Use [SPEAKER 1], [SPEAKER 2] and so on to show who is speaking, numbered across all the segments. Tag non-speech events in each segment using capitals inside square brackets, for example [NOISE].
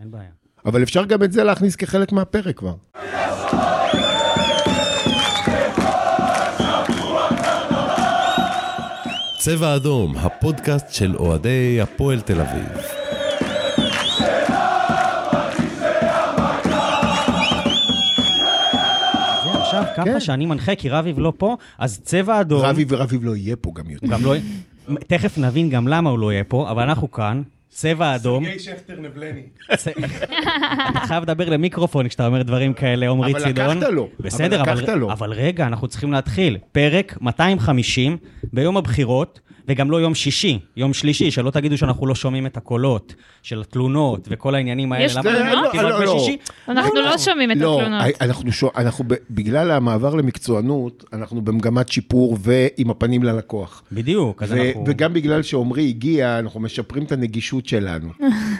[SPEAKER 1] אין בעיה.
[SPEAKER 2] אבל אפשר גם את זה להכניס כחלק מהפרק כבר.
[SPEAKER 3] צבע אדום, הפודקאסט של אוהדי הפועל תל אביב.
[SPEAKER 1] זה עכשיו
[SPEAKER 2] כן.
[SPEAKER 1] ככה שאני מנחה, כי רביב לא פה, אז צבע אדום...
[SPEAKER 2] רביב ורביב לא יהיה פה גם יותר.
[SPEAKER 1] גם לא... תכף נבין גם למה הוא לא יהיה פה, אבל אנחנו כאן, צבע אדום.
[SPEAKER 4] סרגי שכטר נבלני.
[SPEAKER 1] צ- אתה חייב לדבר למיקרופון כשאתה אומר דברים כאלה, עמרי
[SPEAKER 2] אבל
[SPEAKER 1] צידון.
[SPEAKER 2] לקחת לו,
[SPEAKER 1] בסדר,
[SPEAKER 2] אבל
[SPEAKER 1] אבל,
[SPEAKER 2] לקחת לו.
[SPEAKER 1] אבל רגע, אנחנו צריכים להתחיל. פרק 250 ביום הבחירות, וגם לא יום שישי, יום שלישי, שלא תגידו שאנחנו לא שומעים את הקולות של התלונות וכל העניינים האלה.
[SPEAKER 5] יש
[SPEAKER 1] למה
[SPEAKER 5] תלונות?
[SPEAKER 1] אתם
[SPEAKER 2] לא,
[SPEAKER 1] רק
[SPEAKER 2] לא, לא.
[SPEAKER 1] בשישי?
[SPEAKER 5] אנחנו לא שומעים את
[SPEAKER 2] לא,
[SPEAKER 5] התלונות.
[SPEAKER 2] אנחנו, שו- אנחנו ב- בגלל המעבר למקצוענות, אנחנו במגמת שיפור ועם הפנים ללקוח.
[SPEAKER 1] בדיוק, אז
[SPEAKER 2] ו-
[SPEAKER 1] אנחנו...
[SPEAKER 2] וגם בגלל שעמרי הגיע, אנחנו משפרים את הנגישות שלנו.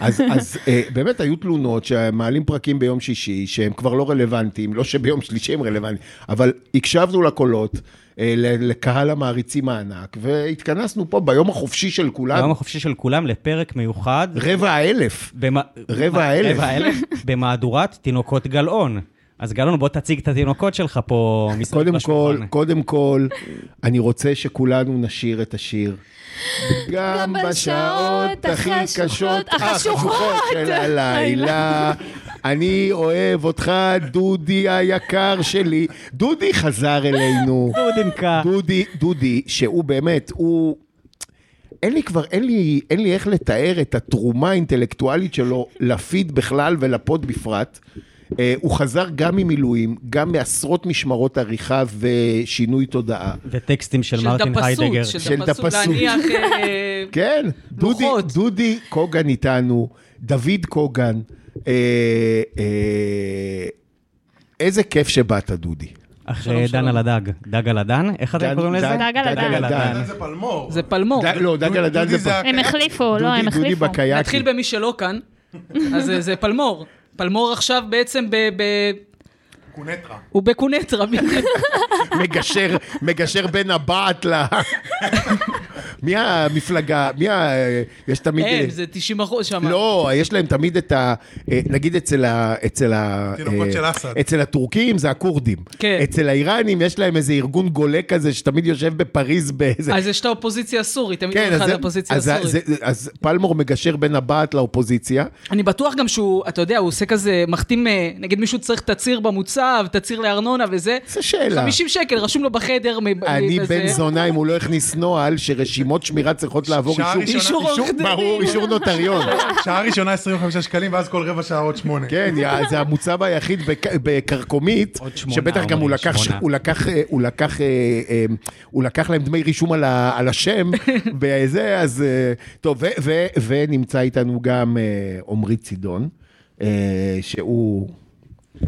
[SPEAKER 2] אז, אז אה, באמת היו תלונות שמעלים פרקים ביום שישי, שהם כבר לא רלוונטיים, לא שביום שלישי הם רלוונטיים, אבל הקשבנו לקולות, אה, ל- לקהל המעריצים הענק, והתכנסנו פה ביום החופשי של
[SPEAKER 1] ביום
[SPEAKER 2] כולם,
[SPEAKER 1] החופשי של כולם לפרק מיוחד.
[SPEAKER 2] רבע האלף.
[SPEAKER 1] במ-
[SPEAKER 2] רבע
[SPEAKER 1] מה-
[SPEAKER 2] האלף.
[SPEAKER 1] רבע
[SPEAKER 2] [LAUGHS]
[SPEAKER 1] האלף, במהדורת תינוקות גלאון. אז גלאון, בוא תציג את התינוקות שלך
[SPEAKER 2] [LAUGHS]
[SPEAKER 1] פה מסביב
[SPEAKER 2] קודם כל,
[SPEAKER 1] לשולחן.
[SPEAKER 2] קודם כל, אני רוצה שכולנו נשיר את השיר. גם בשעות הכי
[SPEAKER 5] החשוכות-
[SPEAKER 2] קשות,
[SPEAKER 5] החשוכות
[SPEAKER 2] של הלילה, אני אוהב אותך, דודי היקר שלי. דודי חזר אלינו.
[SPEAKER 1] דודינקה.
[SPEAKER 2] דודי, דודי, שהוא באמת, הוא... אין לי כבר, אין לי, אין לי איך לתאר את התרומה האינטלקטואלית שלו לפיד בכלל ולפוד בפרט. אה, הוא חזר גם ממילואים, גם מעשרות משמרות עריכה ושינוי תודעה.
[SPEAKER 1] וטקסטים של מרטין
[SPEAKER 6] דפסות,
[SPEAKER 1] היידגר.
[SPEAKER 2] של
[SPEAKER 6] של
[SPEAKER 2] דפסות.
[SPEAKER 6] דפסות, להניח... אה,
[SPEAKER 2] [LAUGHS] כן, דודי,
[SPEAKER 6] לוחות.
[SPEAKER 2] דודי קוגן איתנו, דוד קוגן. אה, אה, איזה כיף שבאת, דודי.
[SPEAKER 1] אחרי דן על הדג. דג על הדן? איך אתם
[SPEAKER 2] דן-
[SPEAKER 1] קוראים לזה?
[SPEAKER 2] דן-
[SPEAKER 5] דג על הדן.
[SPEAKER 2] הדן.
[SPEAKER 4] זה פלמור.
[SPEAKER 6] זה פלמור.
[SPEAKER 2] דן- לא, דג על הדן
[SPEAKER 4] דודי
[SPEAKER 2] זה... פ-
[SPEAKER 5] הם החליפו, לא,
[SPEAKER 2] דודי-
[SPEAKER 5] הם
[SPEAKER 2] דודי
[SPEAKER 5] החליפו.
[SPEAKER 2] בקיאקים.
[SPEAKER 6] נתחיל במי שלא כאן, אז זה- זה פלמור. פלמור עכשיו בעצם ב... ב-
[SPEAKER 4] קונטרה.
[SPEAKER 6] הוא
[SPEAKER 2] [LAUGHS]
[SPEAKER 6] בקונטרה, בדיוק.
[SPEAKER 2] מגשר, מגשר בין הבעת ל... מי המפלגה? מי ה... יש תמיד...
[SPEAKER 6] אין, אה, זה 90 אחוז שם.
[SPEAKER 2] לא, יש להם תמיד את ה... אה, נגיד אצל ה... אצל ה...
[SPEAKER 4] תינוקות
[SPEAKER 2] אה,
[SPEAKER 4] של אסד.
[SPEAKER 2] אצל הטורקים זה הכורדים.
[SPEAKER 6] כן.
[SPEAKER 2] אצל האיראנים יש להם איזה ארגון גולה כזה שתמיד יושב בפריז באיזה...
[SPEAKER 6] אז יש את האופוזיציה הסורית, תמיד
[SPEAKER 2] כן,
[SPEAKER 6] אחד
[SPEAKER 2] זה-
[SPEAKER 6] האופוזיציה
[SPEAKER 2] אז, זה-
[SPEAKER 6] הסורית.
[SPEAKER 2] זה- אז פלמור מגשר בין הבעת לאופוזיציה.
[SPEAKER 6] אני בטוח גם שהוא, אתה יודע, הוא עושה כזה, מחתים, אה, נגיד מישהו צריך תצהיר במוצב, תצהיר לארנונה וזה.
[SPEAKER 2] זו שאלה.
[SPEAKER 6] 50 שקל, רשום לו בחדר. מ-
[SPEAKER 2] אני
[SPEAKER 6] מ-
[SPEAKER 2] בן
[SPEAKER 6] זה.
[SPEAKER 2] זונה אם הוא לא הכניס נוהל שרשימות שמירה צריכות לעבור
[SPEAKER 4] שעה
[SPEAKER 2] אישור.
[SPEAKER 4] ראשונה-
[SPEAKER 6] אישור עורך דין.
[SPEAKER 2] ברור, אישור נוטריון.
[SPEAKER 4] שעה ראשונה 25 שקלים, ואז כל רבע שעה עוד שמונה.
[SPEAKER 2] כן, יא, זה המוצב היחיד בק- בכרכומית,
[SPEAKER 1] עוד שמונה,
[SPEAKER 2] שבטח גם הוא
[SPEAKER 1] אומרים,
[SPEAKER 2] לקח,
[SPEAKER 1] שמונה.
[SPEAKER 2] הוא לקח, אה, הוא לקח, אה, אה, הוא לקח להם דמי רישום על, ה, על
[SPEAKER 6] [LAUGHS]
[SPEAKER 2] השם, וזה, אז אה, טוב, ו, ו, ונמצא איתנו גם אה, עמרי צידון, אה, שהוא...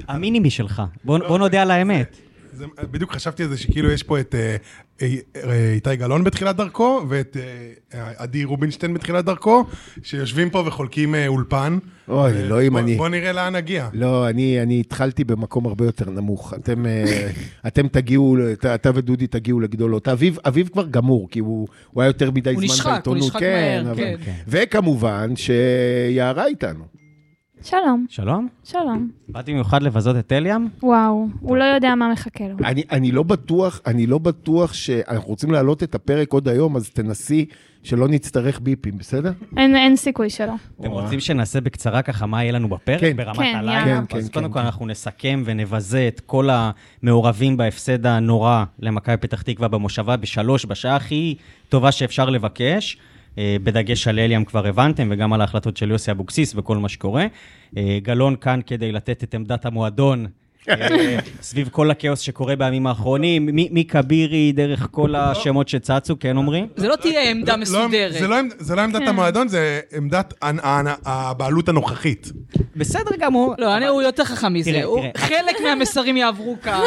[SPEAKER 1] המינימי שלך. בוא
[SPEAKER 2] אוקיי.
[SPEAKER 1] בוא נודה על האמת.
[SPEAKER 4] זה- בדיוק חשבתי על זה שכאילו יש פה את אה, אה, אה, איתי גלאון בתחילת דרכו, ואת אה, עדי רובינשטיין בתחילת דרכו, שיושבים פה וחולקים אה, אולפן.
[SPEAKER 2] אוי,
[SPEAKER 4] אה,
[SPEAKER 2] אלוהים,
[SPEAKER 4] בוא-
[SPEAKER 2] אני-
[SPEAKER 4] בוא נראה לאן נגיע.
[SPEAKER 2] לא, אני, אני התחלתי במקום הרבה יותר נמוך. אתם,
[SPEAKER 6] [LAUGHS]
[SPEAKER 2] אה, אתם תגיעו, ת- אתה ודודי תגיעו לגדולות. אביב, אביב כבר גמור, כי הוא, הוא היה יותר מדי
[SPEAKER 6] הוא
[SPEAKER 2] זמן
[SPEAKER 6] נשחק, הוא
[SPEAKER 2] בעיתונות.
[SPEAKER 6] נשחק
[SPEAKER 2] כן,
[SPEAKER 6] מהר,
[SPEAKER 2] אבל-
[SPEAKER 6] כן.
[SPEAKER 2] וכמובן שיערה איתנו.
[SPEAKER 5] שלום,
[SPEAKER 1] שלום?
[SPEAKER 5] שלום.
[SPEAKER 1] באתי במיוחד לבזות את אליאם?
[SPEAKER 5] וואו, הוא לא יודע מה מחכה לו.
[SPEAKER 2] אני, אני לא בטוח, אני לא בטוח שאנחנו רוצים להעלות את הפרק עוד היום, אז תנסי שלא נצטרך ביפים, בסדר?
[SPEAKER 5] אין אין סיכוי שלא.
[SPEAKER 1] אתם רוצים שנעשה בקצרה ככה מה יהיה לנו בפרק?
[SPEAKER 2] כן.
[SPEAKER 1] ברמת
[SPEAKER 5] כן,
[SPEAKER 1] הלילה?
[SPEAKER 5] יאללה.
[SPEAKER 2] כן,
[SPEAKER 1] אז
[SPEAKER 2] כן,
[SPEAKER 1] קודם
[SPEAKER 2] כן,
[SPEAKER 1] כל אנחנו נסכם ונבזה את כל המעורבים בהפסד הנורא למכבי פתח תקווה במושבה בשלוש, בשעה הכי טובה שאפשר לבקש. אה, בדגש על אליאם כבר הבנתם, וגם על ההחלטות של יוסי אבוקסיס וכל מה שקורה. אה, גלאון כאן כדי לתת את עמדת המועדון.
[SPEAKER 2] [LAUGHS]
[SPEAKER 1] אה, סביב כל הכאוס שקורה בימים האחרונים, מ- מכבירי, דרך
[SPEAKER 2] לא.
[SPEAKER 1] כל השמות שצצו, כן אומרים?
[SPEAKER 6] זה לא תהיה עמדה
[SPEAKER 4] לא-
[SPEAKER 6] מסודרת.
[SPEAKER 4] זה לא עמד- זה לא עמדת המועדון, זה עמדת הנ- הנ- הבעלות הנוכחית.
[SPEAKER 1] בסדר גמור.
[SPEAKER 6] [LAUGHS] לא, אני, הוא יותר חכם מזה.
[SPEAKER 1] תראה,
[SPEAKER 6] הוא-
[SPEAKER 1] תראה.
[SPEAKER 6] חלק מהמסרים יעברו
[SPEAKER 1] [LAUGHS]
[SPEAKER 6] כאן,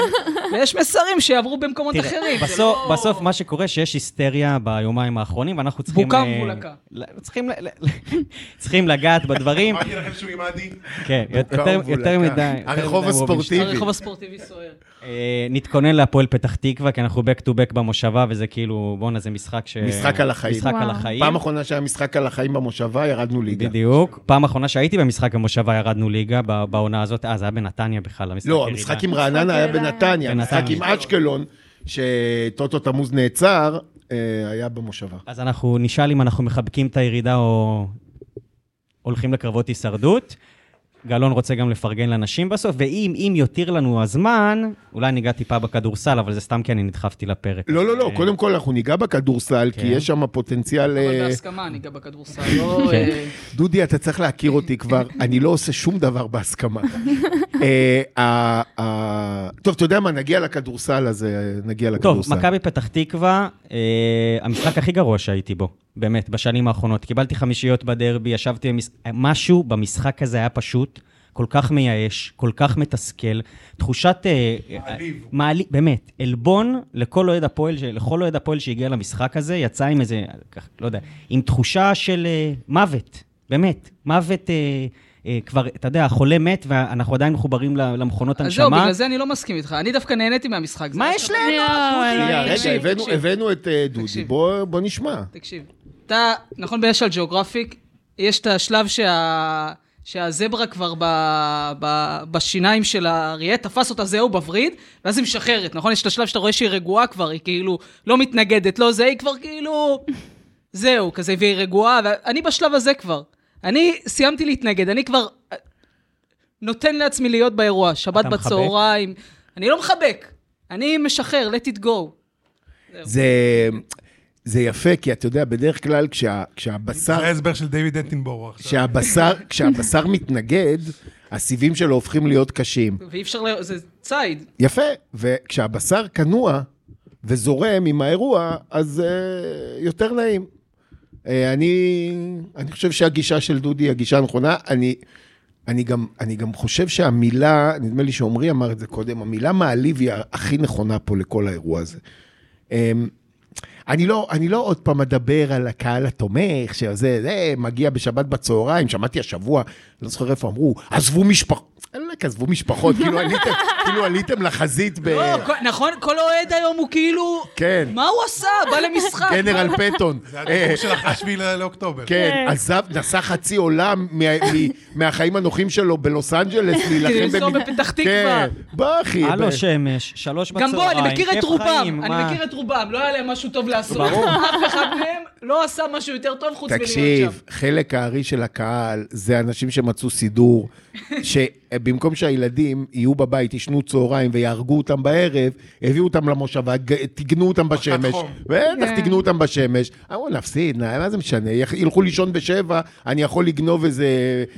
[SPEAKER 6] ויש מסרים שיעברו במקומות
[SPEAKER 1] תראה,
[SPEAKER 6] אחרים. זה
[SPEAKER 1] בסוף,
[SPEAKER 6] לא-
[SPEAKER 1] בסוף מה שקורה שיש היסטריה ביומיים האחרונים, ואנחנו צריכים...
[SPEAKER 6] בוקה
[SPEAKER 1] אה,
[SPEAKER 6] ומבולקה.
[SPEAKER 1] ל- צריכים, ל- [LAUGHS] ל- צריכים לגעת בדברים.
[SPEAKER 4] אמרתי לכם שהוא עם עדי.
[SPEAKER 1] כן, יותר- יותר מדי. יותר
[SPEAKER 2] הרחוב
[SPEAKER 1] מדי רובינשטיין.
[SPEAKER 2] הספורטיבי ספורטיבי.
[SPEAKER 6] רחוב לא הספורטיבי סוער.
[SPEAKER 1] אה, נתכונן להפועל פתח תקווה, כי אנחנו back to back במושבה, וזה כאילו, בואנה, זה משחק ש...
[SPEAKER 2] משחק על החיים.
[SPEAKER 1] משחק על
[SPEAKER 5] וואו.
[SPEAKER 1] החיים.
[SPEAKER 2] פעם אחרונה שהיה משחק על החיים במושבה, ירדנו ליגה.
[SPEAKER 1] בדיוק. פעם אחרונה שהייתי במשחק המושבה ירדנו ליגה, ב- בעונה הזאת, אה, זה היה בנתניה בכלל, המשחק
[SPEAKER 2] לא,
[SPEAKER 1] ירידה.
[SPEAKER 2] המשחק עם רעננה היה
[SPEAKER 5] ירידה.
[SPEAKER 2] בנתניה, המשחק
[SPEAKER 1] בנתניה.
[SPEAKER 2] עם אשקלון, שטוטו תמוז נעצר, אה, היה במושבה.
[SPEAKER 1] אז אנחנו נשאל אם אנחנו מחבקים את הירידה או הולכים לקרבות הישרדות. גלאון רוצה גם לפרגן לנשים בסוף, ואם אם יותיר לנו הזמן, אולי ניגע טיפה בכדורסל, אבל זה סתם כי אני נדחפתי לפרק.
[SPEAKER 2] לא, לא, לא,
[SPEAKER 1] אה,
[SPEAKER 2] קודם כל אנחנו ניגע בכדורסל, כי
[SPEAKER 1] כן.
[SPEAKER 2] יש שם פוטנציאל...
[SPEAKER 6] אבל
[SPEAKER 2] אה,
[SPEAKER 6] בהסכמה, אני גם בכדורסל. לא,
[SPEAKER 1] כן.
[SPEAKER 6] אה,
[SPEAKER 2] דודי, אתה צריך להכיר אותי כבר, אני לא עושה שום דבר [LAUGHS] בהסכמה. אה, ה- ה- טוב, אתה יודע מה, נגיע לכדורסל, אז אה, נגיע
[SPEAKER 1] טוב,
[SPEAKER 2] לכדורסל.
[SPEAKER 1] מכבי פתח תקווה, אה, המשחק הכי גרוע שהייתי בו, באמת, בשנים האחרונות. קיבלתי חמישיות בדרבי, ישבתי במש... משהו במשחק הזה היה פשוט כל כך מייאש, כל כך מתסכל, תחושת... אה,
[SPEAKER 4] מעליב.
[SPEAKER 1] מעליב, באמת, עלבון לכל אוהד הפועל, ש- לכל אוהד הפועל שהגיע למשחק הזה, יצא עם איזה, כך, לא יודע, עם תחושה של אה, מוות, באמת, מוות... אה, אה, כבר, אתה יודע, החולה מת, ואנחנו עדיין מחוברים ל- למכונות
[SPEAKER 6] אז
[SPEAKER 1] הנשמה.
[SPEAKER 6] זהו, בגלל זה אני לא מסכים איתך. אני דווקא נהניתי מהמשחק. זה
[SPEAKER 1] מה
[SPEAKER 6] היה
[SPEAKER 1] יש
[SPEAKER 6] שווה-
[SPEAKER 1] ליהנות?
[SPEAKER 2] שנייה,
[SPEAKER 6] תקשיב,
[SPEAKER 2] רגע, הבאנו-
[SPEAKER 6] תקשיב.
[SPEAKER 2] הבאנו את אה, דודי,
[SPEAKER 6] תקשיב.
[SPEAKER 2] בוא בוא נשמע.
[SPEAKER 6] תקשיב, אתה, נכון ביש על ג'אוגרפיק, יש את השלב שה... שהזברה כבר ב, ב, בשיניים של האריה, תפס אותה זהו בווריד, ואז היא משחררת, נכון? יש את השלב שאתה רואה שהיא רגועה כבר, היא כאילו לא מתנגדת, לא זה, היא כבר כאילו... זהו, כזה, והיא רגועה, ואני בשלב הזה כבר. אני סיימתי להתנגד, אני כבר אה, נותן לעצמי להיות באירוע, שבת
[SPEAKER 1] אתה מחבק?
[SPEAKER 6] בצהריים. אני לא מחבק, אני משחרר, let it go.
[SPEAKER 2] זה... זה יפה, כי אתה יודע, בדרך כלל כשה, כשהבשר,
[SPEAKER 4] זה ההסבר של דיוויד אטינבורו עכשיו.
[SPEAKER 2] כשהבשר, כשהבשר מתנגד, הסיבים שלו הופכים להיות קשים.
[SPEAKER 6] ואי אפשר ל... זה ציד,
[SPEAKER 2] יפה, וכשהבשר כנוע וזורם עם האירוע, אז uh, יותר נעים. Uh, אני, אני חושב שהגישה של דודי היא הגישה הנכונה. אני, אני, גם, אני גם חושב שהמילה, נדמה לי שעמרי אמר את זה קודם, המילה מעליב היא הכי נכונה פה לכל האירוע הזה. אמ, אני לא, אני לא עוד פעם אדבר על הקהל התומך, שזה, זה, מגיע בשבת בצהריים, שמעתי השבוע, לא זוכר איפה אמרו, עזבו משפחות, אלק, עזבו משפחות, כאילו עליתם, כאילו עליתם לחזית ב...
[SPEAKER 6] לא, כל- נכון, כל אוהד היום הוא כאילו...
[SPEAKER 2] אה, כן.
[SPEAKER 6] מה הוא עשה? בא למשחק. [LAUGHS]
[SPEAKER 2] גנרל פטון.
[SPEAKER 4] זה
[SPEAKER 2] אה,
[SPEAKER 4] הדיבור של אחרי השביעי ל- לאוקטובר.
[SPEAKER 2] כן, עזב, נסע חצי עולם מה- מ- מהחיים הנוחים שלו בלוס אנג'לס, להילחם
[SPEAKER 6] לנסוע
[SPEAKER 2] במ-
[SPEAKER 6] בפתח תקווה.
[SPEAKER 2] כן, בוא אחי. ב-
[SPEAKER 1] הלו שמש, שלוש
[SPEAKER 6] גם
[SPEAKER 1] בצהריים,
[SPEAKER 6] בוא, אני מכיר את
[SPEAKER 1] כיף
[SPEAKER 6] רובם,
[SPEAKER 1] חיים,
[SPEAKER 6] אני
[SPEAKER 1] מה?
[SPEAKER 6] מכיר את רובם, לא היה להם משהו טוב לעשות.
[SPEAKER 2] ברור.
[SPEAKER 6] [LAUGHS] אף אחד מהם לא עשה משהו יותר טוב חוץ מלהיות שם.
[SPEAKER 2] תקשיב, חלק הארי של הקהל זה אנשים שמצאו
[SPEAKER 6] [LAUGHS]
[SPEAKER 2] סידור, שבמקום שהילדים יהיו בבית, ישנו צהריים ויהרגו אותם בערב, הביאו אותם למושבה, ג- טיגנו אותם בשמש.
[SPEAKER 4] חום.
[SPEAKER 2] בטח,
[SPEAKER 5] כן.
[SPEAKER 2] טיגנו אותם בשמש. אמרו, נפסיד, נה, מה זה משנה? יח- ילכו לישון בשבע, אני יכול לגנוב איזה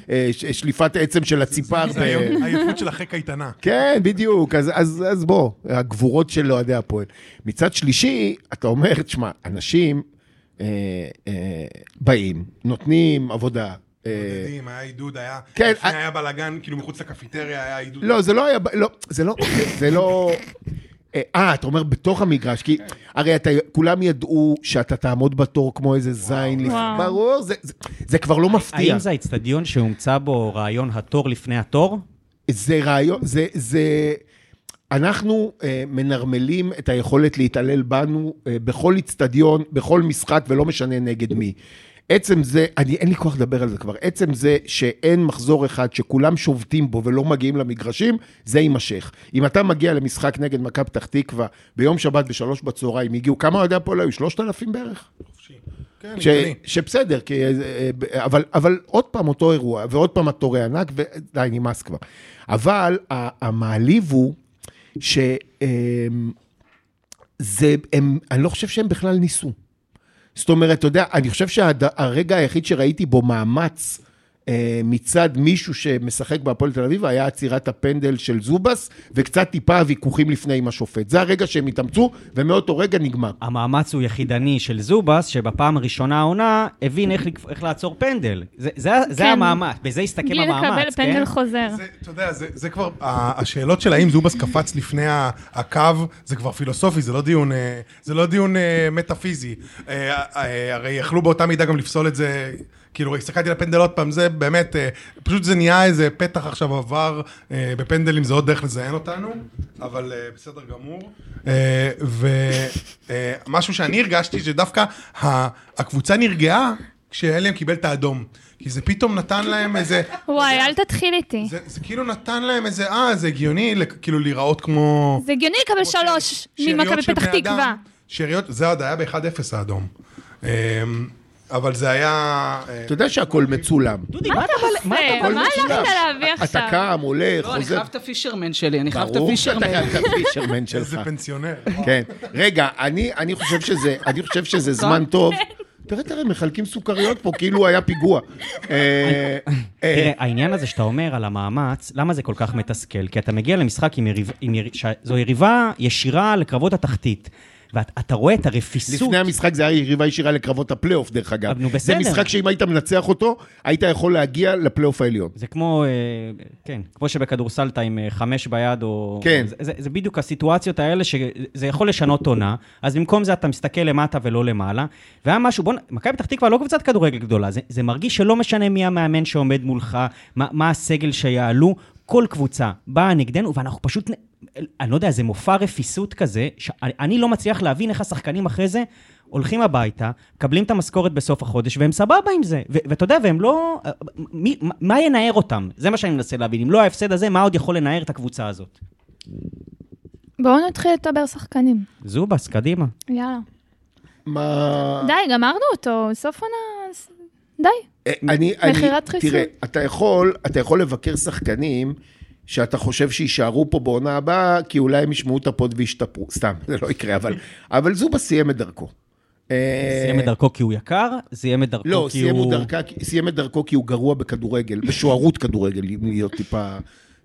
[SPEAKER 2] אה, ש- שליפת עצם של הציפר.
[SPEAKER 4] זה
[SPEAKER 2] ב-
[SPEAKER 4] [LAUGHS] היום עייפות של אחרי קייטנה.
[SPEAKER 2] כן, בדיוק. אז, אז, אז בוא, הגבורות של אוהדי הפועל. מצד שלישי, אתה אומר, תשמע, אנשים אה, אה, באים, נותנים עבודה. אה,
[SPEAKER 4] בודדים, היה עידוד, היה...
[SPEAKER 2] כן,
[SPEAKER 4] לפני
[SPEAKER 2] אה-
[SPEAKER 4] היה בלאגן, כאילו מחוץ לקפיטריה היה עידוד.
[SPEAKER 2] לא, זה לא היה... ב- לא, זה לא... זה לא... אה, אה, אתה אומר בתוך המגרש, כי הרי אתה, כולם ידעו שאתה תעמוד בתור כמו איזה זין לפני,
[SPEAKER 5] וואו.
[SPEAKER 2] ברור, זה, זה, זה כבר לא מפתיע.
[SPEAKER 1] האם זה האיצטדיון שהומצא בו רעיון התור לפני התור?
[SPEAKER 2] זה רעיון, זה, זה... אנחנו אה, מנרמלים את היכולת להתעלל בנו אה, בכל איצטדיון, בכל משחק, ולא משנה נגד מי. עצם זה, אני, אין לי כוח לדבר על זה כבר, עצם זה שאין מחזור אחד שכולם שובתים בו ולא מגיעים למגרשים, זה יימשך. אם אתה מגיע למשחק נגד מכבי פתח תקווה ביום שבת בשלוש בצהריים, הגיעו, כמה אוהדי הפועל היו? שלושת אלפים בערך?
[SPEAKER 4] כן,
[SPEAKER 2] ש,
[SPEAKER 4] הגיוני.
[SPEAKER 2] שבסדר, כי, אה, אה, אבל, אבל עוד פעם אותו אירוע, ועוד פעם התורי ענק, ודי, נמאס כבר. אבל ה- המעליב הוא ש... אה, זה, הם, אני לא חושב שהם בכלל ניסו. זאת אומרת, אתה יודע, אני חושב שהרגע היחיד שראיתי בו מאמץ אה, מצד מישהו שמשחק בהפועל תל אביב היה עצירת הפנדל של זובס, וקצת טיפה הוויכוחים לפני עם השופט. זה הרגע שהם התאמצו, ומאותו רגע נגמר.
[SPEAKER 1] המאמץ הוא יחידני של זובס, שבפעם הראשונה העונה הבין איך, לק- איך לעצור פנדל. זה, זה, זה
[SPEAKER 5] כן.
[SPEAKER 1] המאמץ, בזה הסתכם
[SPEAKER 5] בלי
[SPEAKER 1] המאמץ,
[SPEAKER 5] לקבל
[SPEAKER 1] כן?
[SPEAKER 5] פנדל חוזר.
[SPEAKER 4] זה, אתה יודע, זה, זה כבר, ה- השאלות של האם זובס קפץ לפני ה- הקו, זה כבר פילוסופי, זה לא דיון, אה, זה לא דיון אה, מטאפיזי. אה, אה, הרי יכלו באותה מידה גם לפסול את זה, כאילו, הסתכלתי לפנדל עוד פעם, זה באמת, אה, פשוט זה נהיה איזה פתח עכשיו עבר אה, בפנדלים, זה עוד דרך לזיין אותנו, אבל אה, בסדר גמור. אה, ומשהו שאני הרגשתי, שדווקא ה- הקבוצה נרגעה כשאליהם קיבל את האדום. כי זה פתאום נתן להם איזה...
[SPEAKER 5] וואי, אל תתחיל איתי.
[SPEAKER 4] זה, זה כאילו נתן להם איזה, אה, זה הגיוני, לק- כאילו להיראות כמו...
[SPEAKER 5] זה הגיוני לקבל שלוש
[SPEAKER 4] שאריות
[SPEAKER 5] ממכבי
[SPEAKER 4] של
[SPEAKER 5] פתח
[SPEAKER 4] בני
[SPEAKER 5] תקווה.
[SPEAKER 4] אדם. שאריות, זה עוד היה ב-1-0 האדום. אמ, אבל זה היה... אה,
[SPEAKER 2] אתה יודע שהכל מצולם.
[SPEAKER 1] דודי, מה אתה
[SPEAKER 5] מה
[SPEAKER 2] הכל מצולם.
[SPEAKER 5] הלכת להביא
[SPEAKER 2] אתה
[SPEAKER 5] עכשיו?
[SPEAKER 2] קם, הולך,
[SPEAKER 6] לא, אני
[SPEAKER 2] חוזר.
[SPEAKER 6] חייב את הפישרמן שלי, אני חייב את
[SPEAKER 2] ברור שאתה
[SPEAKER 6] הפישרמן.
[SPEAKER 2] חייב את
[SPEAKER 6] [LAUGHS]
[SPEAKER 2] הפישרמן
[SPEAKER 4] איזה
[SPEAKER 2] שלך.
[SPEAKER 4] [LAUGHS] פנסיונר.
[SPEAKER 2] כן. רגע, אני, אני, חושב שזה, אני חושב שזה זמן טוב.
[SPEAKER 5] כן.
[SPEAKER 2] תראה, תראה, מחלקים סוכריות פה, כאילו היה פיגוע.
[SPEAKER 5] [LAUGHS]
[SPEAKER 2] אה, אה,
[SPEAKER 1] תראה, העניין הזה שאתה אומר על המאמץ, למה זה כל כך מתסכל? כי אתה מגיע למשחק עם יריב... עם יריב זו יריבה ישירה לקרבות התחתית. ואתה רואה את הרפיסות.
[SPEAKER 2] לפני המשחק זה היה יריבה ישירה לקרבות הפלייאוף, דרך אגב.
[SPEAKER 1] אבל נו, בסדר.
[SPEAKER 2] זה משחק שאם היית מנצח אותו, היית יכול להגיע לפלייאוף העליון.
[SPEAKER 1] זה כמו, אה, כן, כמו שבכדורסל אתה עם אה, חמש ביד או...
[SPEAKER 2] כן.
[SPEAKER 1] זה, זה, זה בדיוק הסיטואציות האלה שזה יכול לשנות עונה, אז במקום זה אתה מסתכל למטה ולא למעלה. והיה משהו, בוא, נ- מכבי פתח תקווה לא קבוצת כדורגל גדולה, זה, זה מרגיש שלא משנה מי המאמן שעומד מולך, מה, מה הסגל שיעלו, כל קבוצה באה נגדנו, ואנחנו פשוט, נ- אני לא יודע, זה מופע רפיסות כזה, שאני אני לא מצליח להבין איך השחקנים אחרי זה... הולכים הביתה, מקבלים את המשכורת בסוף החודש, והם סבבה עם זה. ו- ואתה יודע, והם לא... מי, מה ינער אותם? זה מה שאני מנסה להבין. אם לא ההפסד הזה, מה עוד יכול לנער את הקבוצה הזאת?
[SPEAKER 5] בואו נתחיל לדבר שחקנים.
[SPEAKER 1] זובס, קדימה.
[SPEAKER 2] אה,
[SPEAKER 5] יאללה.
[SPEAKER 2] מה...
[SPEAKER 5] די, גמרנו אותו, סוף עונה... אז- די.
[SPEAKER 2] אה, אני, אני,
[SPEAKER 5] מכירת חיסול.
[SPEAKER 2] תראה, אתה יכול, אתה יכול לבקר שחקנים שאתה חושב שיישארו פה בעונה הבאה, כי אולי הם ישמעו את הפוד וישתפרו. סתם, זה לא יקרה, אבל, אבל זובה סיים את דרכו. אה,
[SPEAKER 1] סיים את דרכו כי הוא יקר, סיים את דרכו
[SPEAKER 2] לא,
[SPEAKER 1] כי
[SPEAKER 2] סיים, הוא...
[SPEAKER 1] הוא...
[SPEAKER 2] דרכה, סיים את דרכו כי הוא גרוע בכדורגל, בשוערות כדורגל, אם להיות טיפה...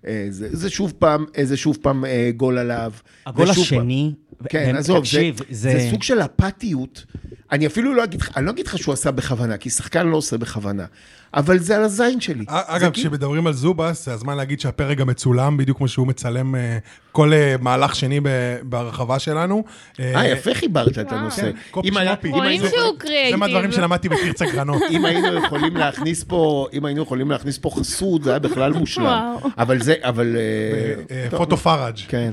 [SPEAKER 2] אה, זה, זה שוב פעם, אה, זה שוב פעם אה, גול עליו.
[SPEAKER 1] הגול
[SPEAKER 2] זה שוב פעם-
[SPEAKER 1] השני... ו-
[SPEAKER 2] כן,
[SPEAKER 1] ו-
[SPEAKER 2] עזוב, זה,
[SPEAKER 1] תקשיב,
[SPEAKER 2] זה... זה סוג של אפתיות. אני אפילו לא אגיד לך, אני לא אגיד לך שהוא עשה בכוונה, כי שחקן לא עושה בכוונה, אבל זה על הזין שלי.
[SPEAKER 4] א-
[SPEAKER 2] זה
[SPEAKER 4] אה, אגב,
[SPEAKER 2] כאילו-
[SPEAKER 4] כשמדברים על זובס, זה הזמן להגיד שהפרק גם מצולם, בדיוק כמו שהוא מצלם אה, כל אה, מהלך שני ב- ברחבה שלנו.
[SPEAKER 2] אה, יפה חיברת את
[SPEAKER 5] וואו.
[SPEAKER 2] הנושא.
[SPEAKER 4] כן, קופי
[SPEAKER 2] אם היה-
[SPEAKER 4] שמופי.
[SPEAKER 2] אם
[SPEAKER 5] רואים
[SPEAKER 2] היינו-
[SPEAKER 5] שהוא
[SPEAKER 4] זה
[SPEAKER 5] קריאייטיב.
[SPEAKER 4] מהדברים שלמדתי בקרצה גרנות.
[SPEAKER 2] אם היינו יכולים להכניס פה, אם היינו יכולים להכניס פה חסות, זה היה בכלל מושלם.
[SPEAKER 5] וואו.
[SPEAKER 2] אבל זה, אבל... אה,
[SPEAKER 4] אה,
[SPEAKER 2] טוב,
[SPEAKER 4] פוטו פראג'.
[SPEAKER 2] כן.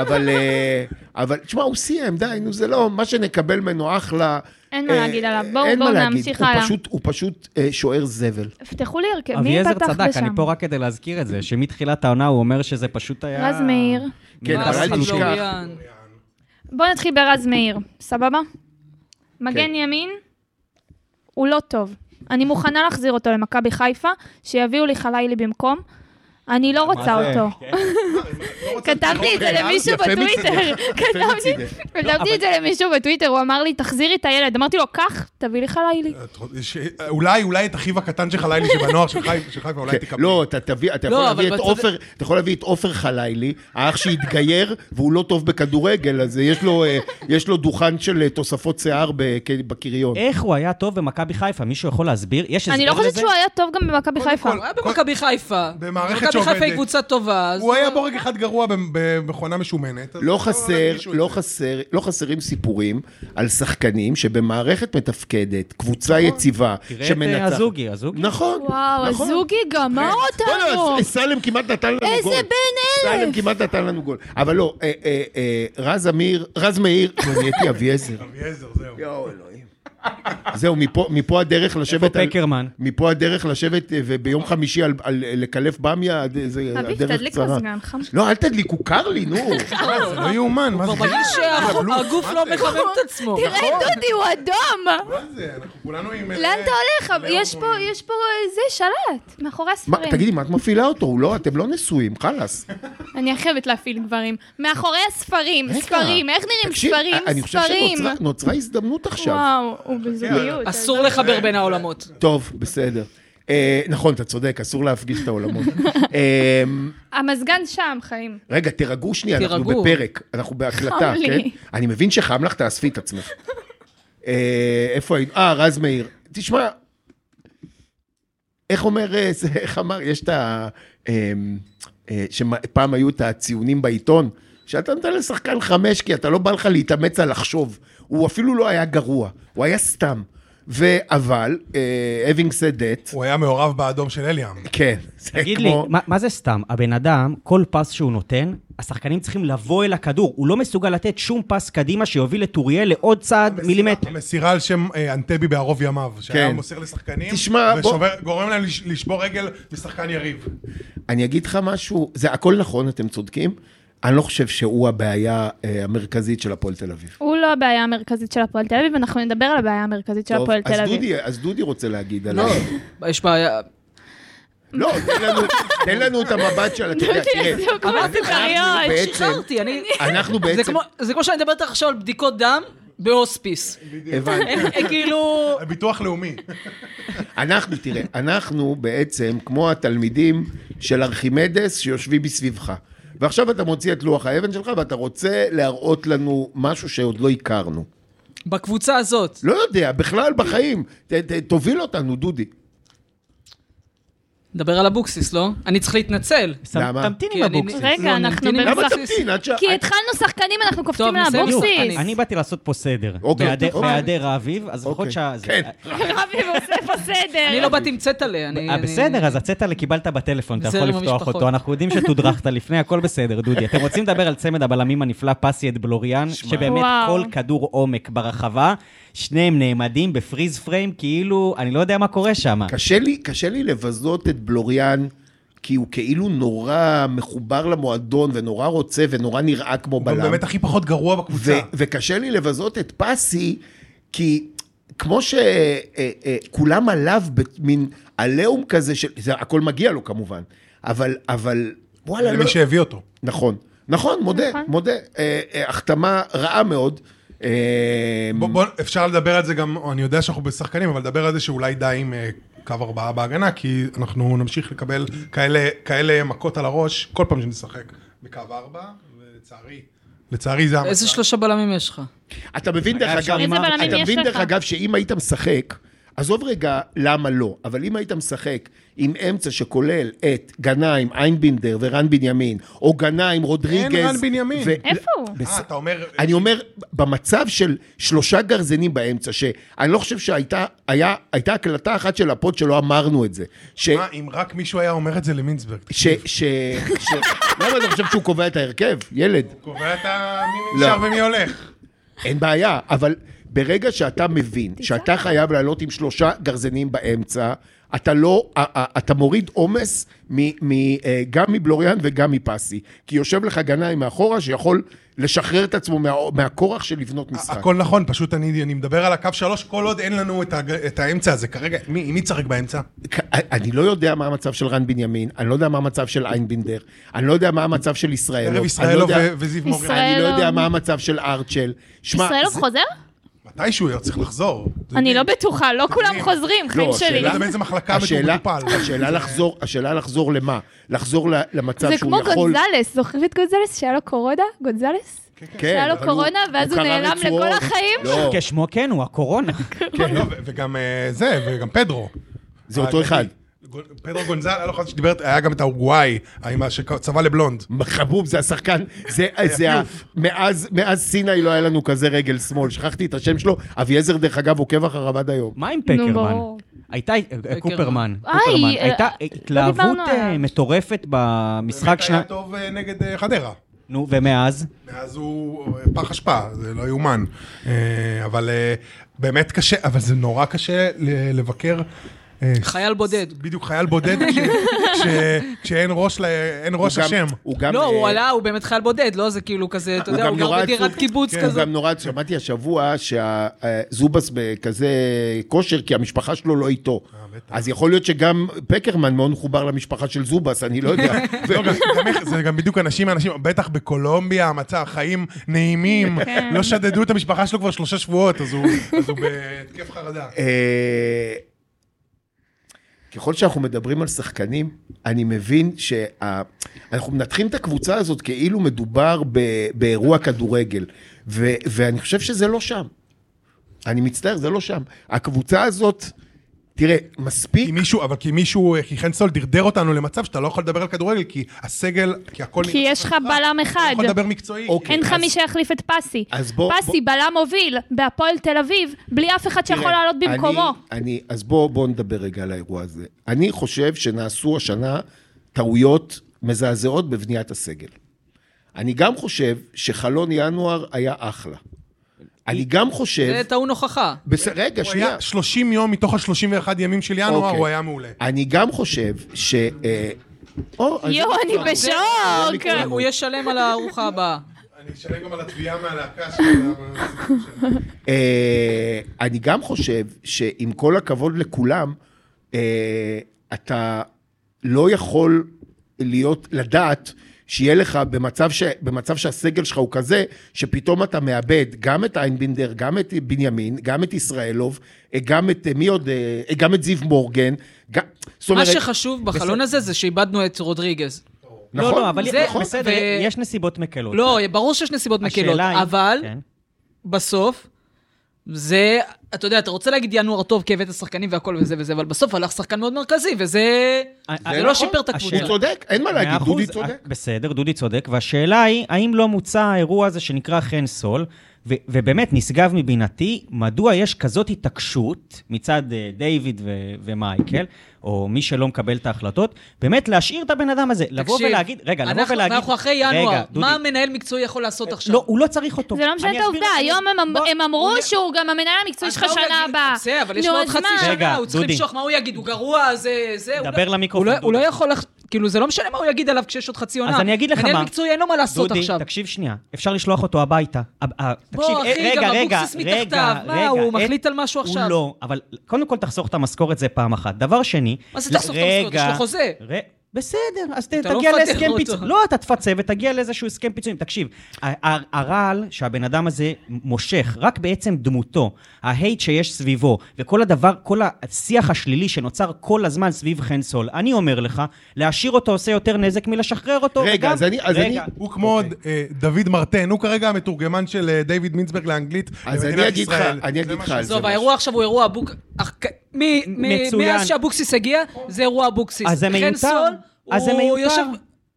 [SPEAKER 2] אבל, אה, אבל, תשמע, הוא סיים, די, נו, זה לא, מה שנקבל ממנו אחלה.
[SPEAKER 5] אין מה
[SPEAKER 2] אה,
[SPEAKER 5] להגיד עליו. בואו-
[SPEAKER 2] אין מה
[SPEAKER 5] בואו
[SPEAKER 2] להגיד.
[SPEAKER 5] נמשיך
[SPEAKER 2] הוא
[SPEAKER 5] הלאה.
[SPEAKER 2] פשוט- הוא פשוט אה, שוער זבל.
[SPEAKER 5] פתחו לי הרכב, מי
[SPEAKER 1] אביעזר
[SPEAKER 5] פתח
[SPEAKER 1] צדק,
[SPEAKER 5] בשם?
[SPEAKER 1] אני פה רק כדי להזכיר את זה, שמתחילת העונה הוא אומר שזה פשוט היה...
[SPEAKER 5] רז מאיר.
[SPEAKER 2] כן, אבל אל
[SPEAKER 6] ואז
[SPEAKER 2] תשכח.
[SPEAKER 6] לוריאן.
[SPEAKER 5] בואו נתחיל ברז מאיר, סבבה?
[SPEAKER 2] כן.
[SPEAKER 5] מגן ימין, הוא לא טוב. אני מוכנה להחזיר אותו למכבי חיפה, שיביאו לי חלילי במקום. אני לא רוצה
[SPEAKER 1] זה?
[SPEAKER 5] אותו. כתבתי את זה למישהו
[SPEAKER 2] כן. אוקיי, יפה לא,
[SPEAKER 5] בטוויטר. כתבתי
[SPEAKER 2] מצידך.
[SPEAKER 1] אבל-
[SPEAKER 5] כתבתי את זה למישהו בטוויטר, הוא אמר לי, תחזירי את הילד. אמרתי לו, קח, תביא לי חלילי.
[SPEAKER 4] ש- אולי, אולי את אחיו הקטן של חלילי שבנוער של חיפה, של חיפה, אולי
[SPEAKER 2] כן,
[SPEAKER 4] תקבל.
[SPEAKER 2] לא, אתה תביא, אתה יכול
[SPEAKER 6] לא,
[SPEAKER 2] להביא
[SPEAKER 6] אבל
[SPEAKER 2] את
[SPEAKER 6] בצד-
[SPEAKER 2] עופר, אתה יכול להביא את עופר חלילי, האח שהתגייר והוא לא טוב בכדורגל, אז יש לו, אה, יש לו דוכן של אה, תוספות שיער בק- בקריון.
[SPEAKER 1] איך הוא היה טוב במכבי חיפה? מישהו יכול להסביר? יש הסבר לזה?
[SPEAKER 5] אני לא חושבת שהוא היה טוב גם במכבי חיפה.
[SPEAKER 6] הוא היה במכבי חיפה.
[SPEAKER 4] במערכת
[SPEAKER 6] מכבי חיפה
[SPEAKER 4] שעובדת.
[SPEAKER 6] היא קבוצה טובה. אז-
[SPEAKER 4] הוא היה בורג אחד גרוע במכונה משומנת. אז
[SPEAKER 2] לא
[SPEAKER 4] לא
[SPEAKER 2] חסר,
[SPEAKER 4] הרגישו את
[SPEAKER 2] לא
[SPEAKER 4] זה.
[SPEAKER 2] חסר, לא חסרים סיפורים על שחקנים שבמערכת מתפקדת, קבוצה יציבה,
[SPEAKER 1] תראה את אה,
[SPEAKER 2] שמנצחת.
[SPEAKER 1] הזוגי, הזוגי.
[SPEAKER 2] נכון,
[SPEAKER 5] נכון. וואו,
[SPEAKER 2] נכון. כן.
[SPEAKER 5] הזוגי גמר אותנו.
[SPEAKER 2] בוא'נה, אה, סלם כמעט נתן לנו גול.
[SPEAKER 5] איזה בן אלף.
[SPEAKER 2] סלם כמעט נתן לנו גול. אבל לא, אה, אה, אה, רז אמיר, רז מאיר, נו, נהייתי אביעזר.
[SPEAKER 4] אביעזר, זהו.
[SPEAKER 2] יואו, אלוהים. זהו, מפה, מפה הדרך לשבת...
[SPEAKER 1] איפה
[SPEAKER 2] על-
[SPEAKER 1] פקרמן?
[SPEAKER 2] מפה הדרך לשבת אה, וביום חמישי על, על, לקלף במיה, אה, זה הדרך
[SPEAKER 5] אביב,
[SPEAKER 2] קצרה.
[SPEAKER 5] תדליק מזגן חם.
[SPEAKER 2] לא, אל תדליקו, קר לי, נו.
[SPEAKER 4] זה לא יאומן, מה זה? [LAUGHS]
[SPEAKER 6] כבר מרגיש שהגוף לא מחמם את עצמו.
[SPEAKER 5] תראה,
[SPEAKER 2] נכון.
[SPEAKER 5] דודי, הוא אדום.
[SPEAKER 2] אה,
[SPEAKER 4] מה זה? אנחנו כולנו עם... אה,
[SPEAKER 5] לאן אתה הולך?
[SPEAKER 4] לאור
[SPEAKER 5] יש פה,
[SPEAKER 4] פנים.
[SPEAKER 5] יש פה, אה, זה, שלט, מאחורי
[SPEAKER 2] מה,
[SPEAKER 5] הספרים.
[SPEAKER 2] תגידי, מה את מפעילה אותו? הוא לא, אתם לא נשואים, חלאס.
[SPEAKER 5] אני חייבת להפעיל גברים. מאחורי הספרים,
[SPEAKER 2] רגע.
[SPEAKER 5] ספרים, איך נראים
[SPEAKER 2] תקשיב,
[SPEAKER 5] ספרים?
[SPEAKER 2] אני חושב
[SPEAKER 5] ספרים.
[SPEAKER 2] שנוצרה הזדמנות עכשיו.
[SPEAKER 5] וואו, הוא בזוגיות.
[SPEAKER 6] אסור לחבר בין העולמות.
[SPEAKER 2] טוב, בסדר. אה, נכון, אתה צודק, אסור להפגיש את
[SPEAKER 5] [LAUGHS]
[SPEAKER 2] העולמות. אה,
[SPEAKER 5] המזגן שם, חיים.
[SPEAKER 2] רגע, תירגעו שנייה, אנחנו
[SPEAKER 6] תירגעו.
[SPEAKER 2] בפרק, אנחנו בהקלטה,
[SPEAKER 5] חם לי.
[SPEAKER 2] כן? אני מבין שחם לך, תאספי את עצמך. אה, איפה היינו? אה, רז מאיר. תשמע, איך אומר, אה, זה- איך אמר, יש את ה... אה, אה, שפעם היו את הציונים בעיתון, שאתה נותן לשחקן חמש, כי אתה לא בא לך להתאמץ על לחשוב. הוא אפילו לא היה גרוע, הוא היה סתם. ו- אבל, אה, having said that,
[SPEAKER 4] הוא היה מעורב באדום של אליאם.
[SPEAKER 2] כן, זה כמו...
[SPEAKER 1] תגיד לי, מה, מה זה סתם? הבן אדם, כל פס שהוא נותן, השחקנים צריכים לבוא אל הכדור. הוא לא מסוגל לתת שום פס קדימה שיוביל את אוריאל לעוד צעד מילימטר.
[SPEAKER 4] המסירה על שם אה, אנטבי בערוב ימיו, שהיה
[SPEAKER 2] כן.
[SPEAKER 4] מוסר לשחקנים,
[SPEAKER 2] תשמע, בוא-
[SPEAKER 4] וגורם להם לש- לשבור רגל משחקן יריב.
[SPEAKER 2] אני אגיד לך משהו, זה הכל נכון, אתם צודקים. אני לא חושב שהוא הבעיה אה, המרכזית של הפועל תל אביב.
[SPEAKER 5] הוא לא הבעיה המרכזית של הפועל תל אביב, אנחנו נדבר על הבעיה המרכזית של
[SPEAKER 2] טוב,
[SPEAKER 5] הפועל תל
[SPEAKER 2] אז
[SPEAKER 5] [LAUGHS] אביב.
[SPEAKER 2] דודי, אז דודי רוצה להגיד
[SPEAKER 6] לא,
[SPEAKER 2] עליו.
[SPEAKER 6] יש בעיה...
[SPEAKER 2] לא, תן לנו- תן לנו את המבט של...
[SPEAKER 5] דודי,
[SPEAKER 2] תראה, תראה,
[SPEAKER 5] זה אוקיי. כמו
[SPEAKER 6] אמרתי לך,
[SPEAKER 5] זכריות.
[SPEAKER 2] בעצם-
[SPEAKER 6] שחררתי, אני...
[SPEAKER 2] אנחנו
[SPEAKER 6] זה
[SPEAKER 2] בעצם...
[SPEAKER 6] כמו- זה כמו שאני מדברת עכשיו על בדיקות דם בהוספיס.
[SPEAKER 2] הבנתי.
[SPEAKER 6] כאילו...
[SPEAKER 4] ביטוח לאומי.
[SPEAKER 2] אנחנו, תראה, אנחנו בעצם כמו התלמידים של ארכימדס שיושבים מסביבך. ועכשיו אתה מוציא את לוח האבן שלך ואתה רוצה להראות לנו משהו שעוד לא הכרנו.
[SPEAKER 6] בקבוצה הזאת.
[SPEAKER 2] לא יודע, בכלל בחיים. ת, ת, תוביל אותנו, דודי.
[SPEAKER 6] נדבר על אבוקסיס, לא? אני צריך להתנצל.
[SPEAKER 2] למה?
[SPEAKER 1] תמתין
[SPEAKER 6] כי
[SPEAKER 1] עם
[SPEAKER 6] אני-
[SPEAKER 1] הבוקסיס.
[SPEAKER 5] רגע,
[SPEAKER 6] לא,
[SPEAKER 5] אנחנו
[SPEAKER 6] נמתין עם
[SPEAKER 2] למה
[SPEAKER 5] במשחק-
[SPEAKER 2] תמתין עד ש...
[SPEAKER 5] כי התחלנו שחקנים, אנחנו קופצים
[SPEAKER 6] טוב, נסיים.
[SPEAKER 5] לאבוקסיס.
[SPEAKER 6] אני-
[SPEAKER 1] אני באתי לעשות פה סדר.
[SPEAKER 2] אוקיי,
[SPEAKER 1] בהיעדר-
[SPEAKER 2] אוקיי.
[SPEAKER 1] בהיעדר האביב, אז לפחות
[SPEAKER 2] אוקיי,
[SPEAKER 1] שה...
[SPEAKER 2] כן.
[SPEAKER 5] [LAUGHS] רבי עושה פה סדר.
[SPEAKER 6] אני לא באתי עם צטלה, אני...
[SPEAKER 1] אה,
[SPEAKER 6] אני-
[SPEAKER 1] בסדר, אז הצטלה קיבלת בטלפון, אתה
[SPEAKER 6] בסדר
[SPEAKER 1] יכול
[SPEAKER 6] עם
[SPEAKER 1] לפתוח
[SPEAKER 6] המשפחות.
[SPEAKER 1] אותו. אנחנו יודעים שתודרכת לפני, הכל בסדר, דודי. אתם רוצים לדבר על צמד הבלמים הנפלא, פסי את בלוריאן, שבאמת
[SPEAKER 5] וואו.
[SPEAKER 1] כל כדור עומק ברחבה, שניהם נעמדים בפריז פריים, כאילו, אני לא יודע מה קורה שם.
[SPEAKER 2] קשה לי, קשה לי לבזות את בלוריאן, כי הוא כאילו נורא מחובר למועדון ונורא רוצה ונורא נראה כמו
[SPEAKER 4] הוא
[SPEAKER 2] בלם.
[SPEAKER 4] באמת הכי פחות גרוע בקבוצה.
[SPEAKER 2] ו- וקשה לי לבזות את פסי, כי כמו אה, שכולם עליו במין עליהום כזה, של, זה הכל מגיע לו כמובן, אבל, אבל וואלה, לא,
[SPEAKER 4] למי שהביא אותו.
[SPEAKER 2] נכון, נכון, מודה,
[SPEAKER 5] נכון.
[SPEAKER 2] מודה, אה, אה, החתמה רעה מאוד. אה,
[SPEAKER 4] בוא, בוא, אפשר לדבר על זה גם, אני יודע שאנחנו בשחקנים, אבל לדבר על זה שאולי די עם אה, קו ארבעה בהגנה, כי אנחנו נמשיך לקבל כאלה, כאלה מכות על הראש כל פעם שנשחק בקו ארבע, ולצערי, לצערי זה המצב.
[SPEAKER 6] איזה שלושה בלמים יש לך?
[SPEAKER 2] אתה מבין דרך
[SPEAKER 1] אפשר
[SPEAKER 2] אגב,
[SPEAKER 1] עם איזה
[SPEAKER 5] בלמים
[SPEAKER 2] אתה
[SPEAKER 5] יש
[SPEAKER 2] מבין דרך
[SPEAKER 5] לך?
[SPEAKER 2] אגב שאם היית משחק, עזוב רגע למה לא, אבל אם היית משחק עם אמצע שכולל את גנאים, איינבינדר ורן בנימין, או גנאים, רודריגז.
[SPEAKER 4] רן בנימין.
[SPEAKER 5] איפה הוא?
[SPEAKER 4] אה, אתה אומר,
[SPEAKER 2] אני אומר, במצב של שלושה גרזנים באמצע, שאני לא חושב שהייתה היה, הייתה הקלטה אחת של הפוד שלא אמרנו את זה. ש...
[SPEAKER 4] מה, אם רק מישהו היה אומר את זה למינסברג,
[SPEAKER 2] [LAUGHS] ש... ש... ש... למה אתה חושב שהוא קובע את ההרכב? ילד.
[SPEAKER 4] קובע את ה- מי
[SPEAKER 2] לא.
[SPEAKER 4] נשאר ומי הולך.
[SPEAKER 2] אין בעיה, אבל ברגע שאתה מבין שאתה חייב לעלות עם שלושה גרזנים באמצע, אתה לא, א- א- אתה מוריד עומס מ- מ- אה, גם מבלוריאן וגם מפסי. כי יושב לך גנאי מאחורה שיכול לשחרר את עצמו מה, מהכורח של לבנות [LAUGHS] משחק.
[SPEAKER 4] הכל נכון, פשוט אני אני מדבר על הקו שלוש, כל עוד אין לנו את הג- את האמצע הזה. כרגע, מי עם מי צחק באמצע?
[SPEAKER 2] כ- אני אה, לא יודע מה המצב של רן בנימין, אני לא יודע מה המצב של איינבינדר, אני לא יודע מה המצב של ישראלו.
[SPEAKER 4] ערב
[SPEAKER 2] אני
[SPEAKER 4] ישראלו
[SPEAKER 2] לא יודע-
[SPEAKER 4] ו- וזיו מורי.
[SPEAKER 5] ישראל- לא
[SPEAKER 2] אני לא יודע מה המצב של ארצ'ל. שמע,
[SPEAKER 5] ישראלוב
[SPEAKER 2] זה-
[SPEAKER 5] חוזר?
[SPEAKER 4] מתישהו הוא צריך לחזור. זה
[SPEAKER 5] אני לא
[SPEAKER 4] בדיוק.
[SPEAKER 5] בטוחה, לא כולם חוזרים, חיים
[SPEAKER 2] לא,
[SPEAKER 5] שלי.
[SPEAKER 4] השאלה זה באיזה מחלקה בדיוק
[SPEAKER 2] השאלה,
[SPEAKER 4] מטופל.
[SPEAKER 2] השאלה לחזור, השאלה לחזור למה? לחזור ל- למצב
[SPEAKER 5] זה כמו
[SPEAKER 2] שהוא יכול...
[SPEAKER 5] גונזלס, זוכרים את גונזלס שהיה לו קורונה? גונזלס?
[SPEAKER 2] כן,
[SPEAKER 5] שהיה לו
[SPEAKER 2] אבל
[SPEAKER 5] קורונה, ואז הוא
[SPEAKER 2] קרע
[SPEAKER 5] נעלם
[SPEAKER 2] רצועות.
[SPEAKER 5] לכל החיים?
[SPEAKER 2] לא,
[SPEAKER 1] כשמו כן הוא, הקורונה.
[SPEAKER 4] כן, לא, ו- וגם אה, זה, וגם פדרו.
[SPEAKER 2] זה
[SPEAKER 4] אה,
[SPEAKER 2] אותו אחד.
[SPEAKER 4] כן. גול- פדרו גונזל, היה לו אחד שדיבר, היה גם את האורוגוואי, עם ה- שצבע לבלונד.
[SPEAKER 2] חבוב זה השחקן, זה,
[SPEAKER 4] אה,
[SPEAKER 2] זה ה... מאז, מאז סיני לא היה לנו כזה רגל שמאל, שכחתי את השם שלו, אביעזר דרך אגב עוקב אחריו עד היום.
[SPEAKER 1] מה עם פקרמן?
[SPEAKER 5] ברור.
[SPEAKER 1] הייתה, אה, קופרמן,
[SPEAKER 5] איי,
[SPEAKER 1] קופרמן.
[SPEAKER 5] אה,
[SPEAKER 1] הייתה
[SPEAKER 5] לא
[SPEAKER 1] התלהבות
[SPEAKER 5] דיברנו
[SPEAKER 1] אה,
[SPEAKER 5] עליו.
[SPEAKER 1] מטורפת במשחק
[SPEAKER 4] באמת
[SPEAKER 1] שלה.
[SPEAKER 4] היה טוב אה, נגד אה, חדרה.
[SPEAKER 1] נו, ומאז?
[SPEAKER 4] מאז הוא אה, פח אשפה, זה לא יאומן. אה, אבל אה, באמת קשה, אבל זה נורא קשה ל- לבקר. אה,
[SPEAKER 6] חייל בודד.
[SPEAKER 4] בדיוק, חייל בודד, כש- כש- כשאין ראש ל- אין ראש
[SPEAKER 2] הוא גם-
[SPEAKER 4] השם.
[SPEAKER 2] הוא גם...
[SPEAKER 6] לא, הוא
[SPEAKER 2] אה,
[SPEAKER 6] עלה, הוא באמת חייל בודד, לא? זה כאילו כזה, אתה
[SPEAKER 2] הוא
[SPEAKER 6] יודע,
[SPEAKER 2] גם
[SPEAKER 6] הוא גר
[SPEAKER 2] נורא
[SPEAKER 6] בדירת
[SPEAKER 2] עצוב.
[SPEAKER 6] קיבוץ
[SPEAKER 2] כן, הוא
[SPEAKER 6] כזה.
[SPEAKER 2] גם נורא, שמעתי השבוע שהזובס בכזה כושר, כי המשפחה שלו לא איתו. אז יכול להיות שגם פקרמן מאוד מחובר למשפחה של זובס, אני לא
[SPEAKER 6] [LAUGHS]
[SPEAKER 2] יודע. ו-
[SPEAKER 4] לא, גם- גם איך- זה גם בדיוק אנשים, אנשים, בטח בקולומביה, המצב, חיים נעימים,
[SPEAKER 5] כן.
[SPEAKER 4] לא שדדו את המשפחה שלו כבר שלושה שבועות, אז הוא אז הוא בהתקף חרדה.
[SPEAKER 2] אה, ככל שאנחנו מדברים על שחקנים, אני מבין שאנחנו מנתחים את הקבוצה הזאת כאילו מדובר ב- באירוע כדורגל, ו- ואני חושב שזה לא שם. אני מצטער, זה לא שם. הקבוצה הזאת תראה, מספיק...
[SPEAKER 4] כי מישהו, אבל כי מישהו, כי חנסול דרדר אותנו למצב שאתה לא יכול לדבר על כדורגל, כי הסגל, כי הכל...
[SPEAKER 2] לא
[SPEAKER 5] כי
[SPEAKER 4] נראה
[SPEAKER 5] יש לך
[SPEAKER 4] סביבך,
[SPEAKER 2] אה,
[SPEAKER 5] בלם
[SPEAKER 4] אתה
[SPEAKER 5] אחד.
[SPEAKER 4] לא יכול לדבר מקצועי.
[SPEAKER 2] אוקיי.
[SPEAKER 5] אין לך
[SPEAKER 2] אז-
[SPEAKER 5] מי שיחליף את פסי.
[SPEAKER 2] אז בוא-
[SPEAKER 5] פסי בלם מוביל בהפועל תל אביב, בלי אף אחד שיכול
[SPEAKER 2] תראה,
[SPEAKER 5] לעלות במקומו.
[SPEAKER 2] אני, אני, אז בואו בוא נדבר רגע על האירוע הזה. אני חושב שנעשו השנה טעויות מזעזעות בבניית הסגל. אני גם חושב שחלון ינואר היה אחלה. אני גם חושב...
[SPEAKER 6] זה טעון הוכחה.
[SPEAKER 2] בס... רגע,
[SPEAKER 4] הוא
[SPEAKER 2] שנייה.
[SPEAKER 4] היה 30 יום מתוך ה-31 ימים של ינואר,
[SPEAKER 2] אוקיי.
[SPEAKER 4] הוא היה מעולה.
[SPEAKER 2] אני גם חושב ש... אה, או, אז-
[SPEAKER 5] יואו, אני בשוק!
[SPEAKER 2] כן.
[SPEAKER 6] הוא- הוא ישלם על הארוחה
[SPEAKER 2] [LAUGHS]
[SPEAKER 6] הבאה.
[SPEAKER 4] אני אשלם גם על התביעה מהלהקה של...
[SPEAKER 2] אה, אני גם חושב שעם כל הכבוד לכולם, אה, אתה לא יכול להיות, לדעת שיהיה לך במצב, ש, במצב שהסגל שלך הוא כזה, שפתאום אתה מאבד גם את איינבינדר, גם את בנימין, גם את ישראלוב, אה, גם את, אה, מי עוד, אה, אה, גם את זיו מורגן. גם, זאת
[SPEAKER 6] מה
[SPEAKER 2] אומרת,
[SPEAKER 6] שחשוב בחלון הזה זה שאיבדנו את רודריגז.
[SPEAKER 1] לא, לא, אבל
[SPEAKER 6] זה-
[SPEAKER 1] נכון, בסדר,
[SPEAKER 6] ו-
[SPEAKER 1] יש נסיבות מקלות.
[SPEAKER 6] לא, ברור שיש נסיבות מקלות,
[SPEAKER 1] השאלה היא-
[SPEAKER 6] אבל
[SPEAKER 1] כן.
[SPEAKER 6] בסוף, זה, אתה יודע, אתה רוצה להגיד ינואר טוב, כי הבאת שחקנים והכל וזה וזה, אבל בסוף הלך שחקן מאוד מרכזי, וזה
[SPEAKER 1] זה
[SPEAKER 6] זה לא
[SPEAKER 1] נכון.
[SPEAKER 6] שיפר את הקבוצה.
[SPEAKER 1] השאלה-
[SPEAKER 2] הוא צודק, אין מה
[SPEAKER 1] מאה
[SPEAKER 2] להגיד,
[SPEAKER 1] אחוז,
[SPEAKER 2] דודי צודק.
[SPEAKER 1] אה, בסדר, דודי צודק, והשאלה היא, האם לא מוצא האירוע הזה שנקרא חן סול, ו- ובאמת נשגב מבינתי, מדוע יש כזאת התעקשות מצד אה, דיוויד ו- ומייקל, או מי שלא מקבל את ההחלטות, באמת להשאיר את הבן אדם הזה, לבוא
[SPEAKER 6] תקשיב,
[SPEAKER 1] ולהגיד, רגע, לבוא
[SPEAKER 6] אנחנו-
[SPEAKER 1] ולהגיד,
[SPEAKER 6] אנחנו אחרי
[SPEAKER 1] רגע,
[SPEAKER 6] ינואר,
[SPEAKER 1] דודי,
[SPEAKER 6] מה המנהל מקצועי יכול לעשות עכשיו?
[SPEAKER 1] לא, הוא לא צריך אותו.
[SPEAKER 5] זה לא משנה
[SPEAKER 1] אני אסביר
[SPEAKER 5] את העובדה,
[SPEAKER 1] לך.
[SPEAKER 5] היום הם אמ-
[SPEAKER 1] בוא-
[SPEAKER 5] הם אמרו
[SPEAKER 1] הוא-
[SPEAKER 5] שהוא גם המנהל המקצועי שלך
[SPEAKER 6] אז מה הוא
[SPEAKER 5] שנה
[SPEAKER 6] יגיד?
[SPEAKER 5] הבאה.
[SPEAKER 6] זה, אבל יש
[SPEAKER 5] נו,
[SPEAKER 6] לו עוד
[SPEAKER 5] אז
[SPEAKER 6] חצי
[SPEAKER 5] מה?
[SPEAKER 1] רגע,
[SPEAKER 6] שנה, הוא צריך
[SPEAKER 1] דודי.
[SPEAKER 6] למשוך, מה הוא יגיד? הוא גרוע, זה... זה... הוא
[SPEAKER 1] דבר
[SPEAKER 6] לא-
[SPEAKER 1] למיקרופון,
[SPEAKER 6] הוא לא- הוא לא
[SPEAKER 1] דודי.
[SPEAKER 6] יכול... לח- כאילו, זה לא משנה מה הוא יגיד עליו כשיש עוד חצי עונה.
[SPEAKER 1] אז אני אגיד לך מה.
[SPEAKER 6] מנהל מקצועי אין לו מה לעשות עכשיו.
[SPEAKER 1] דודי, תקשיב שנייה, אפשר לשלוח אותו הביתה. אה, אה, תקשיב,
[SPEAKER 6] אחי,
[SPEAKER 1] אה,
[SPEAKER 6] גם
[SPEAKER 1] רגע, רגע,
[SPEAKER 6] אבוקסיס
[SPEAKER 1] רגע,
[SPEAKER 6] מתחתיו. מה,
[SPEAKER 1] רגע,
[SPEAKER 6] הוא
[SPEAKER 1] אה,
[SPEAKER 6] מחליט על משהו עכשיו?
[SPEAKER 1] הוא לא, אבל קודם כל תחסוך את המשכורת, זה פעם אחת. דבר שני...
[SPEAKER 6] מה זה תחסוך את המשכורת? יש
[SPEAKER 1] רגע,
[SPEAKER 6] לו חוזה.
[SPEAKER 1] ר- בסדר, אז ת-
[SPEAKER 6] אתה לא
[SPEAKER 1] תגיע
[SPEAKER 6] מפטר
[SPEAKER 1] להסכם
[SPEAKER 6] אותו.
[SPEAKER 1] פיצויים. לא, אתה תפצה ותגיע לאיזשהו הסכם פיצויים. תקשיב, ה- ה- הרעל שהבן אדם הזה מושך, רק בעצם דמותו, ההייט שיש סביבו, וכל הדבר, כל השיח השלילי שנוצר כל הזמן סביב חן סול, אני אומר לך, להשאיר אותו עושה יותר נזק מלשחרר אותו.
[SPEAKER 2] רגע,
[SPEAKER 1] וגם-
[SPEAKER 2] אז אני- אז אני-
[SPEAKER 1] רגע,
[SPEAKER 4] הוא כמו
[SPEAKER 2] אוקיי.
[SPEAKER 4] אה, דוד מרטן, הוא כרגע המתורגמן של אה, דיוויד מינצברג לאנגלית
[SPEAKER 2] אז אני
[SPEAKER 4] במדינת
[SPEAKER 2] אגיד לך-
[SPEAKER 4] ישראל.
[SPEAKER 2] אני
[SPEAKER 4] זה
[SPEAKER 2] אגיד
[SPEAKER 4] מה
[SPEAKER 2] לך
[SPEAKER 4] ש-
[SPEAKER 2] על זה.
[SPEAKER 6] עזוב,
[SPEAKER 2] משהו.
[SPEAKER 6] האירוע עכשיו הוא אירוע אבוק... אך- מ- מ-
[SPEAKER 1] מצוין.
[SPEAKER 6] מאז שאבוקסיס הגיע, זה אירוע אבוקסיס.
[SPEAKER 1] אז זה מיותר.
[SPEAKER 6] חן סול,
[SPEAKER 1] אז זה
[SPEAKER 6] הוא
[SPEAKER 1] מיותר.
[SPEAKER 6] יושב-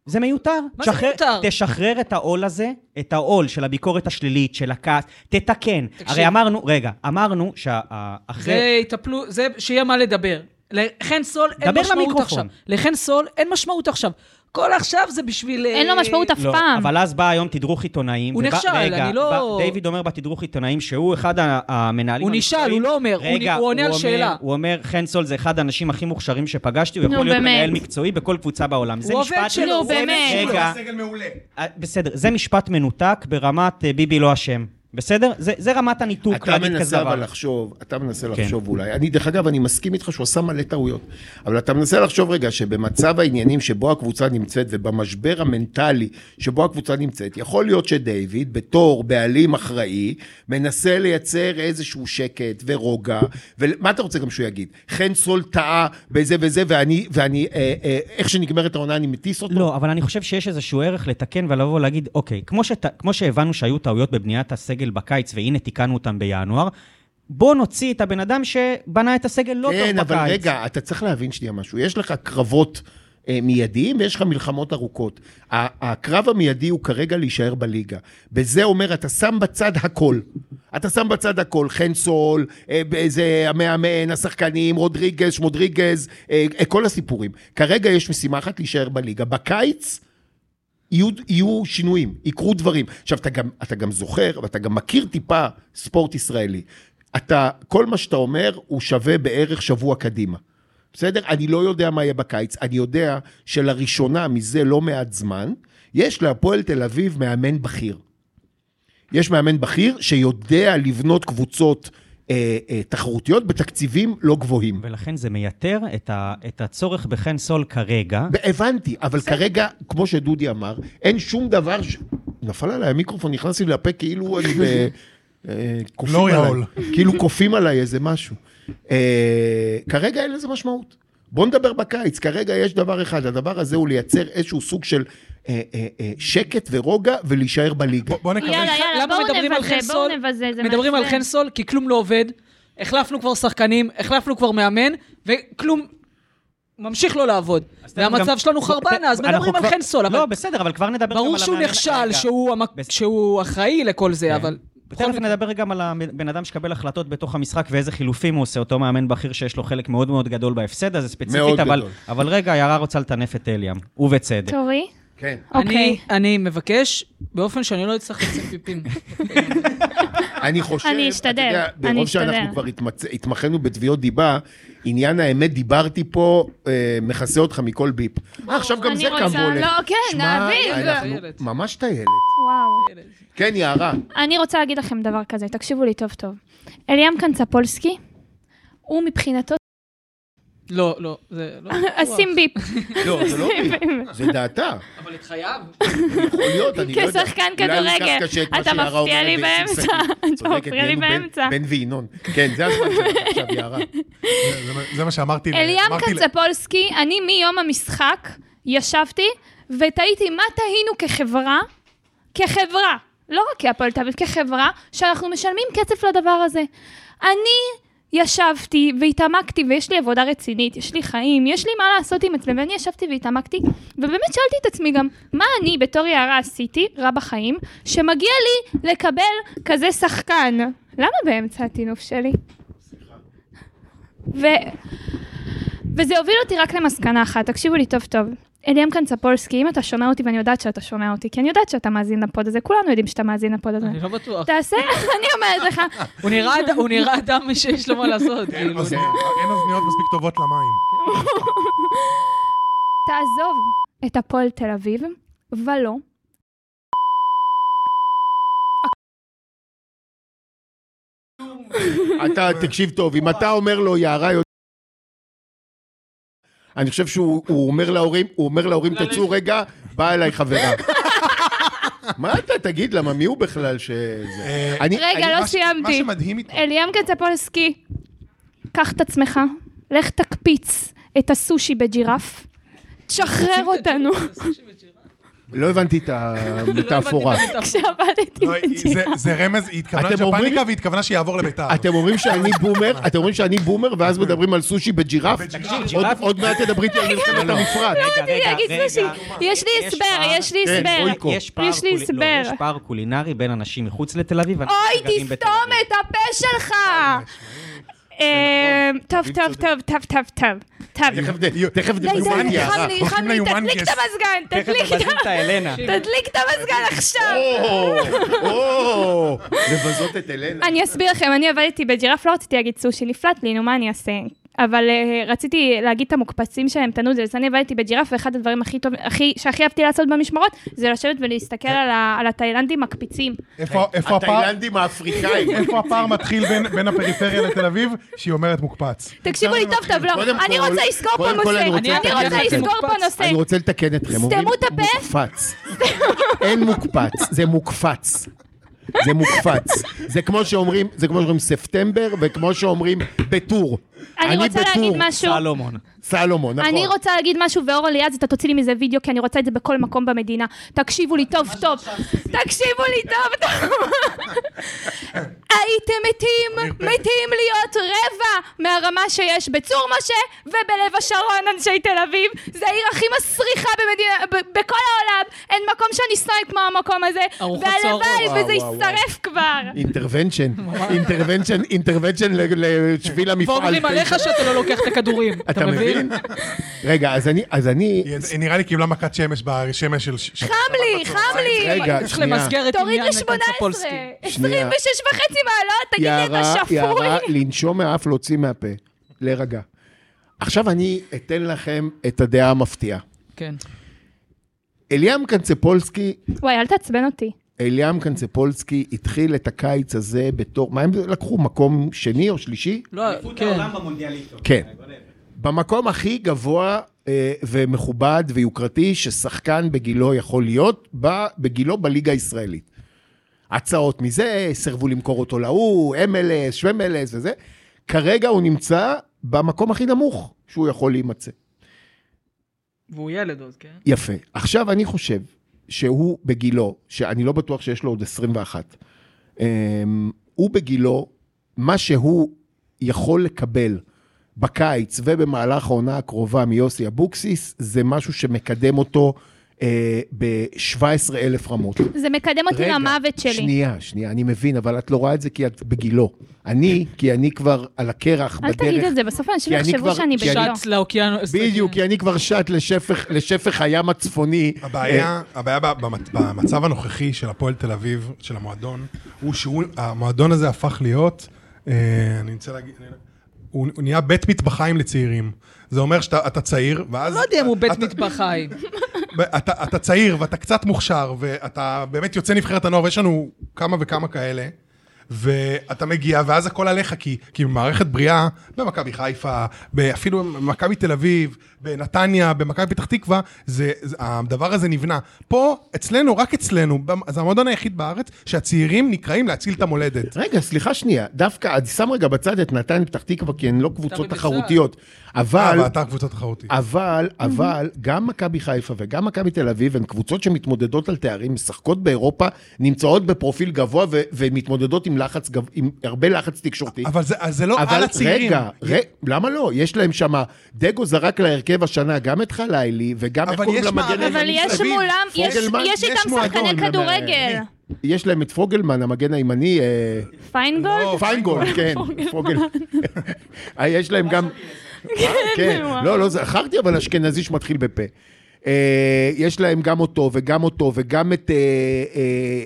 [SPEAKER 1] זה מיותר.
[SPEAKER 6] מה זה
[SPEAKER 1] שחרר-
[SPEAKER 6] מיותר?
[SPEAKER 1] תשחרר את העול הזה, את העול של הביקורת השלילית, של הכעס, תתקן.
[SPEAKER 6] תקשיב.
[SPEAKER 1] הרי אמרנו, רגע, אמרנו שאחרי...
[SPEAKER 6] זה יטפלו, זה שיהיה מה לדבר. לחן סול אין
[SPEAKER 1] דבר
[SPEAKER 6] משמעות
[SPEAKER 1] למיקרופון.
[SPEAKER 6] עכשיו. לחן סול אין משמעות עכשיו. כל עכשיו זה בשביל...
[SPEAKER 5] אין לו
[SPEAKER 6] אה,
[SPEAKER 5] משמעות אף
[SPEAKER 1] לא,
[SPEAKER 5] פעם.
[SPEAKER 1] אבל אז בא היום תדרוך עיתונאים.
[SPEAKER 6] הוא
[SPEAKER 1] ובא-
[SPEAKER 6] נכשל,
[SPEAKER 1] רגע,
[SPEAKER 6] אני לא-
[SPEAKER 1] בא- דיוויד אומר בתדרוך עיתונאים שהוא אחד ה- המנהלים...
[SPEAKER 6] הוא נשאל,
[SPEAKER 1] המקצועיים.
[SPEAKER 6] הוא לא אומר, הוא
[SPEAKER 1] רגע,
[SPEAKER 6] נ- הוא עונה על שאלה.
[SPEAKER 1] הוא אומר, חן סול זה אחד האנשים הכי מוכשרים שפגשתי, הוא
[SPEAKER 5] נו,
[SPEAKER 1] יכול להיות
[SPEAKER 5] באמת.
[SPEAKER 1] מנהל מקצועי בכל קבוצה בעולם. זה
[SPEAKER 6] הוא
[SPEAKER 1] משפט-
[SPEAKER 6] עובד שלו,
[SPEAKER 5] נו,
[SPEAKER 6] הוא עובד
[SPEAKER 5] באמת.
[SPEAKER 6] שלו.
[SPEAKER 1] רגע,
[SPEAKER 4] סגל מעולה.
[SPEAKER 1] אה, בסדר, זה משפט מנותק ברמת אה, ביבי לא אשם. בסדר? זה, זה רמת הניתוק.
[SPEAKER 2] אתה
[SPEAKER 1] להגיד כזה
[SPEAKER 2] מנסה
[SPEAKER 1] דבר.
[SPEAKER 2] אבל נכון. לחשוב, אתה מנסה
[SPEAKER 1] כן.
[SPEAKER 2] לחשוב אולי. אני, דרך אגב, אני מסכים איתך שהוא עשה מלא טעויות, אבל אתה מנסה לחשוב רגע שבמצב העניינים שבו הקבוצה נמצאת ובמשבר המנטלי שבו הקבוצה נמצאת, יכול להיות שדיוויד, בתור בעלים אחראי, מנסה לייצר איזשהו שקט ורוגע, ומה אתה רוצה גם שהוא יגיד? חן סול טעה בזה וזה, ואני, ואני אה, אה, איך שנגמרת העונה אני מטיס אותו?
[SPEAKER 1] לא, אבל אני חושב שיש איזשהו ערך לתקן ולבוא ולהגיד, אוקיי, כמו, שת, כמו שהבנו שהיו טעויות בבניית הסגל בקיץ, והנה תיקנו אותם בינואר, בוא נוציא את הבן אדם שבנה את הסגל לא
[SPEAKER 2] כן,
[SPEAKER 1] טוב
[SPEAKER 2] אבל
[SPEAKER 1] בקיץ.
[SPEAKER 2] רגע, אתה צריך להבין שנייה משהו. יש לך קרבות אה, מיידיים ויש לך מלחמות ארוכות. ה- הקרב המיידי הוא כרגע להישאר בליגה. בזה אומר, אתה שם בצד הכל. אתה שם בצד הכל, חן סול, אה, זה המאמן, השחקנים, רודריגז, שמודריגז, אה, אה, כל הסיפורים. כרגע יש משימה אחת להישאר בליגה. בקיץ... יהיו, יהיו שינויים, יקרו דברים. עכשיו, אתה גם, אתה גם זוכר, ואתה גם מכיר טיפה ספורט ישראלי. אתה, כל מה שאתה אומר, הוא שווה בערך שבוע קדימה. בסדר? אני לא יודע מה יהיה בקיץ, אני יודע שלראשונה מזה לא מעט זמן, יש להפועל תל אביב מאמן בכיר. יש מאמן בכיר שיודע לבנות קבוצות אה, אה, תחרותיות בתקציבים לא גבוהים.
[SPEAKER 1] ולכן זה מייתר את, ה, את הצורך בחן סול כרגע.
[SPEAKER 2] הבנתי, אבל כרגע, כמו שדודי אמר, אין שום דבר ש... נפל עליי המיקרופון, נכנס לי לפה כאילו אני ב... אה, כופים
[SPEAKER 4] לא
[SPEAKER 2] עליי.
[SPEAKER 4] יעול.
[SPEAKER 2] כאילו כופים עליי איזה משהו. אה, כרגע אין לזה משמעות. בוא נדבר בקיץ, כרגע יש דבר אחד, הדבר הזה הוא לייצר איזשהו סוג של אה, אה, אה, שקט ורוגע ולהישאר בליגה.
[SPEAKER 4] בוא- בוא נקווה.
[SPEAKER 5] יאללה, יאללה,
[SPEAKER 6] למה
[SPEAKER 5] בואו
[SPEAKER 6] מדברים על
[SPEAKER 5] נבזה,
[SPEAKER 6] חן
[SPEAKER 5] בואו
[SPEAKER 6] סול?
[SPEAKER 5] נבזה, זה
[SPEAKER 6] מדברים על
[SPEAKER 5] מעצבן.
[SPEAKER 6] חן סול כי כלום לא עובד. החלפנו כבר שחקנים, החלפנו כבר מאמן, וכלום ממשיך לא לעבוד.
[SPEAKER 1] אז תכף
[SPEAKER 6] והמצב
[SPEAKER 1] גם-
[SPEAKER 6] שלנו
[SPEAKER 1] בוא-
[SPEAKER 6] חרבן, אז
[SPEAKER 1] אנחנו
[SPEAKER 6] מדברים על
[SPEAKER 1] כבר-
[SPEAKER 6] חן סול, אבל
[SPEAKER 1] לא, בסדר, אבל כבר נדבר גם על
[SPEAKER 6] ברור שהוא
[SPEAKER 1] המאמן.
[SPEAKER 6] נכשל,
[SPEAKER 1] רגע.
[SPEAKER 6] שהוא המק-
[SPEAKER 1] בס-
[SPEAKER 6] שהוא אחראי לכל זה, אבל... בכל
[SPEAKER 1] תכף
[SPEAKER 6] מקרה-
[SPEAKER 1] נדבר גם על הבן אדם שקבל החלטות בתוך המשחק ואיזה חילופים הוא עושה, אותו מאמן בכיר שיש לו חלק מאוד מאוד גדול בהפסד הזה
[SPEAKER 2] מאוד
[SPEAKER 1] ספציפית, אבל,
[SPEAKER 2] גדול.
[SPEAKER 1] אבל רגע, יערה רוצה לטנף את אליאם, ובצדק.
[SPEAKER 5] תורי?
[SPEAKER 2] כן.
[SPEAKER 5] אוקיי.
[SPEAKER 6] אני, אני מבקש, באופן שאני לא אצטרך
[SPEAKER 1] [LAUGHS]
[SPEAKER 6] לצאת פיפים.
[SPEAKER 2] אני חושב,
[SPEAKER 5] אני
[SPEAKER 2] אתה
[SPEAKER 5] אשתדל,
[SPEAKER 2] יודע,
[SPEAKER 5] אני
[SPEAKER 2] ברוב שאנחנו
[SPEAKER 5] אשתדל.
[SPEAKER 2] כבר התמצ... התמחינו בתביעות דיבה, עניין האמת, דיברתי פה, אה, מכסה אותך מכל ביפ. אה, עכשיו גם
[SPEAKER 5] אני
[SPEAKER 2] זה
[SPEAKER 5] רוצה-
[SPEAKER 2] קבולת.
[SPEAKER 5] לא, כן,
[SPEAKER 2] שמע,
[SPEAKER 5] נאביב.
[SPEAKER 2] אנחנו ממש טיילת.
[SPEAKER 5] וואו.
[SPEAKER 2] כן, יערה.
[SPEAKER 5] אני רוצה להגיד לכם דבר כזה, תקשיבו לי טוב טוב. אליאם קנצפולסקי, הוא מבחינתו,
[SPEAKER 6] לא, לא, זה
[SPEAKER 5] אה,
[SPEAKER 6] לא...
[SPEAKER 5] אשים ביפ.
[SPEAKER 2] לא,
[SPEAKER 5] [LAUGHS]
[SPEAKER 2] זה לא ביפ, זה דעתה.
[SPEAKER 6] אבל את חייו.
[SPEAKER 2] יכול להיות, אני לא יודע.
[SPEAKER 5] כשחקן
[SPEAKER 2] אולי אני אקח
[SPEAKER 5] כדורגל,
[SPEAKER 2] קשה את מה
[SPEAKER 5] אתה
[SPEAKER 2] שיערה
[SPEAKER 5] מפריע
[SPEAKER 2] אומרת
[SPEAKER 5] לי
[SPEAKER 2] בעצם [LAUGHS]
[SPEAKER 5] באמצע.
[SPEAKER 2] סכין.
[SPEAKER 5] אתה
[SPEAKER 2] צודקת,
[SPEAKER 5] מפריע לי
[SPEAKER 2] נהיינו בן-
[SPEAKER 5] באמצע.
[SPEAKER 2] בן וינון. כן, זה הזמן שלך עכשיו, יערה.
[SPEAKER 4] זה מה- זה מה שאמרתי. ל-
[SPEAKER 5] אליאם
[SPEAKER 4] אמרתי ל-
[SPEAKER 5] קנצפולסקי, אני מיום המשחק ישבתי ותהיתי מה תהינו כחברה, כחברה, לא רק כהפועל תל אביב, כחברה, שאנחנו משלמים כסף לדבר הזה. אני ישבתי והתעמקתי, ויש לי עבודה רצינית, יש לי חיים, יש לי מה לעשות עם עצמי, ואני ישבתי והתעמקתי, ובאמת שאלתי את עצמי גם, מה אני בתור יערה עשיתי רע בחיים, שמגיע לי לקבל כזה שחקן? למה באמצע הטינוף שלי? ו... וזה הוביל אותי רק למסקנה אחת, תקשיבו לי טוב טוב. אליאם קנצפולסקי, אם אתה שומע אותי, ואני יודעת שאתה שומע אותי, כי אני יודעת שאתה מאזין לפוד הזה, כולנו יודעים שאתה מאזין לפוד הזה.
[SPEAKER 6] אני לא בטוח.
[SPEAKER 5] תעשה, [LAUGHS] אני אומרת לך,
[SPEAKER 6] הוא נראה אד- הוא נראה אדם שיש לו מה לעשות.
[SPEAKER 2] כן,
[SPEAKER 4] אין
[SPEAKER 6] כאילו.
[SPEAKER 4] אוזניות אין אוזניות מספיק טובות למים.
[SPEAKER 5] תעזוב את הפועל תל אביב, ולא.
[SPEAKER 2] אתה, תקשיב טוב, אם אתה אומר לו, יערה יודע... אני חושב שהוא הוא אומר להורים, הוא אומר להורים, תצאו רגע, באה אליי חברה. מה אתה, תגיד, למה מי הוא בכלל שזה...
[SPEAKER 4] אה,
[SPEAKER 2] אני-
[SPEAKER 5] רגע,
[SPEAKER 2] אני-
[SPEAKER 5] לא
[SPEAKER 4] מה ש- מה
[SPEAKER 5] סיימתי.
[SPEAKER 4] שמדהים
[SPEAKER 5] [LAUGHS]
[SPEAKER 4] איתו,
[SPEAKER 5] אליאם קנצפולסקי, קח את עצמך, לך תקפיץ את הסושי בג'ירף, תשחרר אותנו. [LAUGHS]
[SPEAKER 2] לא הבנתי את
[SPEAKER 6] לא
[SPEAKER 2] המטאפורה.
[SPEAKER 5] כשעבדתי
[SPEAKER 4] לא, היא- זה-
[SPEAKER 5] [LAUGHS] בג'ירף.
[SPEAKER 4] זה רמז, היא התכוונה
[SPEAKER 2] אתם אומרים-
[SPEAKER 4] לג'פניקה והיא התכוונה שיעבור לביתר.
[SPEAKER 2] אתם אומרים שאני בומר, אתם אומרים שאני בומר, ואז מדברים על סושי בג'ירף?
[SPEAKER 4] בג'ירף.
[SPEAKER 2] עוד- עוד מעט תדברי איתי על מלחמת המפרץ.
[SPEAKER 1] לא,
[SPEAKER 5] רציתי להגיד סושי. יש לי הסבר, יש לי
[SPEAKER 2] כן,
[SPEAKER 5] הסבר.
[SPEAKER 2] אוי, קו.
[SPEAKER 1] יש פער
[SPEAKER 5] יש לי
[SPEAKER 1] קול- לא,
[SPEAKER 5] הסבר.
[SPEAKER 1] יש פער קולינרי בין אנשים מחוץ לתל אביב ואנשים
[SPEAKER 5] אוי,
[SPEAKER 1] שגרים בתל
[SPEAKER 5] תסתום
[SPEAKER 1] אביב.
[SPEAKER 5] את הפה שלך! אה, טוב, טוב, טוב, טוב, טוב, טוב. טוב.
[SPEAKER 2] תכף ד- תכף
[SPEAKER 5] די, די,
[SPEAKER 2] דברו על
[SPEAKER 5] נלחם
[SPEAKER 2] יערה.
[SPEAKER 5] לי,
[SPEAKER 4] הולכים
[SPEAKER 5] נלחם לי,
[SPEAKER 4] ליומנקס.
[SPEAKER 5] תדליק את המזגן,
[SPEAKER 1] תכף
[SPEAKER 5] תדליק
[SPEAKER 1] מבזים
[SPEAKER 5] את
[SPEAKER 1] את האלנה.
[SPEAKER 5] ה- תדליק את המזגן עכשיו!
[SPEAKER 2] או, או, לבזות את אלנה.
[SPEAKER 5] אני אסביר לכם, אני עבדתי בג'ירף, לא רציתי להגיד סושי, נפלט לי, נו, מה אני אעשה? אבל אה, רציתי להגיד את המוקפצים שלהם, את הנודלס, אני עבדתי בג'ירף, ואחד הדברים הכי טוב, הכי- שהכי אהבתי לעשות במשמרות, זה לשבת ולהסתכל על ה- על התאילנדים מקפיצים.
[SPEAKER 2] כן.
[SPEAKER 4] איפה איפה הפער?
[SPEAKER 2] התאילנדים האפריקאים.
[SPEAKER 4] איפה הפער מתחיל בין- בין הפריפריה לתל אביב? שהיא אומרת מוקפץ.
[SPEAKER 5] תקשיבו לי טוב טוב, לא,
[SPEAKER 2] קודם
[SPEAKER 5] אני
[SPEAKER 2] כל-
[SPEAKER 5] רוצה לסגור פה
[SPEAKER 2] קודם כל
[SPEAKER 5] נושא,
[SPEAKER 2] אני רוצה
[SPEAKER 5] אני
[SPEAKER 6] לתקן
[SPEAKER 5] רוצה
[SPEAKER 6] אתכם.
[SPEAKER 5] לסגור פה נושא.
[SPEAKER 2] אני רוצה לתקן אתכם. אומרים
[SPEAKER 5] סתמו את הפה.
[SPEAKER 2] מוקפץ. אין מוקפץ, זה מוקפץ. זה מוקפץ. זה כמו שאומרים, זה כמו שאומרים ספטמבר, וכמו שאומרים בטור.
[SPEAKER 5] אני רוצה להגיד משהו.
[SPEAKER 1] סלומון.
[SPEAKER 2] סלומון, נכון.
[SPEAKER 5] אני רוצה להגיד משהו, ואור אליעז, אתה תוציא לי מזה וידאו, כי אני רוצה את זה בכל מקום במדינה. תקשיבו לי טוב טוב. תקשיבו לי טוב
[SPEAKER 2] [LAUGHS]
[SPEAKER 5] טוב. הייתם מתים, מתים להיות רבע מהרמה שיש בצור משה ובלב השרון, אנשי תל אביב. זה העיר הכי מסריחה במדינה, ב- בכל העולם. אין מקום שאני שונאת כמו המקום הזה.
[SPEAKER 6] ארוחות
[SPEAKER 5] והלוואי
[SPEAKER 6] צהריים.
[SPEAKER 5] וזה
[SPEAKER 2] וואו, וואו, וואו.
[SPEAKER 5] יישרף כבר.
[SPEAKER 2] אינטרוונשן, אינטרוונשן, אינטרוונשן ל- לשביל המפעל.
[SPEAKER 6] ואומרים עליך שאתה לא לוקח את הכדורים,
[SPEAKER 2] אתה
[SPEAKER 6] [LAUGHS]
[SPEAKER 2] מבין? רגע, אז אני, אז אני,
[SPEAKER 4] היא- היא נראה לי קיבלה מכת שמש בשמש של... ש-
[SPEAKER 5] חם לי, חם לי.
[SPEAKER 2] רגע,
[SPEAKER 6] צריך
[SPEAKER 2] שנייה.
[SPEAKER 6] למסגר את
[SPEAKER 5] תוריד
[SPEAKER 6] עניין
[SPEAKER 5] ל-18,
[SPEAKER 6] קנצפולסקי.
[SPEAKER 5] 26
[SPEAKER 2] שנייה.
[SPEAKER 5] וחצי מעלות, תגיד לי, אתה
[SPEAKER 2] יערה,
[SPEAKER 5] שפוי.
[SPEAKER 2] יערה, לנשום מהאף, להוציא מהפה. להירגע. עכשיו אני אתן לכם את הדעה המפתיעה.
[SPEAKER 6] כן.
[SPEAKER 2] אליאם קנצפולסקי,
[SPEAKER 5] וואי, אל תעצבן אותי.
[SPEAKER 2] אליאם קנצפולסקי התחיל את הקיץ הזה בתור, מה הם לקחו, מקום שני או שלישי?
[SPEAKER 6] לא, כן.
[SPEAKER 2] כן. במקום הכי גבוה אה, ומכובד ויוקרתי ששחקן בגילו יכול להיות, ב- בגילו בליגה הישראלית. הצעות מזה, סירבו למכור אותו להוא, MLS, שמלס וזה. כרגע הוא נמצא במקום הכי נמוך שהוא יכול להימצא.
[SPEAKER 6] והוא ילד עוד, כן.
[SPEAKER 2] יפה. עכשיו אני חושב שהוא בגילו, שאני לא בטוח שיש לו עוד 21, אמ, הוא בגילו, מה שהוא יכול לקבל בקיץ ובמהלך העונה הקרובה מיוסי אבוקסיס, זה משהו שמקדם אותו אה, ב-17 אלף רמות.
[SPEAKER 5] זה מקדם אותי
[SPEAKER 2] רגע,
[SPEAKER 5] למוות שלי.
[SPEAKER 2] שנייה, שנייה, אני מבין, אבל את לא רואה את זה כי את בגילו. אני, כי אני כבר על הקרח
[SPEAKER 5] אל
[SPEAKER 2] בדרך.
[SPEAKER 5] תגיד את זה, בסוף אנשים
[SPEAKER 2] כי אני
[SPEAKER 5] יחשבו
[SPEAKER 2] כבר-
[SPEAKER 5] שאני
[SPEAKER 2] כי אני-
[SPEAKER 5] בשלו.
[SPEAKER 6] שט לאוקיינוס.
[SPEAKER 2] בדיוק, כי אני כבר שט לשפך, לשפך הים הצפוני.
[SPEAKER 4] הבעיה, הבעיה ב- במצ- במצב הנוכחי של הפועל תל אביב, של המועדון, הוא שהמועדון הזה הפך להיות, אה, אני רוצה להגיד, הוא הוא נהיה בית מטבחיים לצעירים. זה אומר שאתה אתה צעיר, ואז...
[SPEAKER 6] לא יודע אם הוא בית
[SPEAKER 4] אתה-
[SPEAKER 2] [LAUGHS]
[SPEAKER 6] מטבחיים.
[SPEAKER 4] אתה, אתה צעיר ואתה קצת מוכשר, ואתה באמת יוצא נבחרת הנוער, ויש לנו כמה וכמה כאלה, ואתה מגיע, ואז הכל עליך, כי, כי במערכת בריאה, במכבי חיפה, אפילו במכבי תל אביב, בנתניה, במכבי פתח תקווה, זה, זה, הדבר הזה נבנה. פה, אצלנו, רק אצלנו, במ- זה המועדון היחיד בארץ, שהצעירים נקראים להציל את המולדת.
[SPEAKER 2] רגע, סליחה שנייה, דווקא, אני שם רגע בצד את נתן פתח תקווה, כי הן לא קבוצות
[SPEAKER 6] מבצע.
[SPEAKER 2] תחרותיות.
[SPEAKER 4] אה,
[SPEAKER 2] אבל,
[SPEAKER 4] ואתה קבוצה תחרותית.
[SPEAKER 2] אבל, אבל, גם מכבי חיפה וגם מכבי תל אביב הן קבוצות שמתמודדות על תארים, משחקות באירופה, נמצאות בפרופיל גבוה ו- ומתמודדות עם לחץ, גב- עם הרבה לחץ תקשורתי.
[SPEAKER 4] אבל זה, אז זה לא
[SPEAKER 2] אבל
[SPEAKER 4] על הצעירים.
[SPEAKER 2] רגע, ר... למה לא? יש להם שמה, דגו זרק להרכב השנה גם את חלילי, וגם איך
[SPEAKER 4] אבל
[SPEAKER 2] קוראים
[SPEAKER 4] יש
[SPEAKER 2] למגן
[SPEAKER 4] מערכת-
[SPEAKER 5] אבל
[SPEAKER 2] הימני
[SPEAKER 5] יש
[SPEAKER 2] שלהם?
[SPEAKER 5] מולם, יש-
[SPEAKER 2] פוגלמן?
[SPEAKER 5] יש
[SPEAKER 4] יש
[SPEAKER 5] איתם
[SPEAKER 4] מועדון,
[SPEAKER 5] שחקני כדורגל.
[SPEAKER 2] יש להם את פוגלמן, המגן הימני, אה,
[SPEAKER 5] פיינגולד?
[SPEAKER 4] לא,
[SPEAKER 2] פיינגולד, כן, פוגלמן. אה, יש להם גם... אה, כן,
[SPEAKER 5] וואו.
[SPEAKER 2] לא, לא זכרתי, אבל אשכנזי שמתחיל בפה. אה, יש להם גם אותו, וגם אותו, וגם את, אה, אה,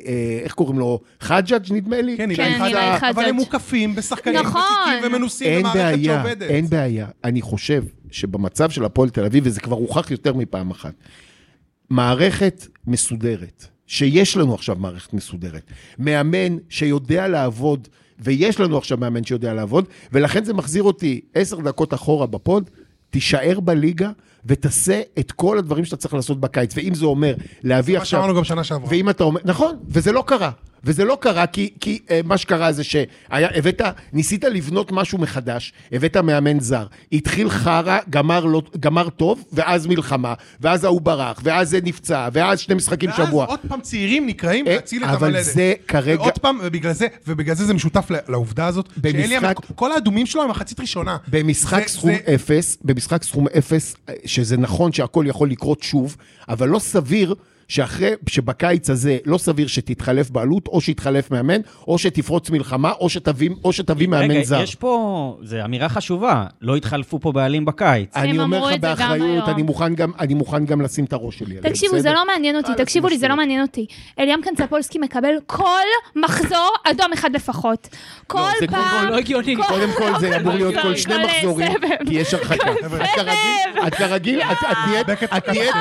[SPEAKER 2] אה, איך קוראים לו? חג'אג' נדמה לי?
[SPEAKER 4] כן,
[SPEAKER 5] כן,
[SPEAKER 4] נראה לי
[SPEAKER 5] נראה לי
[SPEAKER 4] חד- אבל
[SPEAKER 5] חזק.
[SPEAKER 4] הם מוקפים בשחקנים
[SPEAKER 5] נכון.
[SPEAKER 4] ותיקים ומנוסים
[SPEAKER 2] אין
[SPEAKER 4] במערכת
[SPEAKER 2] בעיה,
[SPEAKER 4] שעובדת.
[SPEAKER 2] אין בעיה. אני חושב שבמצב של הפועל תל אביב, וזה כבר הוכח יותר מפעם אחת, מערכת מסודרת, שיש לנו עכשיו מערכת מסודרת, מאמן שיודע לעבוד, ויש לנו עכשיו מאמן שיודע לעבוד, ולכן זה מחזיר אותי עשר דקות אחורה בפוד, תישאר בליגה ותעשה את כל הדברים שאתה צריך לעשות בקיץ. ואם זה אומר להביא
[SPEAKER 4] מה
[SPEAKER 2] עכשיו...
[SPEAKER 4] שאמרנו גם שנה שעברה.
[SPEAKER 2] ואם אתה אומר, נכון, וזה לא קרה. וזה לא קרה כי, כי אה, מה שקרה זה שהבאת, ניסית לבנות משהו מחדש, הבאת מאמן זר, התחיל חרא, גמר, לא, גמר טוב, ואז מלחמה, ואז ההוא ברח, ואז זה נפצע, ואז שני משחקים
[SPEAKER 4] ואז
[SPEAKER 2] שבוע.
[SPEAKER 4] עוד פעם צעירים נקראים
[SPEAKER 2] אה,
[SPEAKER 4] להציל את
[SPEAKER 2] אבל
[SPEAKER 4] המולדת.
[SPEAKER 2] זה כרגע-
[SPEAKER 4] ועוד פעם, ובגלל זה, ובגלל זה זה משותף ל- לעובדה הזאת, שאלי,
[SPEAKER 2] במשחק-
[SPEAKER 4] המק- כל האדומים שלו הם מחצית ראשונה.
[SPEAKER 2] במשחק
[SPEAKER 4] זה-
[SPEAKER 2] סכום
[SPEAKER 4] זה-
[SPEAKER 2] אפס, במשחק סכום אפס, אה, שזה נכון שהכל יכול לקרות שוב, אבל לא סביר שאחרי, שבקיץ הזה לא סביר שתתחלף בעלות, או שיתחלף מאמן, או שתפרוץ מלחמה, או שתביא, או שתביא מאמן זר.
[SPEAKER 1] רגע, יש פה, זו אמירה חשובה, לא התחלפו פה בעלים בקיץ.
[SPEAKER 5] הם
[SPEAKER 2] אני אומר
[SPEAKER 5] אמרו
[SPEAKER 2] לך
[SPEAKER 5] את זה גם
[SPEAKER 2] באחריות,
[SPEAKER 5] היום.
[SPEAKER 2] אני מוכן גם- אני מוכן גם לשים את הראש שלי עליהם.
[SPEAKER 5] תקשיבו, זה
[SPEAKER 2] בסדר?
[SPEAKER 5] לא מעניין אותי,
[SPEAKER 2] יאללה,
[SPEAKER 5] תקשיבו לי, זה
[SPEAKER 2] בסדר.
[SPEAKER 5] לא מעניין אותי. אליאם קנצפולסקי מקבל כל מחזור אדום אחד לפחות. כל
[SPEAKER 2] זה קודם
[SPEAKER 5] פעם...
[SPEAKER 6] כל לא הגיוני.
[SPEAKER 5] כל-
[SPEAKER 2] קודם כל זה
[SPEAKER 5] לא,
[SPEAKER 2] אמור להיות כל
[SPEAKER 5] סבב,
[SPEAKER 2] שני
[SPEAKER 5] כל
[SPEAKER 2] מחזורים,
[SPEAKER 5] סבב.
[SPEAKER 2] כי יש הרחקה.
[SPEAKER 4] חבר'ה,
[SPEAKER 2] את כרגיל, את כרגיל, את- את נהיית-
[SPEAKER 4] בקט
[SPEAKER 2] את נהיית-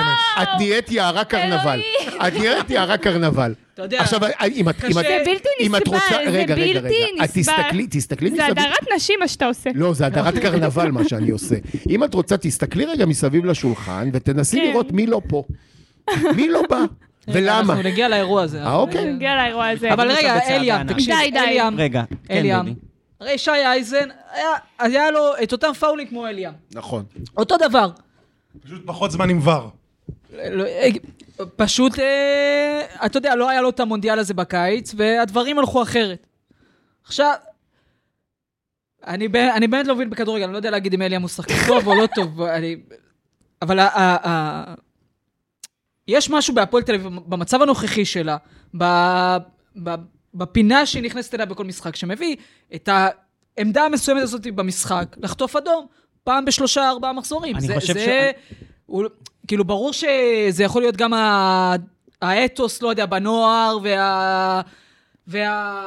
[SPEAKER 2] את נהיית יערה קרנבל.
[SPEAKER 5] אלוהים.
[SPEAKER 2] את נהיית יערה קרנבל.
[SPEAKER 6] אתה יודע,
[SPEAKER 2] עכשיו, אה, אם את... אם את-
[SPEAKER 6] קשה. זה
[SPEAKER 5] בלתי
[SPEAKER 2] אם את
[SPEAKER 5] נסבל,
[SPEAKER 2] רוצה-
[SPEAKER 5] זה
[SPEAKER 2] רגע, רגע,
[SPEAKER 5] בלתי
[SPEAKER 2] רגע. את
[SPEAKER 5] נסבל.
[SPEAKER 2] תסתכלי, תסתכלי
[SPEAKER 5] זה
[SPEAKER 2] מסביב.
[SPEAKER 5] הדרת נשים מה שאתה עושה.
[SPEAKER 2] לא, זה הדרת קרנבל מה שאני עושה. אם את רוצה, תסתכלי רגע מסביב לשולחן ותנסי
[SPEAKER 5] כן.
[SPEAKER 2] לראות מי לא פה. מי לא בא, ולמה.
[SPEAKER 6] אנחנו נגיע לאירוע הזה.
[SPEAKER 2] אה, אוקיי.
[SPEAKER 6] אבל-
[SPEAKER 5] נגיע לאירוע הזה.
[SPEAKER 6] אבל רגע,
[SPEAKER 1] בצעד
[SPEAKER 6] אליאם,
[SPEAKER 1] הענק.
[SPEAKER 6] תקשיב,
[SPEAKER 5] די, די.
[SPEAKER 6] אליאם,
[SPEAKER 1] רגע, כן,
[SPEAKER 6] אליאם.
[SPEAKER 1] דודי.
[SPEAKER 6] הרי שי אייזן, היה- היה לו את אותם פאולים כמו אליאם.
[SPEAKER 2] נכון.
[SPEAKER 6] אותו דבר.
[SPEAKER 4] פשוט פחות זמן עם ור.
[SPEAKER 6] לא- אה, פשוט, אה, אתה יודע, לא היה לו את המונדיאל הזה בקיץ, והדברים הלכו אחרת. עכשיו, אני בא- אני באמת לא מבין בכדורגל, אני לא יודע להגיד אם אליאם הוא שחקן טוב או לא טוב, [LAUGHS] אני... אבל ה- ה- ה- יש משהו בהפועל תל אביב, במצב הנוכחי שלה, ב- ב- בפינה שהיא נכנסת אליה בכל משחק, שמביא את העמדה המסוימת הזאת במשחק, לחטוף אדום, פעם בשלושה, ארבעה מחזורים.
[SPEAKER 1] אני
[SPEAKER 6] זה,
[SPEAKER 1] חושב
[SPEAKER 6] זה,
[SPEAKER 1] ש-
[SPEAKER 6] הוא, כאילו, ברור שזה יכול להיות גם ה... האתוס, לא יודע, בנוער, וה... וה...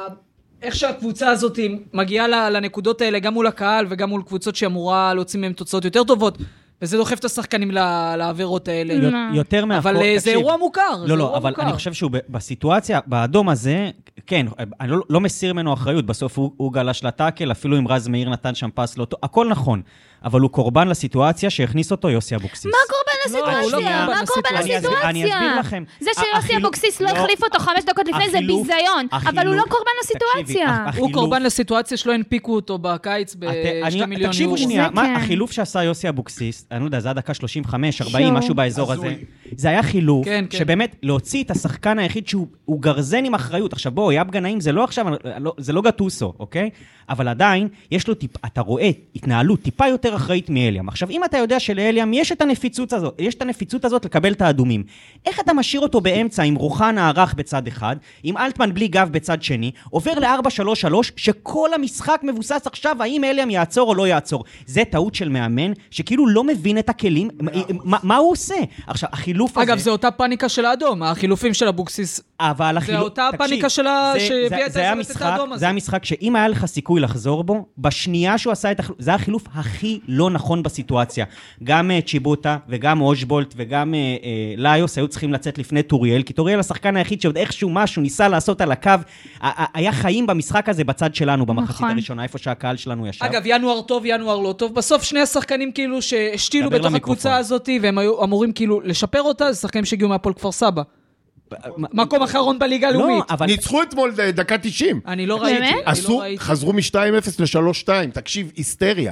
[SPEAKER 6] איך שהקבוצה הזאת מגיעה ל- לנקודות האלה, גם מול הקהל וגם מול קבוצות שאמורה להוציא מהן תוצאות יותר טובות, וזה דוחף את השחקנים ל- לעבירות האלה.
[SPEAKER 5] לא,
[SPEAKER 1] יו- יותר מהכל,
[SPEAKER 6] אבל אה, זה
[SPEAKER 1] תקשיב.
[SPEAKER 6] אירוע מוכר. זה
[SPEAKER 1] לא,
[SPEAKER 6] אירוע
[SPEAKER 1] לא, אבל
[SPEAKER 6] מוכר.
[SPEAKER 1] אני חושב שהוא ב- בסיטואציה, באדום הזה, כן, אני לא- לא מסיר ממנו אחריות, בסוף הוא- הוא גלש לטאקל, אפילו אם רז מאיר נתן שם פס לא טוב, הכל נכון. אבל הוא קורבן לסיטואציה שהכניס אותו יוסי אבוקסיס.
[SPEAKER 5] מה קורבן
[SPEAKER 6] לא, הוא לא
[SPEAKER 5] לסיטואציה?
[SPEAKER 6] קורבן
[SPEAKER 5] מה קורבן
[SPEAKER 6] לסיטואציה.
[SPEAKER 5] לסיטואציה?
[SPEAKER 1] אני אסביר לכם.
[SPEAKER 5] זה שיוסי
[SPEAKER 1] החילוף-
[SPEAKER 5] אבוקסיס לא
[SPEAKER 1] לא.
[SPEAKER 5] החליף אותו חמש דקות לפני זה
[SPEAKER 1] החילוף-
[SPEAKER 5] ביזיון, אבל הוא לא
[SPEAKER 1] החילוף-
[SPEAKER 5] קורבן
[SPEAKER 1] תקשיבי,
[SPEAKER 5] לסיטואציה.
[SPEAKER 1] הח-
[SPEAKER 6] הוא
[SPEAKER 1] החילוף-
[SPEAKER 6] קורבן לסיטואציה שלא הנפיקו אותו בקיץ
[SPEAKER 1] את-
[SPEAKER 6] בשתי
[SPEAKER 1] אני-
[SPEAKER 6] מיליון יורו.
[SPEAKER 1] תקשיבו שנייה,
[SPEAKER 5] זה
[SPEAKER 1] מה
[SPEAKER 5] כן.
[SPEAKER 1] החילוף שעשה יוסי אבוקסיס, אני לא יודע, זה היה דקה 35, 40,
[SPEAKER 5] שואו.
[SPEAKER 1] משהו באזור הזה.
[SPEAKER 4] הזוי.
[SPEAKER 1] זה היה חילוף,
[SPEAKER 6] כן, כן.
[SPEAKER 1] שבאמת, להוציא את השחקן היחיד שהוא הוא גרזן עם אחריות. עכשיו בואו, יאב גנאים זה לא עכשיו, אה, לא- זה לא גטוסו, אוקיי? אבל עדיין, יש לו טיפ, אתה רואה התנהלות טיפה יותר אחראית מאליאם. עכשיו, אם אתה יודע שלאליאם יש את הנפיצות הזאת, יש את הנפיצות הזאת לקבל את האדומים, איך אתה משאיר אותו באמצע עם רוחנה הרך בצד אחד, עם אלטמן בלי גב בצד שני, עובר ל-4-3-3, שכל המשחק מבוסס עכשיו האם אליאם יעצור או לא יעצור. זה טעות של מאמן, שכאילו לא מבין את הכלים, מה- מה- מה הוא עושה? עכשיו, החילוף הזה...
[SPEAKER 6] אגב, זו אותה פאניקה של האדום, החילופים של אבוקסיס.
[SPEAKER 1] אבל החילוק...
[SPEAKER 6] אותה הפאניקה של ה- שהביאה את
[SPEAKER 1] זה היה
[SPEAKER 6] הזרמת את
[SPEAKER 1] משחק-
[SPEAKER 6] האדום הזה.
[SPEAKER 1] זה היה משחק שאם היה לך סיכוי לחזור בו, בשנייה שהוא עשה את החילוף, זה היה החילוף הכי לא נכון בסיטואציה. גם אה, צ'יבוטה וגם אושבולט וגם אה, אה, ליוס היו צריכים לצאת לפני טוריאל, כי טוריאל השחקן היחיד שעוד איכשהו משהו ניסה לעשות על הקו. ה- ה- היה חיים במשחק הזה בצד שלנו במחצית
[SPEAKER 5] נכון.
[SPEAKER 1] הראשונה, איפה שהקהל שלנו ישב.
[SPEAKER 6] אגב, ינואר טוב, ינואר לא טוב. בסוף שני השחקנים כאילו שהשתילו
[SPEAKER 1] דבר
[SPEAKER 6] בתוך
[SPEAKER 1] למיקרופון.
[SPEAKER 6] הקבוצה הזאת, והם היו אמורים כאילו לשפר אותה, זה שחקנים שהגיעו מהפועל כפר סבא. מקום אחרון בליגה
[SPEAKER 1] לא,
[SPEAKER 6] הלאומית.
[SPEAKER 1] אבל...
[SPEAKER 2] ניצחו אתמול ד- דקה 90.
[SPEAKER 6] אני לא
[SPEAKER 5] באמת?
[SPEAKER 6] ראיתי, אני לא
[SPEAKER 2] עשו,
[SPEAKER 6] ראיתי.
[SPEAKER 2] חזרו מ-2-0 ל-3-2, תקשיב, היסטריה.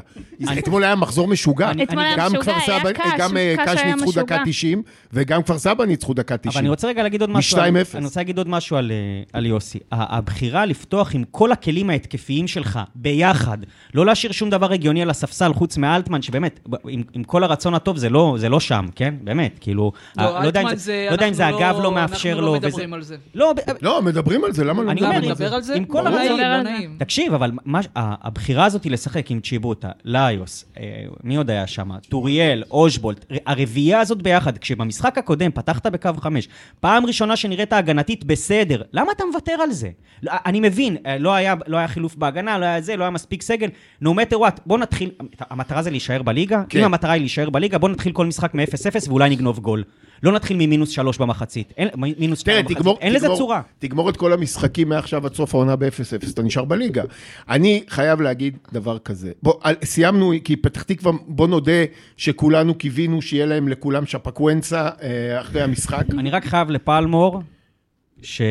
[SPEAKER 2] אתמול היה מחזור משוגע.
[SPEAKER 1] אני-
[SPEAKER 5] אתמול היה
[SPEAKER 2] גם
[SPEAKER 5] משוגע,
[SPEAKER 2] כפר
[SPEAKER 5] היה
[SPEAKER 2] סבא-
[SPEAKER 5] קש,
[SPEAKER 2] גם אה,
[SPEAKER 5] קש
[SPEAKER 2] קש
[SPEAKER 5] היה
[SPEAKER 2] ניצחו דקה
[SPEAKER 5] משוגע.
[SPEAKER 2] 90, וגם כפר סבא ניצחו דקה
[SPEAKER 1] אבל אני
[SPEAKER 2] 90.
[SPEAKER 1] רוצה רגע להגיד עוד משהו. על-
[SPEAKER 2] מ-2-0.
[SPEAKER 1] אני רוצה להגיד עוד משהו על, אה, על יוסי. ה- הבחירה לפתוח עם כל הכלים ההתקפיים שלך ביחד, לא להשאיר שום דבר הגיוני על הספסל חוץ מאלטמן, שבאמת, ב- עם, עם כל הרצון הטוב, זה לא, זה לא שם, כן? באמת, כאילו...
[SPEAKER 6] לא,
[SPEAKER 1] ה- יודע אם
[SPEAKER 6] אלטמן זה-
[SPEAKER 1] לא יודע אם
[SPEAKER 6] אנחנו
[SPEAKER 1] זה
[SPEAKER 6] לא-
[SPEAKER 1] הגב לא
[SPEAKER 6] אנחנו
[SPEAKER 1] מאפשר
[SPEAKER 6] לא
[SPEAKER 1] לו.
[SPEAKER 6] מדברים על זה.
[SPEAKER 1] לא, ב-
[SPEAKER 2] לא, מדברים על זה, למה לא
[SPEAKER 1] אני
[SPEAKER 6] למה
[SPEAKER 1] אומר,
[SPEAKER 2] מדברים על זה?
[SPEAKER 6] נדבר על זה?
[SPEAKER 1] עם כל
[SPEAKER 6] לא
[SPEAKER 1] הרצון-
[SPEAKER 6] נעים,
[SPEAKER 5] נדבר
[SPEAKER 6] לא
[SPEAKER 5] על זה.
[SPEAKER 6] נעים.
[SPEAKER 1] תקשיב, אבל מה, ש- ה- הבחירה הזאת היא לשחק עם צ'יבוטה, ליוס, אה, מי עוד היה שם? טוריאל, אושבולט, ר- הרביעייה הזאת ביחד, כשבמשחק הקודם פתחת בקו חמש, פעם ראשונה שנראית הגנתית בסדר, למה אתה מוותר על זה? לא, אני מבין, אה, לא היה, לא היה חילוף בהגנה, לא היה זה, לא היה מספיק סגל, no matter what, בוא נתחיל, המטרה זה להישאר בליגה?
[SPEAKER 2] כן.
[SPEAKER 1] אם המטרה היא להישאר בליגה, בוא נתחיל כל משחק מ-0-0 ואולי נגנוב גול. לא נתחיל ממינוס שלוש במחצית, אין- מ- מינוס
[SPEAKER 2] תראה,
[SPEAKER 1] שתיים
[SPEAKER 2] תגמור,
[SPEAKER 1] במחצית, אין לזה
[SPEAKER 2] תגמור-
[SPEAKER 1] צורה.
[SPEAKER 2] תגמור את כל המשחקים מעכשיו עד סוף העונה ב-0-0, אתה נשאר בליגה. אני חייב להגיד דבר כזה. בוא, על- סיימנו, כי פתח תקווה, בוא נודה שכולנו קיווינו שיהיה להם לכולם שפקוונצה אה, אחרי המשחק.
[SPEAKER 1] אני רק חייב לפלמור, ש...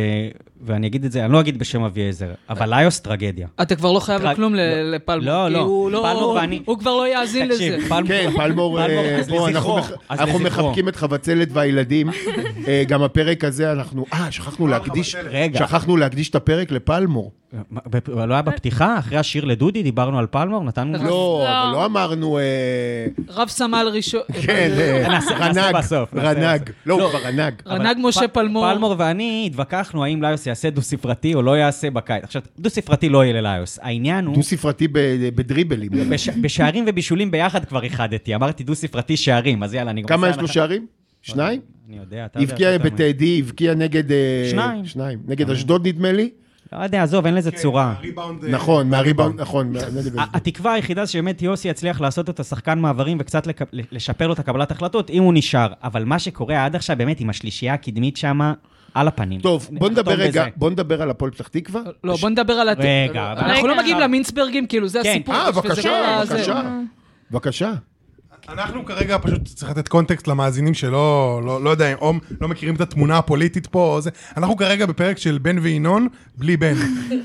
[SPEAKER 1] ואני אגיד את זה, אני לא אגיד בשם אביעזר, אבל ליוס טרגדיה.
[SPEAKER 6] אתה כבר לא חייב
[SPEAKER 1] טרק-
[SPEAKER 6] לכלום
[SPEAKER 1] לא.
[SPEAKER 6] ל- לפלמור.
[SPEAKER 1] לא,
[SPEAKER 6] כי
[SPEAKER 1] לא.
[SPEAKER 6] הוא
[SPEAKER 1] פלמור ואני-
[SPEAKER 6] הוא כבר לא יאזין לזה.
[SPEAKER 1] תקשיב, פלמור... [LAUGHS]
[SPEAKER 2] כן, פלמור, אה,
[SPEAKER 1] אז
[SPEAKER 2] בוא, אנחנו
[SPEAKER 1] לזכרו,
[SPEAKER 2] מח-
[SPEAKER 1] אז
[SPEAKER 2] אנחנו
[SPEAKER 1] לזכרו.
[SPEAKER 2] מחבקים את חבצלת
[SPEAKER 1] [LAUGHS]
[SPEAKER 2] והילדים. אה, גם הפרק הזה, אנחנו, אה, שכחנו להקדיש,
[SPEAKER 4] חבצלת.
[SPEAKER 1] רגע.
[SPEAKER 2] שכחנו להקדיש את הפרק לפלמור.
[SPEAKER 1] מה, בפ- לא היה בפתיחה? אחרי השיר לדודי דיברנו על פלמור? נתנו...
[SPEAKER 2] לא,
[SPEAKER 5] לא.
[SPEAKER 2] אבל לא אמרנו... אה,
[SPEAKER 6] רב סמל ראשון,
[SPEAKER 2] כן, אה,
[SPEAKER 1] נעשה- נעשה
[SPEAKER 2] רנג,
[SPEAKER 1] בסוף, נעשה
[SPEAKER 2] רנג,
[SPEAKER 1] בסוף.
[SPEAKER 2] לא, הוא כבר רנג.
[SPEAKER 1] אבל
[SPEAKER 6] רנג משה
[SPEAKER 1] פ-
[SPEAKER 6] פלמור.
[SPEAKER 1] פלמור ואני התווכחנו האם ליוס יעשה דו-ספרתי או לא יעשה בקיץ. עכשיו, דו-ספרתי לא יהיה לליוס. העניין הוא...
[SPEAKER 2] דו-ספרתי ב- בדריבלים.
[SPEAKER 1] בש- בשערים ובישולים ביחד כבר איחדתי. אמרתי דו-ספרתי שערים, אז יאללה, אני גם...
[SPEAKER 2] כמה
[SPEAKER 1] עושה
[SPEAKER 2] יש לו
[SPEAKER 1] הנחה.
[SPEAKER 2] שערים? שניים?
[SPEAKER 1] אני יודע, אתה יודע.
[SPEAKER 2] הבקיע
[SPEAKER 1] יותר ממני.
[SPEAKER 2] בטדי, הבקיע נגד... אה,
[SPEAKER 1] שניים.
[SPEAKER 2] שניים. נגד אשדוד נדמה לי?
[SPEAKER 1] לא יודע, עזוב, אין לזה צורה.
[SPEAKER 4] הריבאונד, אה,
[SPEAKER 2] נכון, מהריבאונד, נכון.
[SPEAKER 1] אה,
[SPEAKER 2] מה- נגד אשדוד.
[SPEAKER 1] ה- התקווה היחידה שבאמת יוסי יצליח לעשות אותו שחקן מעברים וקצת לק- לשפר לו את הקבלת החלטות, אם הוא נשאר. אבל מה שקורה עד עכשיו, באמת, עם השלישייה הקדמית שמה, על הפנים.
[SPEAKER 2] טוב, בוא
[SPEAKER 1] נחתום
[SPEAKER 2] נדבר רגע,
[SPEAKER 1] בזה.
[SPEAKER 2] בוא נדבר על הפועל פתח תקווה.
[SPEAKER 6] לא, בוא נדבר על... הת-
[SPEAKER 1] רגע, אבל-
[SPEAKER 6] אנחנו לא
[SPEAKER 5] רגע.
[SPEAKER 6] מגיעים למינסברגים, כאילו, זה
[SPEAKER 1] כן.
[SPEAKER 6] הסיפור.
[SPEAKER 2] אה,
[SPEAKER 6] וזה
[SPEAKER 2] בבקשה,
[SPEAKER 6] כל הזה.
[SPEAKER 2] בבקשה. בבקשה.
[SPEAKER 4] אנחנו כרגע פשוט צריך לתת קונטקסט למאזינים שלא, לא, לא יודע, או לא מכירים את התמונה הפוליטית פה או זה. אנחנו כרגע בפרק של בן וינון, בלי
[SPEAKER 6] [LAUGHS]
[SPEAKER 4] בן.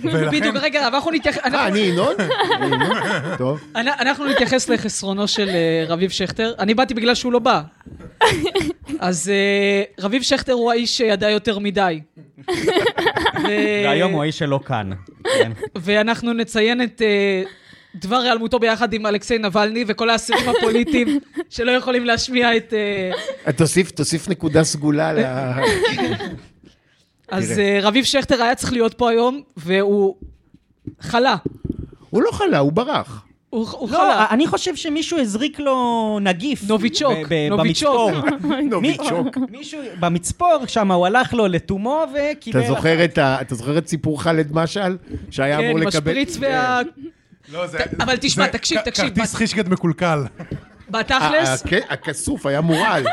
[SPEAKER 4] ולכן,
[SPEAKER 6] בדיוק, רגע, אבל אנחנו נתייחס...
[SPEAKER 2] אה,
[SPEAKER 6] אנחנו-
[SPEAKER 2] אני ינון? [LAUGHS] אני ינון? טוב.
[SPEAKER 6] אנ- אנחנו נתייחס לחסרונו של אה, רביב שכטר. אני באתי בגלל שהוא לא
[SPEAKER 1] [LAUGHS]
[SPEAKER 6] בא. אז אה, רביב שכטר הוא האיש שידע יותר
[SPEAKER 1] [LAUGHS]
[SPEAKER 6] מדי. ו-
[SPEAKER 1] והיום הוא האיש שלא כאן. כן.
[SPEAKER 6] ואנחנו נציין את אה, דבר היעלמותו ביחד עם אלכסיי נבלני וכל האסירים
[SPEAKER 1] [LAUGHS]
[SPEAKER 6] הפוליטיים שלא יכולים להשמיע את... אה,
[SPEAKER 2] תוסיף, תוסיף נקודה סגולה ל...
[SPEAKER 6] אז אה, רביב שכטר היה צריך להיות פה היום, והוא חלה.
[SPEAKER 2] הוא לא חלה, הוא ברח.
[SPEAKER 6] הוא הוא
[SPEAKER 1] לא,
[SPEAKER 6] חלה.
[SPEAKER 1] אני חושב שמישהו הזריק לו נגיף.
[SPEAKER 6] נוביצ'וק,
[SPEAKER 1] ב- ב-
[SPEAKER 6] נוביצ'וק.
[SPEAKER 1] במצפור.
[SPEAKER 2] נוביצ'וק.
[SPEAKER 1] מישהו במצפור שם, הוא הלך לו לתומו וקיבל...
[SPEAKER 2] אתה זוכר את ה- אתה זוכר את סיפור ח'אלד משעל? שהיה
[SPEAKER 6] כן,
[SPEAKER 2] אמור לקבל...
[SPEAKER 6] משפריץ
[SPEAKER 1] אה,
[SPEAKER 6] וה...
[SPEAKER 4] לא, זה-
[SPEAKER 6] אבל תשמע,
[SPEAKER 4] זה
[SPEAKER 6] תקשיב,
[SPEAKER 4] כ-
[SPEAKER 6] תקשיב,
[SPEAKER 4] כרטיס חישגד מקולקל.
[SPEAKER 2] כן. ה-
[SPEAKER 6] בתכלס,
[SPEAKER 2] הכ- אה, כן, הכסוף היה מורעל.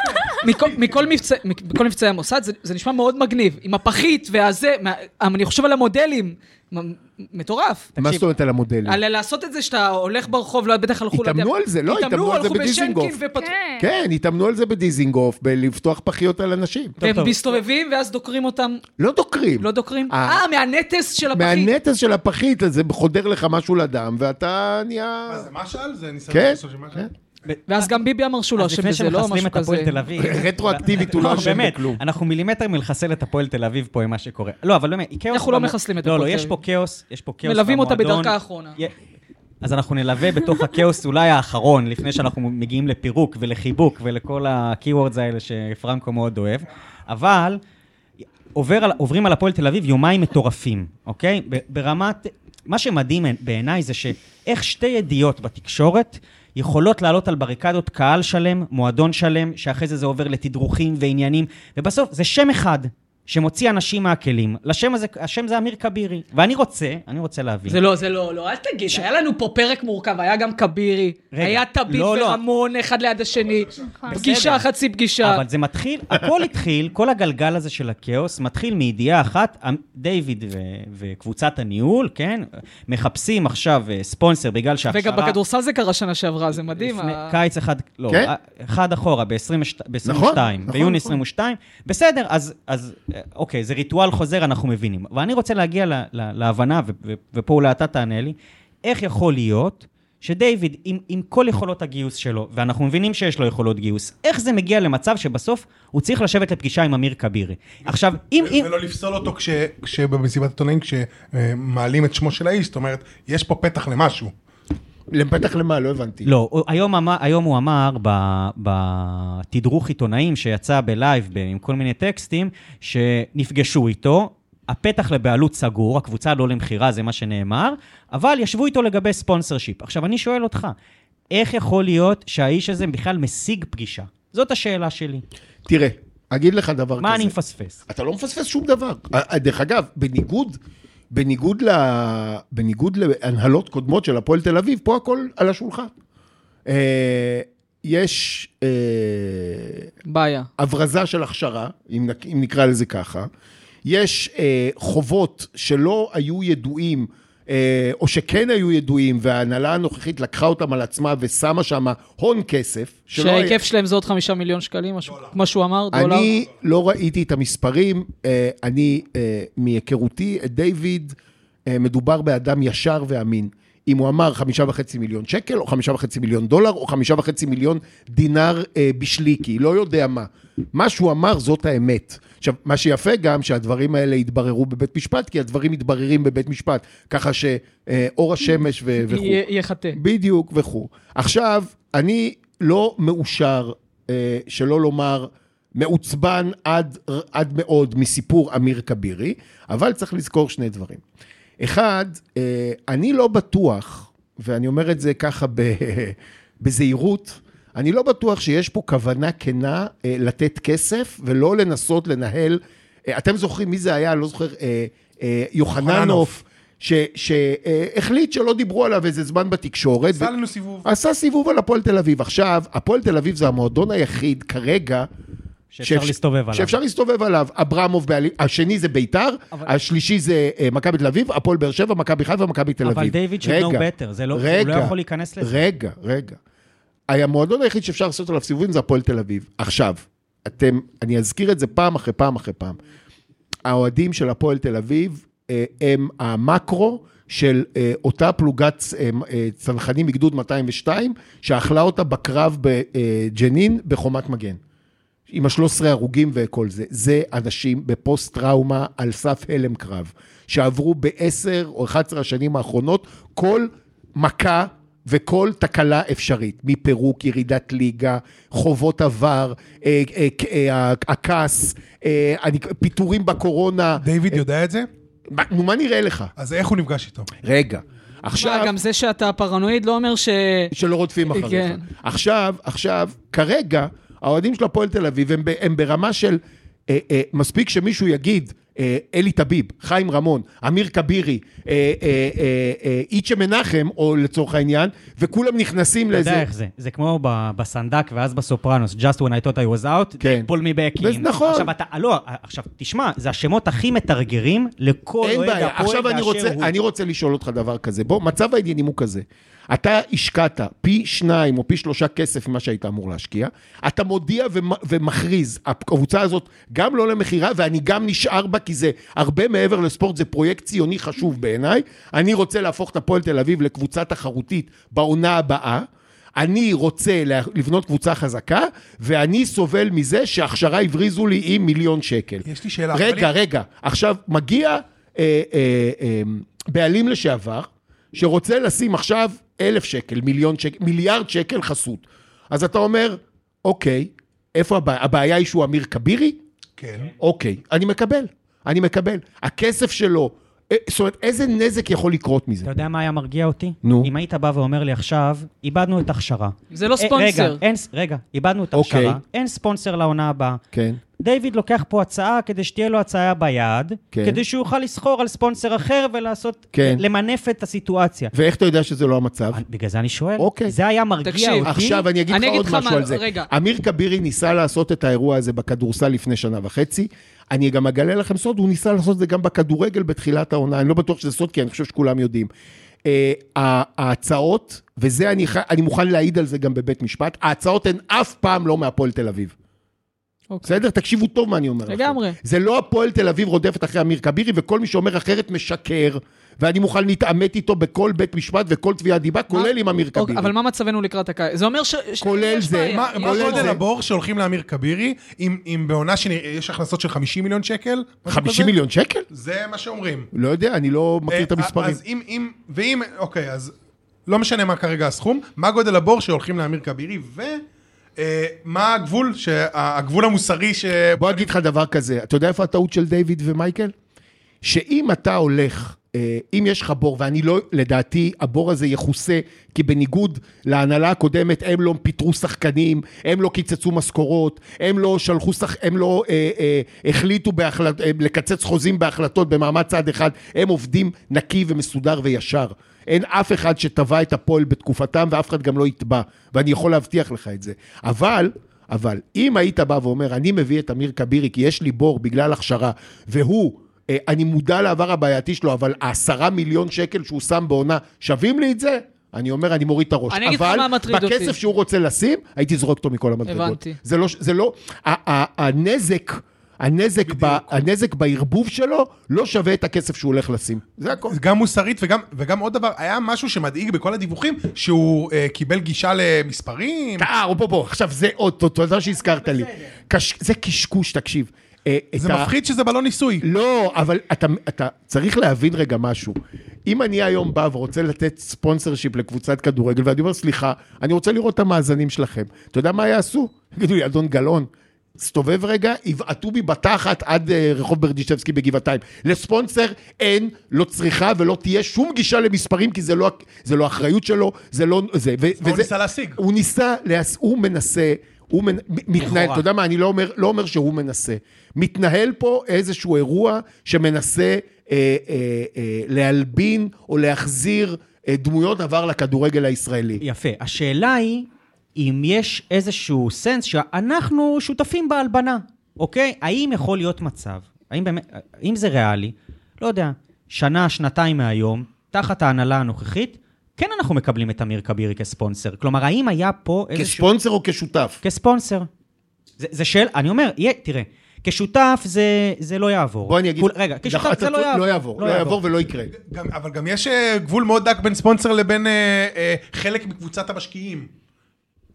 [SPEAKER 6] מכל- מכל מבצע- מכל מבצעי המוסד, זה- זה נשמע מאוד מגניב. עם הפחית והזה, מה- אני חושב על המודלים. מ- מטורף.
[SPEAKER 2] מה זאת אומרת על המודלים?
[SPEAKER 6] על לעשות את זה שאתה הולך ברחוב, לא, בטח הלכו... לא יודע-
[SPEAKER 2] התאמנו על זה, לא, התאמנו על זה
[SPEAKER 6] הלכו
[SPEAKER 2] בדיזינגוף.
[SPEAKER 6] בשינקין ופתחו-
[SPEAKER 5] כן.
[SPEAKER 2] כן, התאמנו על זה בדיזינגוף, בלפתוח פחיות על אנשים.
[SPEAKER 1] טוב,
[SPEAKER 6] והם
[SPEAKER 1] טוב.
[SPEAKER 6] מסתובבים ואז דוקרים אותם,
[SPEAKER 2] לא דוקרים.
[SPEAKER 6] לא דוקרים?
[SPEAKER 2] אה.
[SPEAKER 6] אה, מהנטס של הפחית.
[SPEAKER 2] מהנטס של הפחית, אז זה חודר לך משהו לדם, ואתה נהיה...
[SPEAKER 4] מה זה משל? זה ניסיון
[SPEAKER 2] כן,
[SPEAKER 4] לעשות של משל?
[SPEAKER 2] כן.
[SPEAKER 6] ואז גם ביבי אמר שהוא לא
[SPEAKER 1] אז
[SPEAKER 6] אשם
[SPEAKER 1] לפני
[SPEAKER 6] בזה, לא
[SPEAKER 1] שמחסלים
[SPEAKER 6] משהו
[SPEAKER 1] את הפועל
[SPEAKER 6] כזה.
[SPEAKER 1] תל אביב...
[SPEAKER 2] רטרואקטיבית הוא לא אשם
[SPEAKER 1] באמת,
[SPEAKER 2] בכלום.
[SPEAKER 1] אנחנו מילימטר מלחסל את הפועל תל אביב פה עם מה שקורה. לא, אבל באמת, היא כאוס...
[SPEAKER 6] אנחנו לא
[SPEAKER 1] במו-
[SPEAKER 6] מחסלים את
[SPEAKER 1] לא,
[SPEAKER 6] הפועל
[SPEAKER 1] לא,
[SPEAKER 6] תל
[SPEAKER 1] יש
[SPEAKER 6] אביב.
[SPEAKER 1] פה כאוס, יש פה כאוס
[SPEAKER 6] מלווים אותה
[SPEAKER 1] במועדון.
[SPEAKER 6] בדרכה האחרונה.
[SPEAKER 1] י- אז אנחנו נלווה בתוך הכאוס אולי האחרון, לפני שאנחנו מגיעים לפירוק ולחיבוק ולכל הקיוורדס האלה שפרנקו מאוד אוהב, אבל עובר על, עוברים על הפועל תל אביב יומיים מטורפים, אוקיי? ב- ברמת... מה שמדהים בעיניי זה שאיך שתי ידיעות בתקשורת יכולות לעלות על בריקדות קהל שלם, מועדון שלם, שאחרי זה זה עובר לתדרוכים ועניינים, ובסוף זה שם אחד שמוציא אנשים מהכלים. לשם הזה, השם זה אמיר כבירי. ואני רוצה, אני רוצה להבין.
[SPEAKER 6] זה לא, זה לא, לא, אל תגיד, היה לנו פה פרק מורכב, היה גם כבירי,
[SPEAKER 1] רגע,
[SPEAKER 6] היה טביב
[SPEAKER 1] לא, לא.
[SPEAKER 6] ורמון אחד ליד השני, פגישה
[SPEAKER 1] בסדר.
[SPEAKER 6] חצי פגישה.
[SPEAKER 1] אבל זה מתחיל, הכל התחיל, כל הגלגל הזה של הכאוס מתחיל מידיעה אחת, אמ- דיוויד ו- וקבוצת הניהול, כן? מחפשים עכשיו אה, ספונסר בגלל שהכשרה...
[SPEAKER 6] וגם בכדורסל זה קרה שנה שעברה, זה מדהים.
[SPEAKER 1] לפני-
[SPEAKER 6] ה-
[SPEAKER 1] קיץ אחד, לא,
[SPEAKER 2] כן.
[SPEAKER 1] א- אחד אחורה, ב-22,
[SPEAKER 2] נכון, נכון, נכון.
[SPEAKER 1] ביוני 22. בסדר, אז, אז אה, אוקיי, זה ריטואל חוזר, אנחנו מבינים. ואני רוצה להגיע ל- ל- להבנה, ו- ו- ופה אולי אתה תענה לי, איך יכול להיות שדייוויד, עם, עם כל יכולות הגיוס שלו, ואנחנו מבינים שיש לו יכולות גיוס, איך זה מגיע למצב שבסוף הוא צריך לשבת לפגישה עם אמיר כבירי? עכשיו, אם...
[SPEAKER 4] ו-
[SPEAKER 1] אם...
[SPEAKER 4] ולא לפסול אותו כש- כשבמסיבת עיתונאים, כשמעלים את שמו של האיש, זאת אומרת, יש פה פתח למשהו.
[SPEAKER 2] לפתח למה, לא הבנתי.
[SPEAKER 1] לא, הוא- היום, אמר- היום הוא אמר ב- בתדרוך עיתונאים שיצא בלייב ב- עם כל מיני טקסטים, שנפגשו איתו, הפתח לבעלות סגור, הקבוצה לא למכירה, זה מה שנאמר, אבל ישבו איתו לגבי ספונסר שיפ. עכשיו, אני שואל אותך, איך יכול להיות שהאיש הזה בכלל משיג פגישה? זאת השאלה שלי.
[SPEAKER 2] אוקיי, תראה, אגיד לך דבר כזה.
[SPEAKER 1] מה אני מפספס?
[SPEAKER 2] אתה לא מפספס שום דבר. אה, דרך אגב, בניגוד, בניגוד, ל... בניגוד להנהלות קודמות של הפועל תל אביב, פה הכל על השולחן. אה, יש אה,
[SPEAKER 6] בעיה.
[SPEAKER 2] הברזה של הכשרה, אם, נק... אם נקרא לזה ככה. יש אה, חובות שלא היו ידועים, אה, או שכן היו ידועים, וההנהלה הנוכחית לקחה אותם על עצמה ושמה שם הון כסף. שלא היה-
[SPEAKER 6] שההיקף שלהם זה עוד חמישה מיליון שקלים, משהו- כמו שהוא אמר, דולר.
[SPEAKER 2] לא אני לא ראיתי את המספרים, אה, אני, אה, מהיכרותי את דיוויד, אה, מדובר באדם ישר ואמין. אם הוא אמר חמישה וחצי מיליון שקל, או חמישה וחצי מיליון דולר, או חמישה וחצי מיליון דינר אה, בשליקי, לא יודע מה. מה שהוא אמר זאת האמת. עכשיו, מה שיפה גם, שהדברים האלה יתבררו בבית משפט, כי הדברים מתבררים בבית משפט, ככה שאור השמש ו- וכו'.
[SPEAKER 6] י- יחטא.
[SPEAKER 2] בדיוק וכו'. עכשיו, אני לא מאושר, אה, שלא לומר, מעוצבן עד, עד מאוד מסיפור אמיר כבירי, אבל צריך לזכור שני דברים. אחד, אה, אני לא בטוח, ואני אומר את זה ככה ב, [LAUGHS] בזהירות, אני לא בטוח שיש פה כוונה כנה אה, לתת כסף ולא לנסות לנהל, אה, אתם זוכרים מי זה היה, אני לא זוכר, אה, אה, יוחננוף,
[SPEAKER 4] יוחננוף.
[SPEAKER 2] שהחליט אה, שלא דיברו עליו איזה זמן בתקשורת.
[SPEAKER 4] עשה לנו סיבוב.
[SPEAKER 2] עשה סיבוב על הפועל תל אביב. עכשיו, הפועל תל אביב זה המועדון היחיד כרגע...
[SPEAKER 1] שאפשר
[SPEAKER 2] שאפ-
[SPEAKER 1] להסתובב עליו.
[SPEAKER 2] שאפשר להסתובב עליו. אברמוב, בעלי- השני זה ביתר,
[SPEAKER 1] אבל-
[SPEAKER 2] השלישי זה אה, מכבי תל אביב, הפועל באר שבע, מכבי חיפה, מכבי תל אביב.
[SPEAKER 1] אבל דיוויד should
[SPEAKER 2] רגע,
[SPEAKER 1] know better, זה לא- הוא לא
[SPEAKER 2] רגע,
[SPEAKER 1] יכול להיכנס לזה.
[SPEAKER 2] רגע, רגע. המועדון היחיד שאפשר לעשות עליו סיבובים זה הפועל תל אביב. עכשיו, אתם, אני אזכיר את זה פעם אחרי פעם אחרי פעם. האוהדים של הפועל תל אביב אה, הם המקרו של אה, אותה פלוגת אה, אה, צנחנים מגדוד 202, שאכלה אותה בקרב בג'נין בחומת מגן. עם ה-13 הרוגים וכל זה. זה אנשים בפוסט-טראומה על סף הלם קרב, שעברו ב-10 או 11 השנים האחרונות כל מכה וכל תקלה אפשרית, מפירוק, ירידת ליגה, חובות עבר, אה, אה, אה, הכעס, אה, אני- פיטורים בקורונה.
[SPEAKER 4] דיוויד יודע את זה?
[SPEAKER 2] מה- נו, מה נראה לך?
[SPEAKER 4] אז איך הוא נפגש איתו?
[SPEAKER 2] רגע.
[SPEAKER 6] מה,
[SPEAKER 2] עכשיו...
[SPEAKER 6] גם זה שאתה פרנואיד לא אומר ש...
[SPEAKER 2] שלא רודפים אחריך.
[SPEAKER 6] כן.
[SPEAKER 2] עכשיו, עכשיו, כרגע, האוהדים של הפועל תל אביב הם, ב- הם ברמה של, אה, אה, מספיק שמישהו יגיד, אה, אלי טביב, חיים רמון, אמיר כבירי, אה, אה, אה, אה, איצ'ה מנחם, או לצורך העניין, וכולם נכנסים
[SPEAKER 1] אתה יודע
[SPEAKER 2] לאיזה...
[SPEAKER 1] איך זה, זה כמו ב- בסנדק ואז בסופרנוס, just when I thought I was out,
[SPEAKER 2] כן.
[SPEAKER 1] pull me back in.
[SPEAKER 2] וזה נכון.
[SPEAKER 1] עכשיו אתה, לא, עכשיו תשמע, זה השמות הכי מתרגרים לכל
[SPEAKER 2] אין
[SPEAKER 1] אוהד
[SPEAKER 2] בעיה.
[SPEAKER 1] הפועל
[SPEAKER 2] עכשיו אני
[SPEAKER 1] באשר
[SPEAKER 2] רוצה,
[SPEAKER 1] הוא.
[SPEAKER 2] אני רוצה לשאול אותך דבר כזה. בוא, מצב העניינים הוא כזה. אתה השקעת פי שניים או פי שלושה כסף ממה שהיית אמור להשקיע, אתה מודיע ומ- ומכריז, הקבוצה הזאת גם לא למכירה ואני גם נשאר בה כי זה הרבה מעבר לספורט, זה פרויקט ציוני חשוב בעיניי. אני רוצה להפוך את הפועל תל אביב לקבוצה תחרותית בעונה הבאה. אני רוצה לה- לבנות קבוצה חזקה, ואני סובל מזה שהכשרה הבריזו לי עם מיליון שקל.
[SPEAKER 4] יש לי שאלה,
[SPEAKER 2] רגע,
[SPEAKER 4] אבל-
[SPEAKER 2] רגע. עכשיו, מגיע אה, אה, אה, בעלים לשעבר, שרוצה לשים עכשיו אלף שקל, מיליון שקל, מיליארד שקל חסות. אז אתה אומר, אוקיי, איפה הבעיה? הבעיה היא שהוא אמיר כבירי?
[SPEAKER 4] כן.
[SPEAKER 2] אוקיי, אני מקבל, אני מקבל. הכסף שלו, אה, זאת אומרת, איזה נזק יכול לקרות מזה?
[SPEAKER 1] אתה יודע מה היה מרגיע אותי?
[SPEAKER 2] נו.
[SPEAKER 1] אם היית בא ואומר לי עכשיו, איבדנו את הכשרה.
[SPEAKER 6] זה לא
[SPEAKER 1] אה, רגע,
[SPEAKER 6] ספונסר.
[SPEAKER 1] אין, ס- רגע, איבדנו את
[SPEAKER 2] אוקיי.
[SPEAKER 1] הכשרה, אין ספונסר לעונה הבאה.
[SPEAKER 2] כן.
[SPEAKER 1] דיוויד לוקח פה הצעה כדי שתהיה לו הצעה ביד,
[SPEAKER 2] כן.
[SPEAKER 1] כדי שהוא יוכל לסחור על ספונסר אחר ולעשות,
[SPEAKER 2] כן.
[SPEAKER 1] למנף את הסיטואציה.
[SPEAKER 2] ואיך אתה יודע שזה לא המצב?
[SPEAKER 1] אני- בגלל זה אני שואל.
[SPEAKER 2] אוקיי.
[SPEAKER 1] זה היה מרגיע
[SPEAKER 6] תקשיב,
[SPEAKER 1] אותי.
[SPEAKER 2] עכשיו אני אגיד
[SPEAKER 6] אני
[SPEAKER 2] לך
[SPEAKER 6] אגיד
[SPEAKER 2] עוד
[SPEAKER 6] לך
[SPEAKER 2] משהו
[SPEAKER 6] מה-
[SPEAKER 2] על זה.
[SPEAKER 6] רגע.
[SPEAKER 2] אמיר כבירי ניסה לעשות את האירוע הזה בכדורסל לפני שנה וחצי. אני גם אגלה לכם סוד, הוא ניסה לעשות את זה גם בכדורגל בתחילת העונה. אני לא בטוח שזה סוד, כי אני חושב שכולם יודעים. אה, ה- ההצעות, וזה אני, ח- אני מוכן להעיד על זה גם בבית משפט, ההצעות הן אף פעם לא מהפועל תל אביב.
[SPEAKER 6] אוקיי.
[SPEAKER 2] בסדר? תקשיבו טוב מה אני אומר לכם.
[SPEAKER 6] לגמרי.
[SPEAKER 2] זה לא הפועל תל אביב רודפת אחרי אמיר כבירי, וכל מי שאומר אחרת משקר, ואני מוכן להתעמת איתו בכל בית משפט וכל תביעת דיבה, כולל עם אמיר
[SPEAKER 6] אוקיי,
[SPEAKER 2] כבירי.
[SPEAKER 6] אבל מה מצבנו לקראת הקיץ? זה אומר ש... ש-
[SPEAKER 2] כולל
[SPEAKER 6] יש
[SPEAKER 2] זה.
[SPEAKER 6] בעיה.
[SPEAKER 4] מה
[SPEAKER 6] יש
[SPEAKER 4] מה
[SPEAKER 6] בעיה.
[SPEAKER 4] גודל הבור שהולכים לאמיר כבירי, אם אם בעונה שיש הכנסות של 50 מיליון שקל? משהו
[SPEAKER 2] 50
[SPEAKER 4] כזה?
[SPEAKER 2] מיליון שקל?
[SPEAKER 4] זה מה שאומרים.
[SPEAKER 2] לא יודע, אני לא מכיר את
[SPEAKER 4] אה,
[SPEAKER 2] המספרים.
[SPEAKER 4] אז אם, אם, ואם, אוקיי, אז לא משנה מה כרגע הסכום, מה גודל הבור שהולכים לאמיר כבירי, ומה הגבול, שה- הגבול המוסרי ש...
[SPEAKER 2] בוא אגיד לך דבר כזה, אתה יודע איפה הטעות של דיוויד ומייקל? שאם אתה הולך, אה, אם יש לך בור, ואני לא, לדעתי הבור הזה יכוסה, כי בניגוד להנהלה הקודמת, הם לא פיטרו שחקנים, הם לא קיצצו משכורות, הם לא שלחו, שח... הם לא אה, אה, החליטו בהחלט... אה, לקצץ חוזים בהחלטות במעמד צד אחד, הם עובדים נקי ומסודר וישר. אין אף אחד שטבע את הפועל בתקופתם ואף אחד גם לא יתבע, ואני יכול להבטיח לך את זה. אבל אבל אם היית בא ואומר, אני מביא את אמיר כבירי כי יש לי בור בגלל הכשרה, והוא, אה, אני מודע לעבר הבעייתי שלו, אבל העשרה מיליון שקל שהוא שם בעונה, שווים לי את זה? אני אומר, אני מוריד את הראש.
[SPEAKER 6] אני אגיד לך מה מטריד
[SPEAKER 2] אבל
[SPEAKER 6] אותי.
[SPEAKER 2] בכסף שהוא רוצה לשים, הייתי זורק אותו מכל המדרגות.
[SPEAKER 6] הבנתי.
[SPEAKER 2] זה לא, זה לא, ה- ה- הנזק, הנזק, ב, הנזק בערבוב שלו לא שווה את הכסף שהוא הולך לשים. זה הכל.
[SPEAKER 4] זה גם מוסרית וגם, וגם עוד דבר, היה משהו שמדאיג בכל הדיווחים, שהוא אה, קיבל גישה למספרים.
[SPEAKER 2] אה, בוא, בוא, עכשיו זה עוד, תודה- תודה שהזכרת לי. קש, זה קשקוש, תקשיב. אה,
[SPEAKER 4] זה
[SPEAKER 2] את ה-
[SPEAKER 4] מפחיד שזה בלון ניסוי.
[SPEAKER 2] לא, אבל אתה, אתה צריך להבין רגע משהו. אם אני היום בא ורוצה לתת ספונסר שיפ לקבוצת כדורגל, ואני אומר, סליחה, אני רוצה לראות את המאזנים שלכם. אתה יודע מה יעשו? יגידו לי, אדון גלאון, סתובב רגע, יבעטו בי בתחת עד אה, רחוב ברדישבסקי בגבעתיים. לספונסר אין, לא צריכה ולא תהיה שום גישה למספרים, כי זה לא, זה לא אחריות שלו, זה לא... זה, ו,
[SPEAKER 4] הוא ניסה להשיג.
[SPEAKER 2] הוא ניסה, להס... הוא מנסה, הוא מנ... מתנהל,
[SPEAKER 1] לכאורה.
[SPEAKER 2] אתה יודע מה, אני לא אומר, לא אומר שהוא מנסה. מתנהל פה איזשהו אירוע שמנסה אה, אה, אה, להלבין או להחזיר אה, דמויות עבר לכדורגל הישראלי.
[SPEAKER 1] יפה. השאלה היא, אם יש איזשהו סנס שאנחנו שותפים בהלבנה, אוקיי? האם יכול להיות מצב, האם באמת, האם זה ריאלי, לא יודע, שנה, שנתיים מהיום, תחת ההנהלה הנוכחית, כן אנחנו מקבלים את אמיר כבירי כספונסר. כלומר, האם היה פה איזשהו...
[SPEAKER 2] כספונסר או כשותף?
[SPEAKER 1] כספונסר. זה, זה שאלה, אני אומר, יהיה, תראה, כשותף זה, זה לא יעבור.
[SPEAKER 2] בוא אני אגיד...
[SPEAKER 1] כול- רגע,
[SPEAKER 2] נכון,
[SPEAKER 1] כשותף
[SPEAKER 2] אתה
[SPEAKER 1] זה לא
[SPEAKER 2] צודק,
[SPEAKER 1] יעבור.
[SPEAKER 2] לא יעבור, לא יעבור ולא יקרה.
[SPEAKER 4] גם, אבל גם יש אה, גבול מאוד דק בין ספונסר לבין אה, אה, חלק מקבוצת המשקיעים.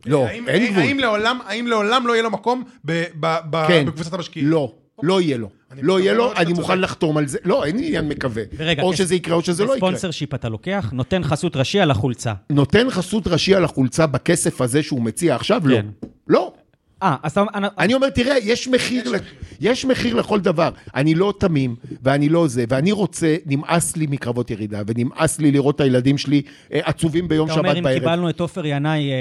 [SPEAKER 4] אה,
[SPEAKER 2] לא,
[SPEAKER 4] האם-
[SPEAKER 2] אין גבול.
[SPEAKER 4] האם לעולם, האם לעולם לא יהיה לו מקום ב, ב, ב,
[SPEAKER 2] כן.
[SPEAKER 4] בקבוצת המשקיעים? אוקיי.
[SPEAKER 2] לא. לא יהיה לו,
[SPEAKER 4] אני
[SPEAKER 2] לא יהיה לו,
[SPEAKER 4] מקווה מאוד שאתה
[SPEAKER 2] אני
[SPEAKER 4] צודק.
[SPEAKER 2] מוכן לחתום על זה, לא, אין לי עניין מקווה,
[SPEAKER 1] ורגע,
[SPEAKER 2] או
[SPEAKER 1] כס-
[SPEAKER 2] שזה יקרה או שזה לא יקרה.
[SPEAKER 1] בספונסר שיפ אתה לוקח, נותן חסות ראשי על החולצה.
[SPEAKER 2] נותן חסות ראשי על החולצה בכסף הזה שהוא מציע עכשיו? לא.
[SPEAKER 1] כן.
[SPEAKER 2] לא.
[SPEAKER 1] אה, אז אתה...
[SPEAKER 2] אני אומר, תראה, יש מחיר, יש, יש מחיר לכל דבר. אני לא תמים, ואני לא זה, ואני רוצה, נמאס לי מקרבות ירידה, ונמאס לי לראות את הילדים שלי אה, עצובים ביום
[SPEAKER 1] אתה
[SPEAKER 2] שבת
[SPEAKER 1] אומר,
[SPEAKER 2] בערב. לא,
[SPEAKER 1] אם קיבלנו את עופר ינאי אה,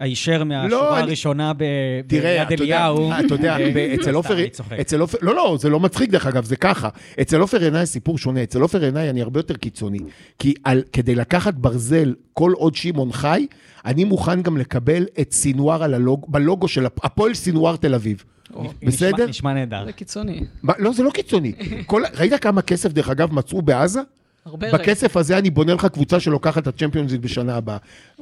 [SPEAKER 1] הישר מהשורה
[SPEAKER 2] אני-
[SPEAKER 1] הראשונה ב-
[SPEAKER 2] תראה,
[SPEAKER 1] ביד
[SPEAKER 2] אתה יודע,
[SPEAKER 1] אליהו...
[SPEAKER 2] אתה יודע,
[SPEAKER 1] אה,
[SPEAKER 2] ב- אצל
[SPEAKER 1] סתם,
[SPEAKER 2] עופר,
[SPEAKER 1] אני צוחק.
[SPEAKER 2] אצל עופר, לא, לא, זה לא מצחיק דרך אגב, זה ככה. אצל עופר עיניי סיפור שונה, אצל עופר עיניי אני הרבה יותר קיצוני. כי על, כדי לקחת ברזל כל עוד שמעון חי, אני מוכן גם לקבל את סינואר על הלוג, בלוגו של הפ- הפועל סינואר תל אביב.
[SPEAKER 1] נשמע-
[SPEAKER 2] בסדר?
[SPEAKER 1] נשמע נהדר.
[SPEAKER 6] זה קיצוני.
[SPEAKER 2] מה, לא, זה לא קיצוני. כל, ראית כמה כסף, דרך אגב, מצאו בעזה?
[SPEAKER 6] הרבה רגע.
[SPEAKER 2] בכסף הזה אני בונה לך קבוצה שלוקחת את הצ'מפיונס ליג בשנה הבאה,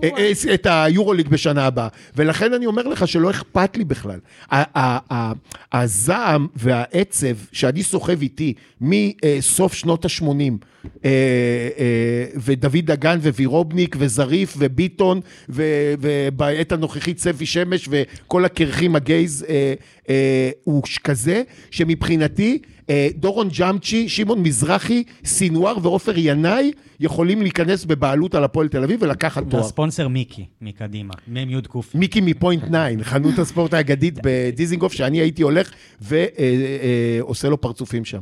[SPEAKER 2] אה, אה, את היורוליג בשנה הבאה, ולכן אני אומר לך שלא אכפת לי בכלל. ה- ה- ה- הזעם והעצב שאני סוחב איתי מסוף שנות ה-80, ודוד דגן ווירובניק וזריף וביטון, ו- ובעת הנוכחית צפי שמש וכל הקרחים הגייז, אה, אה, הוא כזה שמבחינתי אה, דורון ג'אמצ'י, שמעון מזרחי, סינואר ועופר ינאי יכולים להיכנס בבעלות על הפועל תל אביב ולקחת
[SPEAKER 1] זה
[SPEAKER 2] תואר.
[SPEAKER 1] הספונסר מיקי, מקדימה, מ"ק.
[SPEAKER 2] מיקי מפוינט 9, חנות הספורט האגדית בדיזינגוף, שאני הייתי הולך אה, ועושה לו פרצופים שם.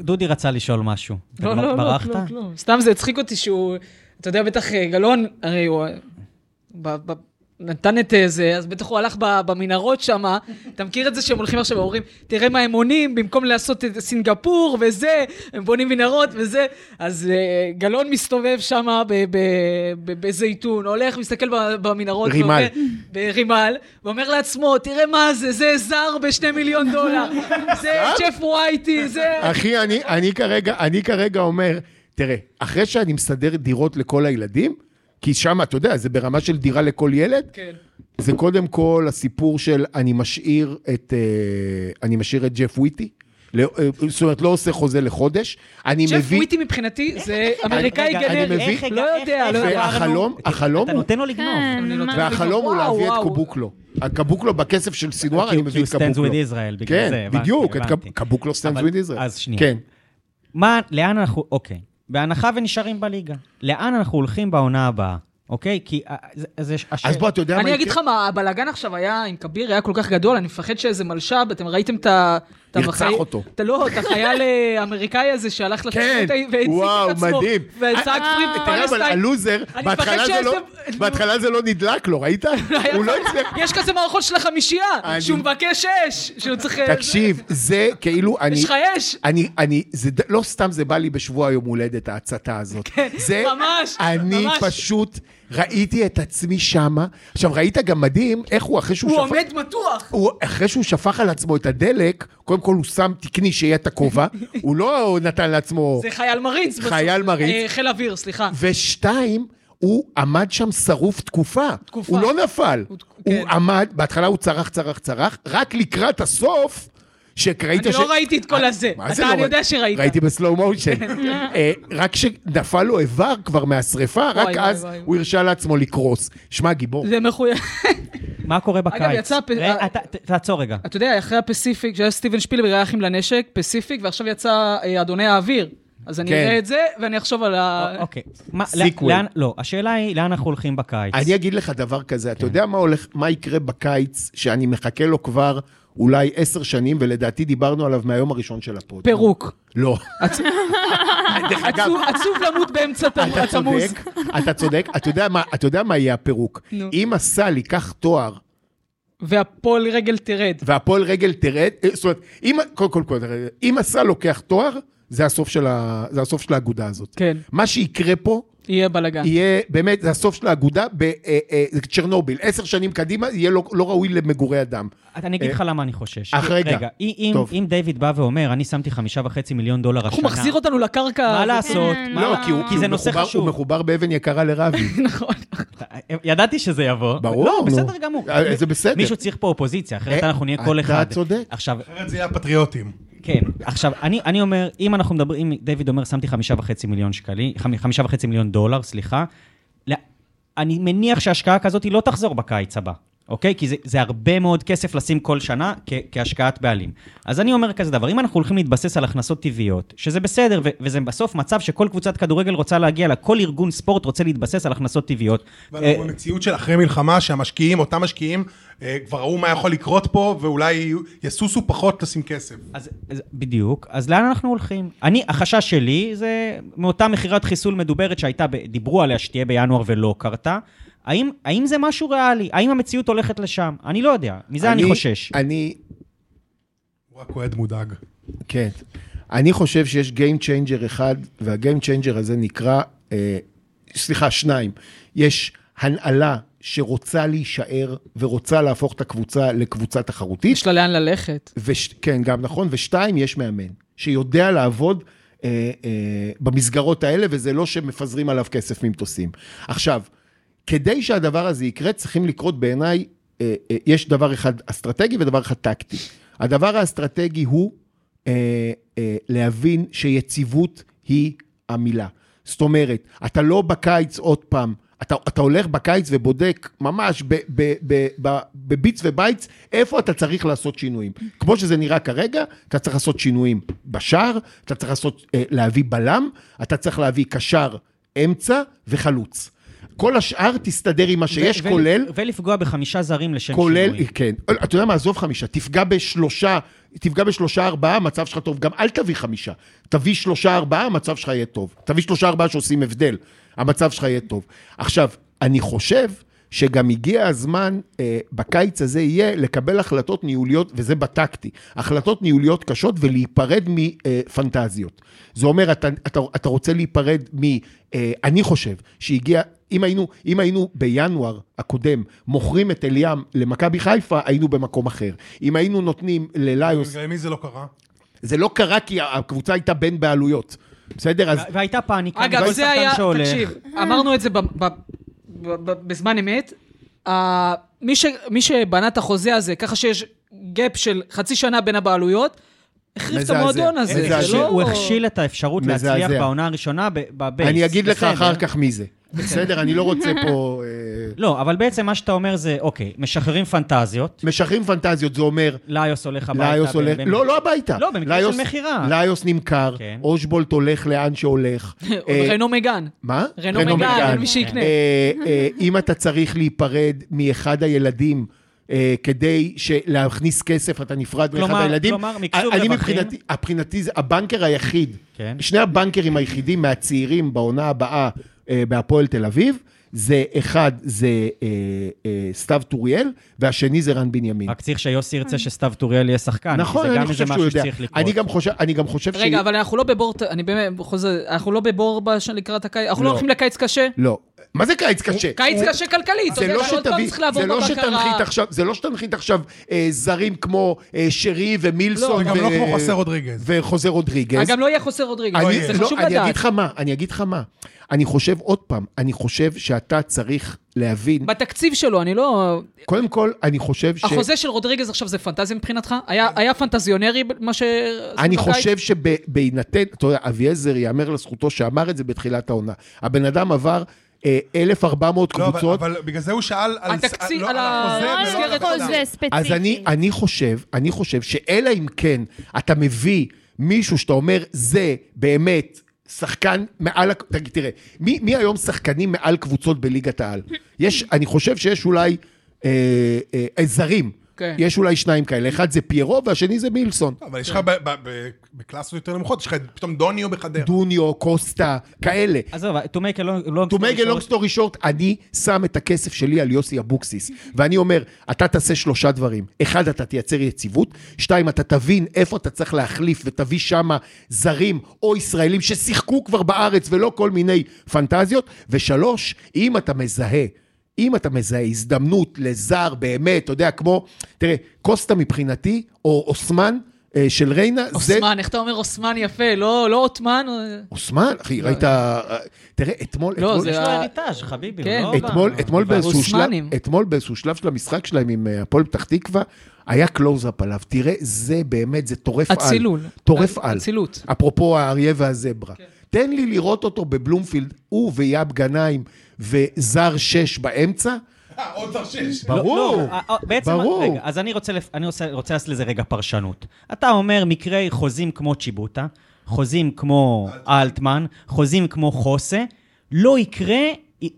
[SPEAKER 1] דודי רצה לשאול משהו.
[SPEAKER 6] לא, לא, לא,
[SPEAKER 1] ברחת?
[SPEAKER 6] לא, כלום. סתם זה הצחיק אותי שהוא, אתה יודע, בטח אה, גלאון, הרי הוא אה, ב- ב- נתן את אה, זה, אז בטח הוא הלך ב- במנהרות שם, אתה מכיר את זה שהם הולכים עכשיו ואומרים, תראה מה הם עונים, במקום לעשות את סינגפור וזה, הם בונים מנהרות וזה, אז אה, גלאון מסתובב שם ב- ב- ב- בזייתון, הולך, מסתכל ב- במנהרות,
[SPEAKER 2] רימל.
[SPEAKER 6] ואומר- ברימל, ואומר לעצמו, תראה מה זה, זה זר בשני מיליון דולר, זה צ'ף ווייטי, זה...
[SPEAKER 2] אחי, אני, אני, כרגע, אני כרגע אומר, תראה, אחרי שאני מסדר דירות לכל הילדים, כי שם, אתה יודע, זה ברמה של דירה לכל ילד,
[SPEAKER 6] כן.
[SPEAKER 2] זה קודם כל הסיפור של אני משאיר את, אה, אני משאיר את ג'ף וויטי. לא- אה, זאת אומרת, לא עושה חוזה לחודש. אני
[SPEAKER 6] ג'ף
[SPEAKER 2] מביא...
[SPEAKER 6] וויטי מבחינתי זה אמריקאי
[SPEAKER 1] רגע, אני
[SPEAKER 6] גנרי.
[SPEAKER 2] מבין.
[SPEAKER 1] איך הגע-
[SPEAKER 6] לא
[SPEAKER 1] איך-
[SPEAKER 6] יודע,
[SPEAKER 1] איך
[SPEAKER 6] לא יודע.
[SPEAKER 1] עברנו?
[SPEAKER 2] והחלום- החלום
[SPEAKER 1] אתה
[SPEAKER 2] הוא-
[SPEAKER 1] נותן לו לגנוב.
[SPEAKER 5] כן, מה-
[SPEAKER 2] והחלום הוא
[SPEAKER 6] וואו,
[SPEAKER 2] להביא את
[SPEAKER 6] וואו.
[SPEAKER 2] קבוקלו. הקבוקלו בכסף של סינואר,
[SPEAKER 1] כי
[SPEAKER 2] אני
[SPEAKER 1] הוא- כי
[SPEAKER 2] מביא
[SPEAKER 1] הוא
[SPEAKER 2] את קבוקלו.
[SPEAKER 1] stands with Israel, בגלל
[SPEAKER 2] כן,
[SPEAKER 1] זה, הבנתי,
[SPEAKER 2] בדיוק, את
[SPEAKER 1] הבנתי.
[SPEAKER 2] קב- קבוקלו stands
[SPEAKER 1] אבל-
[SPEAKER 2] with Israel.
[SPEAKER 1] אז שנייה.
[SPEAKER 2] כן.
[SPEAKER 1] מה, לאן אנחנו, אוקיי, בהנחה ונשארים בליגה, לאן אנחנו הולכים בעונה הבאה, אוקיי? כי אה, זה- זה... הש-
[SPEAKER 2] אז בוא, אתה יודע מה כן.
[SPEAKER 6] אני
[SPEAKER 2] יקרה?
[SPEAKER 6] אגיד לך מה, הבלאגן עכשיו היה עם כביר, היה כל כך גדול, אני מפחד שאיזה מלש"ב, אתם ראיתם את ה... את
[SPEAKER 2] ירצח
[SPEAKER 6] החי-
[SPEAKER 2] אותו.
[SPEAKER 6] את ה- לא, את החייל האמריקאי הזה שהלך
[SPEAKER 2] כן,
[SPEAKER 6] לתוכנית והציג
[SPEAKER 2] וואו,
[SPEAKER 6] את עצמו.
[SPEAKER 2] מדהים. אה,
[SPEAKER 6] וצעק פרי
[SPEAKER 2] תראה, אבל
[SPEAKER 6] פלסטיין.
[SPEAKER 2] הלוזר,
[SPEAKER 6] אני
[SPEAKER 2] בהתחלה
[SPEAKER 6] מפחד
[SPEAKER 2] זה לא-
[SPEAKER 6] שאיזה-
[SPEAKER 2] בהתחלה זה לא נדלק לו, ראית? הוא לא הצליח...
[SPEAKER 6] יש כזה מערכון של החמישייה,
[SPEAKER 2] אני-
[SPEAKER 6] שהוא מבקש אש, שהוא צריך...
[SPEAKER 2] תקשיב, זה כאילו, אני...
[SPEAKER 6] יש לך אש?
[SPEAKER 2] אני, אני, זה ד- לא סתם זה בא לי בשבוע יום הולדת, ההצתה הזאת. כן, זה,
[SPEAKER 6] ממש,
[SPEAKER 2] אני
[SPEAKER 6] ממש.
[SPEAKER 2] פשוט ראיתי את עצמי שמה. עכשיו, ראית גם מדהים איך הוא, אחרי שהוא
[SPEAKER 6] הוא
[SPEAKER 2] שפך...
[SPEAKER 6] עומד מתוח.
[SPEAKER 2] הוא, אחרי שהוא שפך על עצמו את הדלק, קודם כל הוא שם תקני שיהיה את
[SPEAKER 6] [LAUGHS]
[SPEAKER 2] הכובע, הוא לא נתן לעצמו...
[SPEAKER 6] זה חייל מריץ. בסוף.
[SPEAKER 2] חייל מריץ.
[SPEAKER 6] אה, חיל אוויר, סליחה.
[SPEAKER 2] ושתיים, הוא עמד שם שרוף תקופה.
[SPEAKER 6] תקופה.
[SPEAKER 2] הוא לא נפל.
[SPEAKER 6] הוא-
[SPEAKER 2] הוא,
[SPEAKER 6] כן.
[SPEAKER 2] עמד, בהתחלה הוא צרח, צרח, צרח, רק לקראת הסוף, שראית
[SPEAKER 6] אני לא ראיתי את כל הזה.
[SPEAKER 2] מה זה
[SPEAKER 6] אתה,
[SPEAKER 2] לא
[SPEAKER 6] אני
[SPEAKER 2] ראית?
[SPEAKER 6] יודע שראית.
[SPEAKER 2] ראיתי בסלואו
[SPEAKER 6] [LAUGHS]
[SPEAKER 2] מושן. אה, רק שנפל לו איבר כבר מהשריפה, רק
[SPEAKER 6] וואי,
[SPEAKER 2] אז
[SPEAKER 6] וואי, וואי.
[SPEAKER 2] הוא הרשה לעצמו לקרוס. שמע, גיבור.
[SPEAKER 6] זה מחויב.
[SPEAKER 1] מה קורה בקיץ?
[SPEAKER 6] יצא פ- אה,
[SPEAKER 1] ראה, אתה- ת- תעצור רגע.
[SPEAKER 6] אתה יודע, אחרי הפסיפיק, שהיה סטיבן שפילברג, היה אחים לנשק, פסיפיק, ועכשיו יצא אה, אדוני האוויר. אז אני
[SPEAKER 2] כן.
[SPEAKER 6] אראה את זה, ואני אחשוב על ה...
[SPEAKER 1] אוקיי. מה-
[SPEAKER 2] אה, sequel.
[SPEAKER 1] לאן- לא, השאלה היא, לאן אנחנו הולכים בקיץ?
[SPEAKER 2] אני אגיד לך דבר כזה,
[SPEAKER 6] כן.
[SPEAKER 2] אתה יודע מה הולך, מה יקרה בקיץ, שאני מחכה לו כבר אולי עשר שנים, ולדעתי דיברנו עליו מהיום הראשון של הפוד.
[SPEAKER 6] פירוק. [LAUGHS]
[SPEAKER 2] לא. דרך [LAUGHS] אגב,
[SPEAKER 6] עצוב- עצוב למות באמצע התמ-
[SPEAKER 2] אתה
[SPEAKER 6] התמוז.
[SPEAKER 2] צודק, אתה צודק, אתה יודע מה- אתה יודע מה יהיה הפירוק.
[SPEAKER 6] נו.
[SPEAKER 2] אם הסל ייקח תואר
[SPEAKER 6] והפועל רגל תרד.
[SPEAKER 2] והפועל רגל תרד, אה, זאת אומרת, אם, קודם כל, קודם כל, אם הסל לוקח תואר, זה הסוף של, ה, זה הסוף של האגודה הזאת.
[SPEAKER 6] כן.
[SPEAKER 2] מה שיקרה פה,
[SPEAKER 6] יהיה בלאגן.
[SPEAKER 2] יהיה, באמת, זה הסוף של האגודה, ב, אה, אה, זה צ'רנוביל, עשר שנים קדימה, יהיה לא, לא ראוי למגורי אדם.
[SPEAKER 1] אני אגיד לך למה אני חושש.
[SPEAKER 2] אך אה, רגע,
[SPEAKER 1] רגע, אם- אם-
[SPEAKER 2] טוב.
[SPEAKER 1] אם דיוויד בא ואומר, אני שמתי חמישה וחצי מיליון דולר השנה...
[SPEAKER 6] איך הוא מחזיר אותנו לקרקע?
[SPEAKER 1] מה
[SPEAKER 6] הזאת?
[SPEAKER 1] לעשות?
[SPEAKER 5] כן,
[SPEAKER 1] מה-
[SPEAKER 2] לא, כי הוא,
[SPEAKER 1] כי זה
[SPEAKER 2] הוא
[SPEAKER 1] נושא
[SPEAKER 2] מחובר, הוא
[SPEAKER 1] חשוב. אה,
[SPEAKER 2] מחובר באבן יקרה לרבי.
[SPEAKER 1] [LAUGHS]
[SPEAKER 6] נכון.
[SPEAKER 1] ידעתי שזה יבוא.
[SPEAKER 2] ברור,
[SPEAKER 1] לא,
[SPEAKER 2] נו.
[SPEAKER 1] בסדר גמור.
[SPEAKER 2] אה, זה בסדר.
[SPEAKER 1] מישהו צריך פה אופוזיציה, אחרת
[SPEAKER 2] אה,
[SPEAKER 1] אנחנו נהיה כל
[SPEAKER 2] אתה
[SPEAKER 1] אחד.
[SPEAKER 2] צודק.
[SPEAKER 1] עכשיו,
[SPEAKER 4] אחרת זה יהיה הפטריוטים.
[SPEAKER 1] כן. עכשיו, אני, אני אומר, אם אנחנו מדברים, אם דיוויד אומר, שמתי חמישה וחצי מיליון שקלים, חמ- חמישה וחצי מיליון דולר, סליחה, לא- אני מניח שהשקעה כזאת היא לא תחזור בקיץ הבא. אוקיי? כי זה, זה הרבה מאוד כסף לשים כל שנה כ- כהשקעת בעלים. אז אני אומר כזה דבר, אם אנחנו הולכים להתבסס על הכנסות טבעיות, שזה בסדר, ו- וזה בסוף מצב שכל קבוצת כדורגל רוצה להגיע לה, כל ארגון ספורט רוצה להתבסס על הכנסות טבעיות. אה,
[SPEAKER 4] ואנחנו במציאות של אחרי מלחמה, שהמשקיעים, אותם משקיעים, אה, כבר ראו מה יכול לקרות פה, ואולי יסוסו פחות לשים כסף.
[SPEAKER 1] אז, אז בדיוק, אז לאן אנחנו הולכים? אני, החשש שלי זה מאותה מכירת חיסול מדוברת שהייתה, ב- דיברו עליה שתהיה בינואר ולא קרתה. האם, האם זה משהו ריאלי? האם המציאות הולכת לשם? אני לא יודע, מזה אני, אני חושש.
[SPEAKER 2] אני,
[SPEAKER 4] הוא רק אוהד מודאג.
[SPEAKER 2] כן. אני חושב שיש Game Changer אחד, וה-Game Changer הזה נקרא, אה, סליחה, שניים. יש הנהלה שרוצה להישאר ורוצה להפוך את הקבוצה לקבוצה תחרותית.
[SPEAKER 6] יש לה לאן ללכת.
[SPEAKER 2] וש, כן, גם נכון. ושתיים, יש מאמן שיודע לעבוד אה, אה, במסגרות האלה, וזה לא שמפזרים עליו כסף ממטוסים. עכשיו, כדי שהדבר הזה יקרה, צריכים לקרות בעיניי, אה, אה, יש דבר אחד אסטרטגי ודבר אחד טקטי. הדבר האסטרטגי הוא אה, אה, להבין שיציבות היא המילה. זאת אומרת, אתה לא בקיץ עוד פעם, אתה, אתה הולך בקיץ ובודק ממש ב- ב- ב- ב- בביץ ובייץ, איפה אתה צריך לעשות שינויים. כמו שזה נראה כרגע, אתה צריך לעשות שינויים בשער, אתה צריך לעשות, אה, להביא בלם, אתה צריך להביא קשר, אמצע וחלוץ. כל השאר תסתדר עם מה שיש,
[SPEAKER 1] ו- ו-
[SPEAKER 2] כולל...
[SPEAKER 1] ולפגוע בחמישה זרים לשם
[SPEAKER 2] כולל,
[SPEAKER 1] שינוי.
[SPEAKER 2] כן. אתה יודע מה, עזוב חמישה, תפגע בשלושה, תפגע בשלושה ארבעה, המצב שלך טוב. גם אל תביא חמישה. תביא שלושה ארבעה, המצב שלך יהיה טוב. תביא שלושה ארבעה שעושים הבדל, המצב שלך יהיה טוב. עכשיו, אני חושב שגם הגיע הזמן, אה, בקיץ הזה יהיה, לקבל החלטות ניהוליות, וזה בטקטי, החלטות ניהוליות קשות ולהיפרד מפנטזיות. זה אומר, אתה, אתה, אתה רוצה להיפרד מ... אה, אני חושב שהגיע, אם היינו, אם היינו בינואר הקודם מוכרים את אליאם למכבי חיפה, היינו במקום אחר. אם היינו נותנים לליוס,
[SPEAKER 4] בגלל מי זה לא קרה?
[SPEAKER 2] זה לא קרה כי הקבוצה הייתה בין בעלויות. בסדר? אז
[SPEAKER 1] ו- והייתה פאניקה,
[SPEAKER 6] אגב,
[SPEAKER 1] וכל
[SPEAKER 6] זה
[SPEAKER 1] לא שחקן
[SPEAKER 6] היה,
[SPEAKER 1] שהולך-
[SPEAKER 6] תקשיב,
[SPEAKER 1] [LAUGHS]
[SPEAKER 6] אמרנו את זה ב- ב- ב- ב- בזמן אמת. ה- מי ש- מי שבנה את החוזה הזה, ככה שיש גאפ של חצי שנה בין הבעלויות, החריב את
[SPEAKER 2] מזעזע.
[SPEAKER 6] המועדון הזה. זה
[SPEAKER 2] מזעזע.
[SPEAKER 6] לא-
[SPEAKER 1] הוא הכשיל את האפשרות להצליח
[SPEAKER 2] מזעזע.
[SPEAKER 1] בעונה הראשונה ב- בבייס.
[SPEAKER 2] אני אגיד לך
[SPEAKER 1] בסדר. כן.
[SPEAKER 2] אחר כך מי זה. בסדר? אני לא רוצה פה... אה,
[SPEAKER 1] לא, אבל בעצם מה שאתה אומר זה, אוקיי, משחררים פנטזיות,
[SPEAKER 2] משחררים פנטזיות, זה אומר...
[SPEAKER 1] ליוס הולך הביתה.
[SPEAKER 2] ליוס
[SPEAKER 1] ב-
[SPEAKER 2] הולך,
[SPEAKER 1] ב-
[SPEAKER 2] לא, לא הביתה.
[SPEAKER 1] לא, במקרה של
[SPEAKER 2] ליוס-
[SPEAKER 1] מכירה.
[SPEAKER 2] ליוס נמכר,
[SPEAKER 1] כן. לא
[SPEAKER 2] אושבולט הולך
[SPEAKER 1] [LAUGHS]
[SPEAKER 2] לאן שהולך. אה,
[SPEAKER 6] רנו מגן.
[SPEAKER 2] מה?
[SPEAKER 6] רנו מגן, אין מי שיקנה.
[SPEAKER 2] אה, אה, אם אתה צריך להיפרד מאחד הילדים אה, כדי ש- להכניס כסף, אתה נפרד מאחד
[SPEAKER 1] כלומר-
[SPEAKER 2] הילדים.
[SPEAKER 1] כלומר, מקסום
[SPEAKER 2] אני
[SPEAKER 1] רווחים.
[SPEAKER 2] מבחינתי, מבחינתי זה הבנקר היחיד,
[SPEAKER 1] כן.
[SPEAKER 2] שני הבנקרים היחידים מהצעירים בעונה הבאה אה, בהפועל תל אביב, זה אחד, זה אה, אה, סתיו טוריאל, והשני זה רן בנימין.
[SPEAKER 1] רק צריך שיוסי ירצה שסתיו טוריאל יהיה שחקן. כי
[SPEAKER 2] אוקיי. נכון, אני
[SPEAKER 1] זה
[SPEAKER 2] חושב
[SPEAKER 1] גם איזה
[SPEAKER 2] שהוא
[SPEAKER 1] משהו
[SPEAKER 2] יודע.
[SPEAKER 1] שצריך לקרות.
[SPEAKER 2] אני גם חושב, אני גם חושב
[SPEAKER 6] רגע, אבל אנחנו לא בבור, ת- אני באמת, בכל זאת, אנחנו לא בבור בש- לקראת הקיץ, אנחנו לא
[SPEAKER 2] לא.
[SPEAKER 6] הולכים לקיץ קשה.
[SPEAKER 2] לא. מה זה קיץ קשה?
[SPEAKER 6] קיץ קשה כלכלית, אתה
[SPEAKER 2] זה
[SPEAKER 6] יודע
[SPEAKER 2] לא
[SPEAKER 6] שעוד פעם
[SPEAKER 2] שתביא,
[SPEAKER 6] צריך לעבור
[SPEAKER 2] זה לא שתנחית
[SPEAKER 6] בבקרה.
[SPEAKER 2] עכשיו, זה לא שתנחית עכשיו אה, זרים כמו אה, שרי
[SPEAKER 4] לא,
[SPEAKER 2] ומילסון
[SPEAKER 4] וגם לא
[SPEAKER 2] ו-
[SPEAKER 4] כמו חוסה רודריגז.
[SPEAKER 2] וחוזה רודריגז.
[SPEAKER 6] גם לא יהיה חוסר רודריגז,
[SPEAKER 2] אני-
[SPEAKER 6] זה
[SPEAKER 2] לא,
[SPEAKER 6] חשוב
[SPEAKER 2] אני אגיד
[SPEAKER 6] לדעת.
[SPEAKER 2] לך מה, אני אגיד לך מה. אני חושב עוד פעם, אני חושב שאתה צריך להבין,
[SPEAKER 6] בתקציב שלו, אני לא...
[SPEAKER 2] קודם כל, אני חושב ש...
[SPEAKER 6] החוזה של רודריגז עכשיו זה פנטזיה מבחינתך? היה היה פנטזיונרי ב- מה ש...
[SPEAKER 2] אני
[SPEAKER 6] בקיץ?
[SPEAKER 2] חושב שבהינתן, אתה יודע, אביעזר, יאמר לזכותו שאמר את זה בתחילת העונה. הבן אדם עבר אה, 1,400
[SPEAKER 4] לא, אבל-
[SPEAKER 2] קבוצות.
[SPEAKER 4] אבל בגלל זה הוא שאל על
[SPEAKER 6] התקציב,
[SPEAKER 4] לא,
[SPEAKER 6] על
[SPEAKER 4] החוזה
[SPEAKER 5] לא
[SPEAKER 6] ה-
[SPEAKER 4] ולא
[SPEAKER 5] על
[SPEAKER 6] מסגרת
[SPEAKER 4] החוזה.
[SPEAKER 5] חוזה ספציפי.
[SPEAKER 2] אז אני, אני חושב, אני חושב שאלא אם כן אתה מביא מישהו שאתה אומר, זה באמת שחקן מעל, הק- תגיד, תראה, מי, מי היום שחקנים מעל קבוצות בליגת העל? יש, אני חושב שיש אולי אה, אה, אה, זרים.
[SPEAKER 6] כן.
[SPEAKER 2] יש אולי שניים כאלה, אחד זה פיירו והשני זה מילסון.
[SPEAKER 4] לא, אבל יש לך ב- ב- ב- בקלאסות יותר נמוכות, יש לך פתאום דוניו בחדרה.
[SPEAKER 2] דוניו, קוסטה, כאלה.
[SPEAKER 1] עזוב, לא- to make a long- long
[SPEAKER 2] To
[SPEAKER 1] story
[SPEAKER 2] make a long
[SPEAKER 1] short,
[SPEAKER 2] story short, אני שם את הכסף שלי על יוסי אבוקסיס, ואני אומר, אתה תעשה שלושה דברים. אחד, אתה תייצר יציבות, שתיים, אתה תבין איפה אתה צריך להחליף ותביא שמה זרים או ישראלים ששיחקו כבר בארץ ולא כל מיני פנטזיות, ושלוש, אם אתה מזהה, אם אתה מזהה הזדמנות לזר באמת, אתה יודע, כמו, תראה, קוסטה מבחינתי, או אוסמן אה, של ריינה, זה...
[SPEAKER 6] אוסמן, איך אתה אומר אוסמן יפה? לא לא עות'מן?
[SPEAKER 2] אוסמן, אחי, ראית... אה, תראה, אתמול...
[SPEAKER 6] לא,
[SPEAKER 2] אתמול-
[SPEAKER 1] יש לו
[SPEAKER 6] זה ה-
[SPEAKER 1] אריטאז', חביבי,
[SPEAKER 6] כן.
[SPEAKER 1] הוא לא... בא-
[SPEAKER 2] אתמול, אתמול, באיזשהו שלב,
[SPEAKER 6] אוסמנים.
[SPEAKER 2] אתמול באיזשהו שלב של המשחק שלהם עם אה, הפועל פתח תקווה, היה קלוז-אפ עליו. תראה, זה באמת, זה טורף על.
[SPEAKER 6] הצילול.
[SPEAKER 2] טורף
[SPEAKER 6] הצ- כן.
[SPEAKER 2] על.
[SPEAKER 6] אצילות.
[SPEAKER 2] אפרופו האריה והזברה. תן לי לראות אותו בבלומפילד, הוא ויאב גנאים וזר שש באמצע.
[SPEAKER 4] אה, עוד תרשיש.
[SPEAKER 1] לא,
[SPEAKER 2] ברור,
[SPEAKER 1] לא, אה, אה, בעצם,
[SPEAKER 2] ברור.
[SPEAKER 1] רגע, אז אני רוצה, לפ- אני רוצה, רוצה לעשות לזה רגע פרשנות. אתה אומר מקרי חוזים כמו צ'יבוטה, חוזים כמו אלטמן, חוזים כמו חוסה, לא יקרה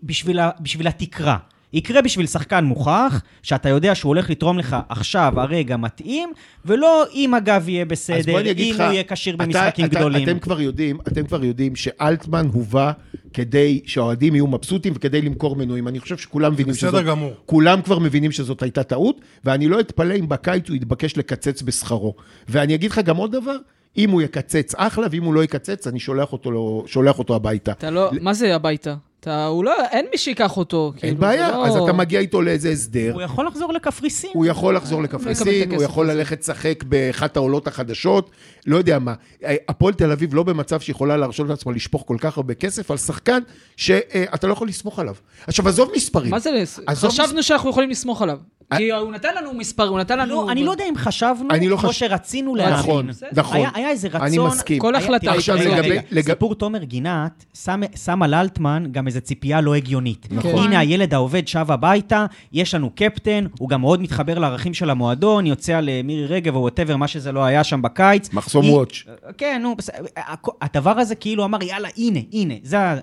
[SPEAKER 1] בשביל, ה- בשביל התקרה. יקרה בשביל שחקן מוכח, שאתה יודע שהוא הולך לתרום לך עכשיו, הרגע מתאים, ולא אם הגב יהיה
[SPEAKER 2] אז
[SPEAKER 1] בסדר,
[SPEAKER 2] בוא אני
[SPEAKER 1] אם
[SPEAKER 2] אגיד לך,
[SPEAKER 1] הוא יהיה כשיר
[SPEAKER 2] אתה-
[SPEAKER 1] במשחקים
[SPEAKER 2] אתה-
[SPEAKER 1] גדולים.
[SPEAKER 2] אתם כבר יודעים, אתם כבר יודעים שאלטמן הובא כדי שהאוהדים יהיו מבסוטים וכדי למכור מנויים. אני חושב שכולם מבינים
[SPEAKER 4] בסדר
[SPEAKER 2] שזאת...
[SPEAKER 4] גמור.
[SPEAKER 2] כולם כבר מבינים שזאת הייתה טעות, ואני לא אתפלא אם בקיץ הוא יתבקש לקצץ בשכרו. ואני אגיד לך גם עוד דבר, אם הוא יקצץ אחלה, ואם הוא לא יקצץ, אני שולח אותו, לו- שולח אותו הביתה.
[SPEAKER 6] אתה לא, מה זה הביתה? אתה, הוא לא, אין מי שיקח אותו.
[SPEAKER 2] אין
[SPEAKER 6] כאילו,
[SPEAKER 2] בעיה,
[SPEAKER 6] זה לא-
[SPEAKER 2] אז אתה מגיע איתו לאיזה הסדר.
[SPEAKER 1] הוא יכול לחזור לקפריסין.
[SPEAKER 2] הוא יכול לחזור
[SPEAKER 6] מקבל אה, את
[SPEAKER 2] לקפריסין,
[SPEAKER 6] הכסף
[SPEAKER 2] הוא יכול
[SPEAKER 6] הזה.
[SPEAKER 2] ללכת לשחק באחת העולות החדשות, לא יודע מה. אה, הפועל תל אביב לא במצב שיכולה להרשות לעצמה לשפוך כל כך הרבה כסף על שחקן שאתה לא יכול לסמוך עליו. עכשיו, עזוב מספרים.
[SPEAKER 6] מה זה, לס-
[SPEAKER 2] עזוב
[SPEAKER 6] חשבנו שאנחנו יכולים לסמוך עליו.
[SPEAKER 2] אה-
[SPEAKER 6] כי הוא נתן לנו מספר, הוא נתן לנו...
[SPEAKER 1] לא, אני לא יודע אם חשבנו,
[SPEAKER 2] אני לא
[SPEAKER 1] או
[SPEAKER 2] חש-
[SPEAKER 1] שרצינו להאמין.
[SPEAKER 2] נכון, נכון.
[SPEAKER 1] היה- היה איזה
[SPEAKER 2] אני
[SPEAKER 1] רצון-
[SPEAKER 2] מסכים.
[SPEAKER 6] כל
[SPEAKER 1] היה-
[SPEAKER 6] החלטה.
[SPEAKER 1] תראה,
[SPEAKER 2] עכשיו,
[SPEAKER 1] רגע,
[SPEAKER 2] לגבי-
[SPEAKER 1] רגע,
[SPEAKER 2] לגב-
[SPEAKER 1] סיפור תומר גינת, שם- שם על אלטמן גם איזו ציפייה לא הגיונית.
[SPEAKER 2] נכון.
[SPEAKER 1] הנה הילד העובד שב הביתה, יש לנו קפטן, הוא גם מאוד מתחבר לערכים של המועדון, יוצא למירי רגב או וואטאבר, מה שזה לא היה שם בקיץ.
[SPEAKER 2] מחסום
[SPEAKER 1] היא-
[SPEAKER 2] וואץ'.
[SPEAKER 1] כן, נו, בסדר. הכ- הדבר הזה כאילו אמר, יאללה, הנה, הנה, זה ה...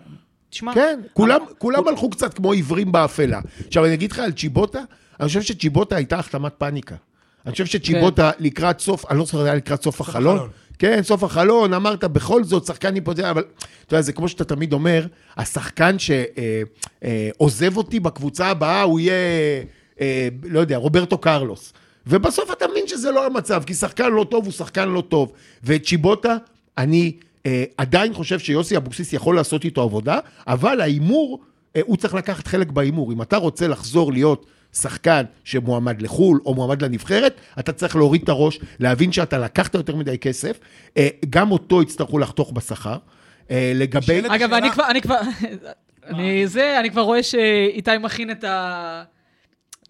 [SPEAKER 1] תשמע,
[SPEAKER 2] כן,
[SPEAKER 6] אה,
[SPEAKER 2] כולם, כולם הלכו קצת כמו עיוורים באפלה. עכשיו, אני אגיד לך על צ'יבוטה, אני חושב שצ'יבוטה הייתה החתמת פאניקה. אני חושב שצ'יבוטה
[SPEAKER 6] כן.
[SPEAKER 2] לקראת סוף, אני לא זוכר, זה היה לקראת סוף החלון.
[SPEAKER 4] החלון.
[SPEAKER 2] כן, סוף החלון, אמרת, בכל זאת, שחקן היפותטי, אבל אתה יודע, זה כמו שאתה תמיד אומר, השחקן שעוזב אותי בקבוצה הבאה, הוא יהיה, אה, לא יודע, רוברטו קרלוס. ובסוף אתה מבין שזה לא המצב, כי שחקן לא טוב הוא שחקן לא טוב. וצ'יבוטה, אני אה, עדיין חושב שיוסי אבוקסיס יכול לעשות איתו עבודה, אבל ההימור, אה, הוא צריך לקחת חלק בהימור. אם אתה רוצה לחזור להיות שחקן שמועמד לחו"ל או מועמד לנבחרת, אתה צריך להוריד את הראש, להבין שאתה לקחת יותר מדי כסף. אה, גם אותו יצטרכו לחתוך בשכר. אה, לגבי...
[SPEAKER 4] שאלת-
[SPEAKER 6] אגב, אני
[SPEAKER 4] שאלה-
[SPEAKER 6] כבר, אני כבר, אני זה, אני כבר רואה שאיתי מכין את ה...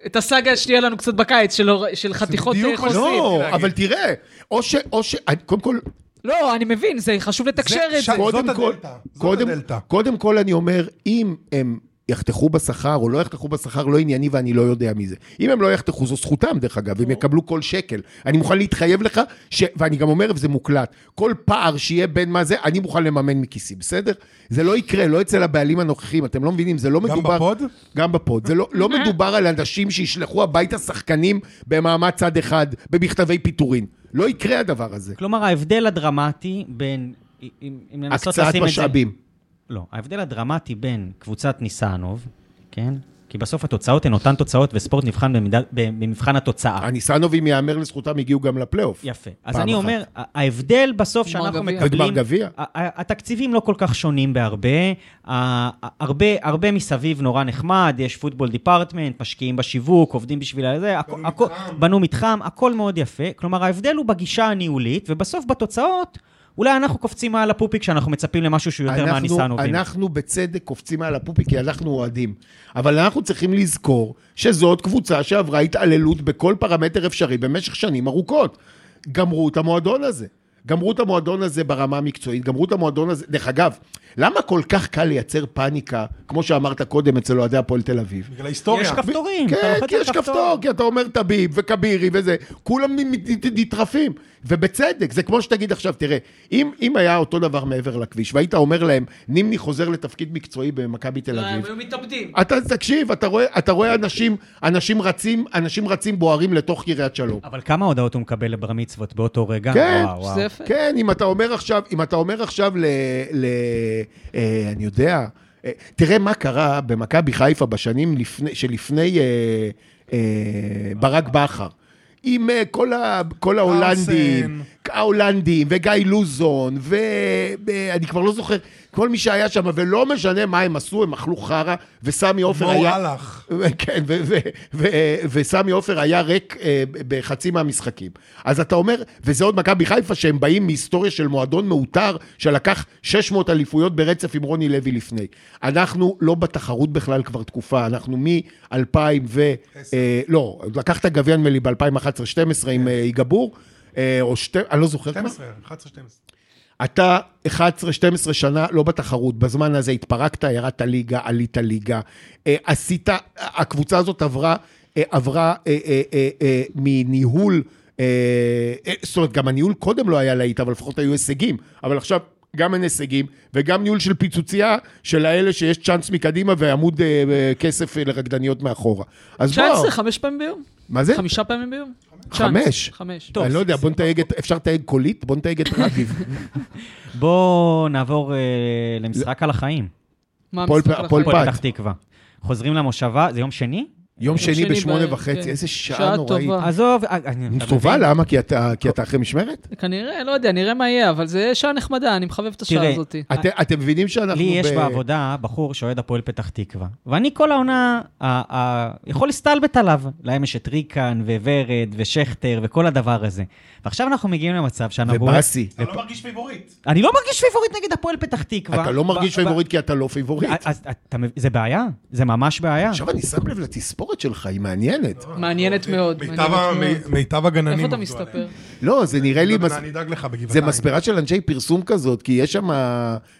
[SPEAKER 6] את הסאגה שתהיה לנו קצת בקיץ של, הור- של חתיכות
[SPEAKER 4] בדיוק מה
[SPEAKER 6] אה, חוזים.
[SPEAKER 4] שרציתי
[SPEAKER 2] לא,
[SPEAKER 4] להגיד.
[SPEAKER 2] אבל תראה, או ש... או ש... קודם כל,
[SPEAKER 6] לא, אני מבין, זה חשוב לתקשר את זה.
[SPEAKER 4] שם- אה, זאת
[SPEAKER 2] קודם כל,
[SPEAKER 4] הדלתא, זאת
[SPEAKER 2] קודם,
[SPEAKER 4] הדלתא.
[SPEAKER 2] קודם כל אני אומר, אם הם יחתכו בשכר או לא יחתכו בשכר, לא ענייני ואני לא יודע מזה. אם הם לא יחתכו, זו זכותם דרך אגב, הם יקבלו כל שקל. אני מוכן להתחייב לך, ש... ואני גם אומר, וזה מוקלט, כל פער שיהיה בין מה זה, אני מוכן לממן מכיסי, בסדר? זה לא יקרה, לא אצל הבעלים הנוכחים, אתם לא מבינים, זה לא
[SPEAKER 4] גם
[SPEAKER 2] מדובר...
[SPEAKER 4] בפוד?
[SPEAKER 2] גם בפוד. זה לא, לא מדובר על אנשים שישלחו הביתה שחקנים במעמד צד אחד, במכתבי פיטורין. לא יקרה הדבר הזה.
[SPEAKER 1] כלומר, ההבדל הדרמטי בין... אם- אם לנסות
[SPEAKER 2] הקצאת
[SPEAKER 1] לשים את זה...
[SPEAKER 2] משאבים.
[SPEAKER 1] לא, ההבדל הדרמטי בין קבוצת ניסנוב, כן? כי בסוף התוצאות הן אותן תוצאות, וספורט נבחן במידה, במבחן התוצאה.
[SPEAKER 2] הניסנובים, יאמר לזכותם, הגיעו גם לפלייאוף.
[SPEAKER 1] יפה. אז
[SPEAKER 2] פעם
[SPEAKER 1] אני
[SPEAKER 2] אחת.
[SPEAKER 1] אומר, ה- ההבדל בסוף
[SPEAKER 6] גמר
[SPEAKER 1] שאנחנו
[SPEAKER 6] גביע.
[SPEAKER 1] מקבלים...
[SPEAKER 2] בגמר גביע.
[SPEAKER 1] ה- ה- התקציבים לא כל כך שונים בהרבה. ה- ה- הרבה, הרבה מסביב נורא נחמד, יש פוטבול דיפרטמנט, משקיעים בשיווק, עובדים בשביל הזה, הכ-
[SPEAKER 4] בנו
[SPEAKER 1] הכ-
[SPEAKER 4] מתחם.
[SPEAKER 1] בנו מתחם, הכל מאוד יפה. כלומר, ההבדל הוא בגישה הניהולית, ובסוף בתוצאות, אולי אנחנו קופצים מעל הפופיק שאנחנו מצפים למשהו שהוא יותר מהניסנובים.
[SPEAKER 2] אנחנו בצדק קופצים על הפופי, כי אנחנו אוהדים. אבל אנחנו צריכים לזכור שזאת קבוצה שעברה התעללות בכל פרמטר אפשרי במשך שנים ארוכות. גמרו את המועדון הזה. גמרו את המועדון הזה ברמה המקצועית, גמרו את המועדון הזה... דרך אגב, למה כל כך קל לייצר פאניקה, כמו שאמרת קודם, אצל אוהדי הפועל תל אביב?
[SPEAKER 4] בגלל ההיסטוריה.
[SPEAKER 1] יש כפתורים, אתה
[SPEAKER 2] כן,
[SPEAKER 1] לוחץ
[SPEAKER 2] כי
[SPEAKER 1] על
[SPEAKER 2] יש כפתור, כי אתה אומר טביב וכבירי וזה, כולם מת- מת- נטרפים, ובצדק, זה כמו שתגיד עכשיו, תראה, אם, אם היה אותו דבר מעבר לכביש, והיית אומר להם, נימני חוזר לתפקיד מקצועי במכבי תל
[SPEAKER 6] לא, הם
[SPEAKER 2] אביב,
[SPEAKER 6] היו מתאבדים.
[SPEAKER 2] אתה תקשיב, אתה רואה, אתה רואה אנשים, אנשים רצים, אנשים רצים בוערים לתוך קריית שלום.
[SPEAKER 1] אבל כמה הודעות הוא מקבל לבר מצוות באותו רגע?
[SPEAKER 2] כן,
[SPEAKER 1] וואו, וואו.
[SPEAKER 6] שזה יפה.
[SPEAKER 2] כן, אם אתה אומר עכשיו, אם אתה אומר עכשיו ל... ל אה, אני יודע, אה, תראה מה קרה במכבי חיפה בשנים לפני, שלפני אה, אה, ברק בכר. עם אה, כל, ה, כל ההולנדים, ההולנדים, וגיא לוזון, ואני כבר לא זוכר, כל מי שהיה שם, ולא משנה מה הם עשו, הם אכלו חרא, וסמי עופר
[SPEAKER 4] מו
[SPEAKER 2] היה...
[SPEAKER 4] הלך.
[SPEAKER 2] כן, ו- ו- ו- וסמי עופר היה ריק אה, בחצי מהמשחקים. אז אתה אומר, וזה עוד מכבי חיפה, שהם באים מהיסטוריה של מועדון מעוטר, שלקח 600 אליפויות ברצף עם רוני לוי לפני. אנחנו לא בתחרות בכלל כבר תקופה, אנחנו מ-2000 ו... אה, לא, לקח את הגביע נדמה לי ב-2011-2012 עם אה, יגבור, אה, או שתי... אני לא זוכר. כבר.
[SPEAKER 4] 12, 11, 12.
[SPEAKER 2] אתה 11-12 שנה לא בתחרות, בזמן הזה התפרקת, ירדת ליגה, עלית ליגה. אה, עשית, הקבוצה הזאת עברה, אה, עברה אה, אה, אה, אה, מניהול, אה, אה, זאת אומרת, גם הניהול קודם לא היה להיט, אבל לפחות היו הישגים. אבל עכשיו גם אין הישגים, וגם ניהול של פיצוצייה של האלה שיש צ'אנס מקדימה ועמוד אה, אה, כסף אה, לרקדניות מאחורה. אז בוא,
[SPEAKER 6] 19, חמש פעמים ביום?
[SPEAKER 2] מה זה?
[SPEAKER 6] חמישה פעמים ביום?
[SPEAKER 2] חמש.
[SPEAKER 6] חמש.
[SPEAKER 1] טוב,
[SPEAKER 2] אני לא יודע, בוא נתייג את, אפשר לתייג קולית? בוא נתייג את
[SPEAKER 6] [LAUGHS]
[SPEAKER 2] רביב.
[SPEAKER 1] בואו נעבור אה, למשחק על החיים.
[SPEAKER 6] מה
[SPEAKER 2] הפועל-
[SPEAKER 6] המשחק
[SPEAKER 2] הפועל
[SPEAKER 6] לחיים?
[SPEAKER 2] פת.
[SPEAKER 1] פתח תקווה. חוזרים למושבה, זה יום שני?
[SPEAKER 2] יום שני
[SPEAKER 6] שני
[SPEAKER 2] בשמונה
[SPEAKER 6] בערב, כן.
[SPEAKER 2] וחצי, איזה שעה
[SPEAKER 6] שעה
[SPEAKER 2] נוראית.
[SPEAKER 6] טובה.
[SPEAKER 1] עזוב, אה, אני- אתה
[SPEAKER 2] טובה,
[SPEAKER 1] מבין?
[SPEAKER 2] למה? כי אתה כי אתה אחרי משמרת?
[SPEAKER 6] כנראה, לא יודע, נראה מה יהיה, אבל זה שעה נחמדה, אני מחבב את השעה
[SPEAKER 1] תראה,
[SPEAKER 6] הזאת.
[SPEAKER 2] אתם- אתם מבינים שאנחנו...
[SPEAKER 1] לי יש
[SPEAKER 2] ב-
[SPEAKER 1] בעבודה בחור שאוהד הפועל פתח תקווה, ואני כל העונה ה- ה- יכול להסתלבט עליו. להם יש את ריקן וורד ושכטר וכל הדבר הזה. ועכשיו אנחנו מגיעים למצב שאנחנו...
[SPEAKER 2] ובאסי.
[SPEAKER 4] אתה לא מרגיש פיבוריט.
[SPEAKER 1] אני לא מרגיש פיבוריט נגד הפועל פתח תקווה.
[SPEAKER 2] אתה לא
[SPEAKER 1] ב-
[SPEAKER 2] מרגיש
[SPEAKER 1] ב- אה,
[SPEAKER 2] פייבוריט כי אתה לא פייבוריט.
[SPEAKER 1] אז אתה מב- זה בעיה? זה ממש בעיה.
[SPEAKER 2] עכשיו אני שם לב לתספורת שלך, היא מעניינת.
[SPEAKER 6] מעניינת מאוד.
[SPEAKER 4] אה, מיטב
[SPEAKER 6] מעניינת
[SPEAKER 4] ה-
[SPEAKER 6] מאוד.
[SPEAKER 4] מי- מיטב הגננים.
[SPEAKER 6] איפה אתה
[SPEAKER 4] עבדו
[SPEAKER 6] מסתפר?
[SPEAKER 4] עליהם.
[SPEAKER 2] לא, זה נראה לי...
[SPEAKER 4] לא יודע,
[SPEAKER 2] מס-
[SPEAKER 4] אני אדאג לך
[SPEAKER 2] זה
[SPEAKER 4] בגבעתיים.
[SPEAKER 2] מספרה של אנשי פרסום כזאת, כי יש שם...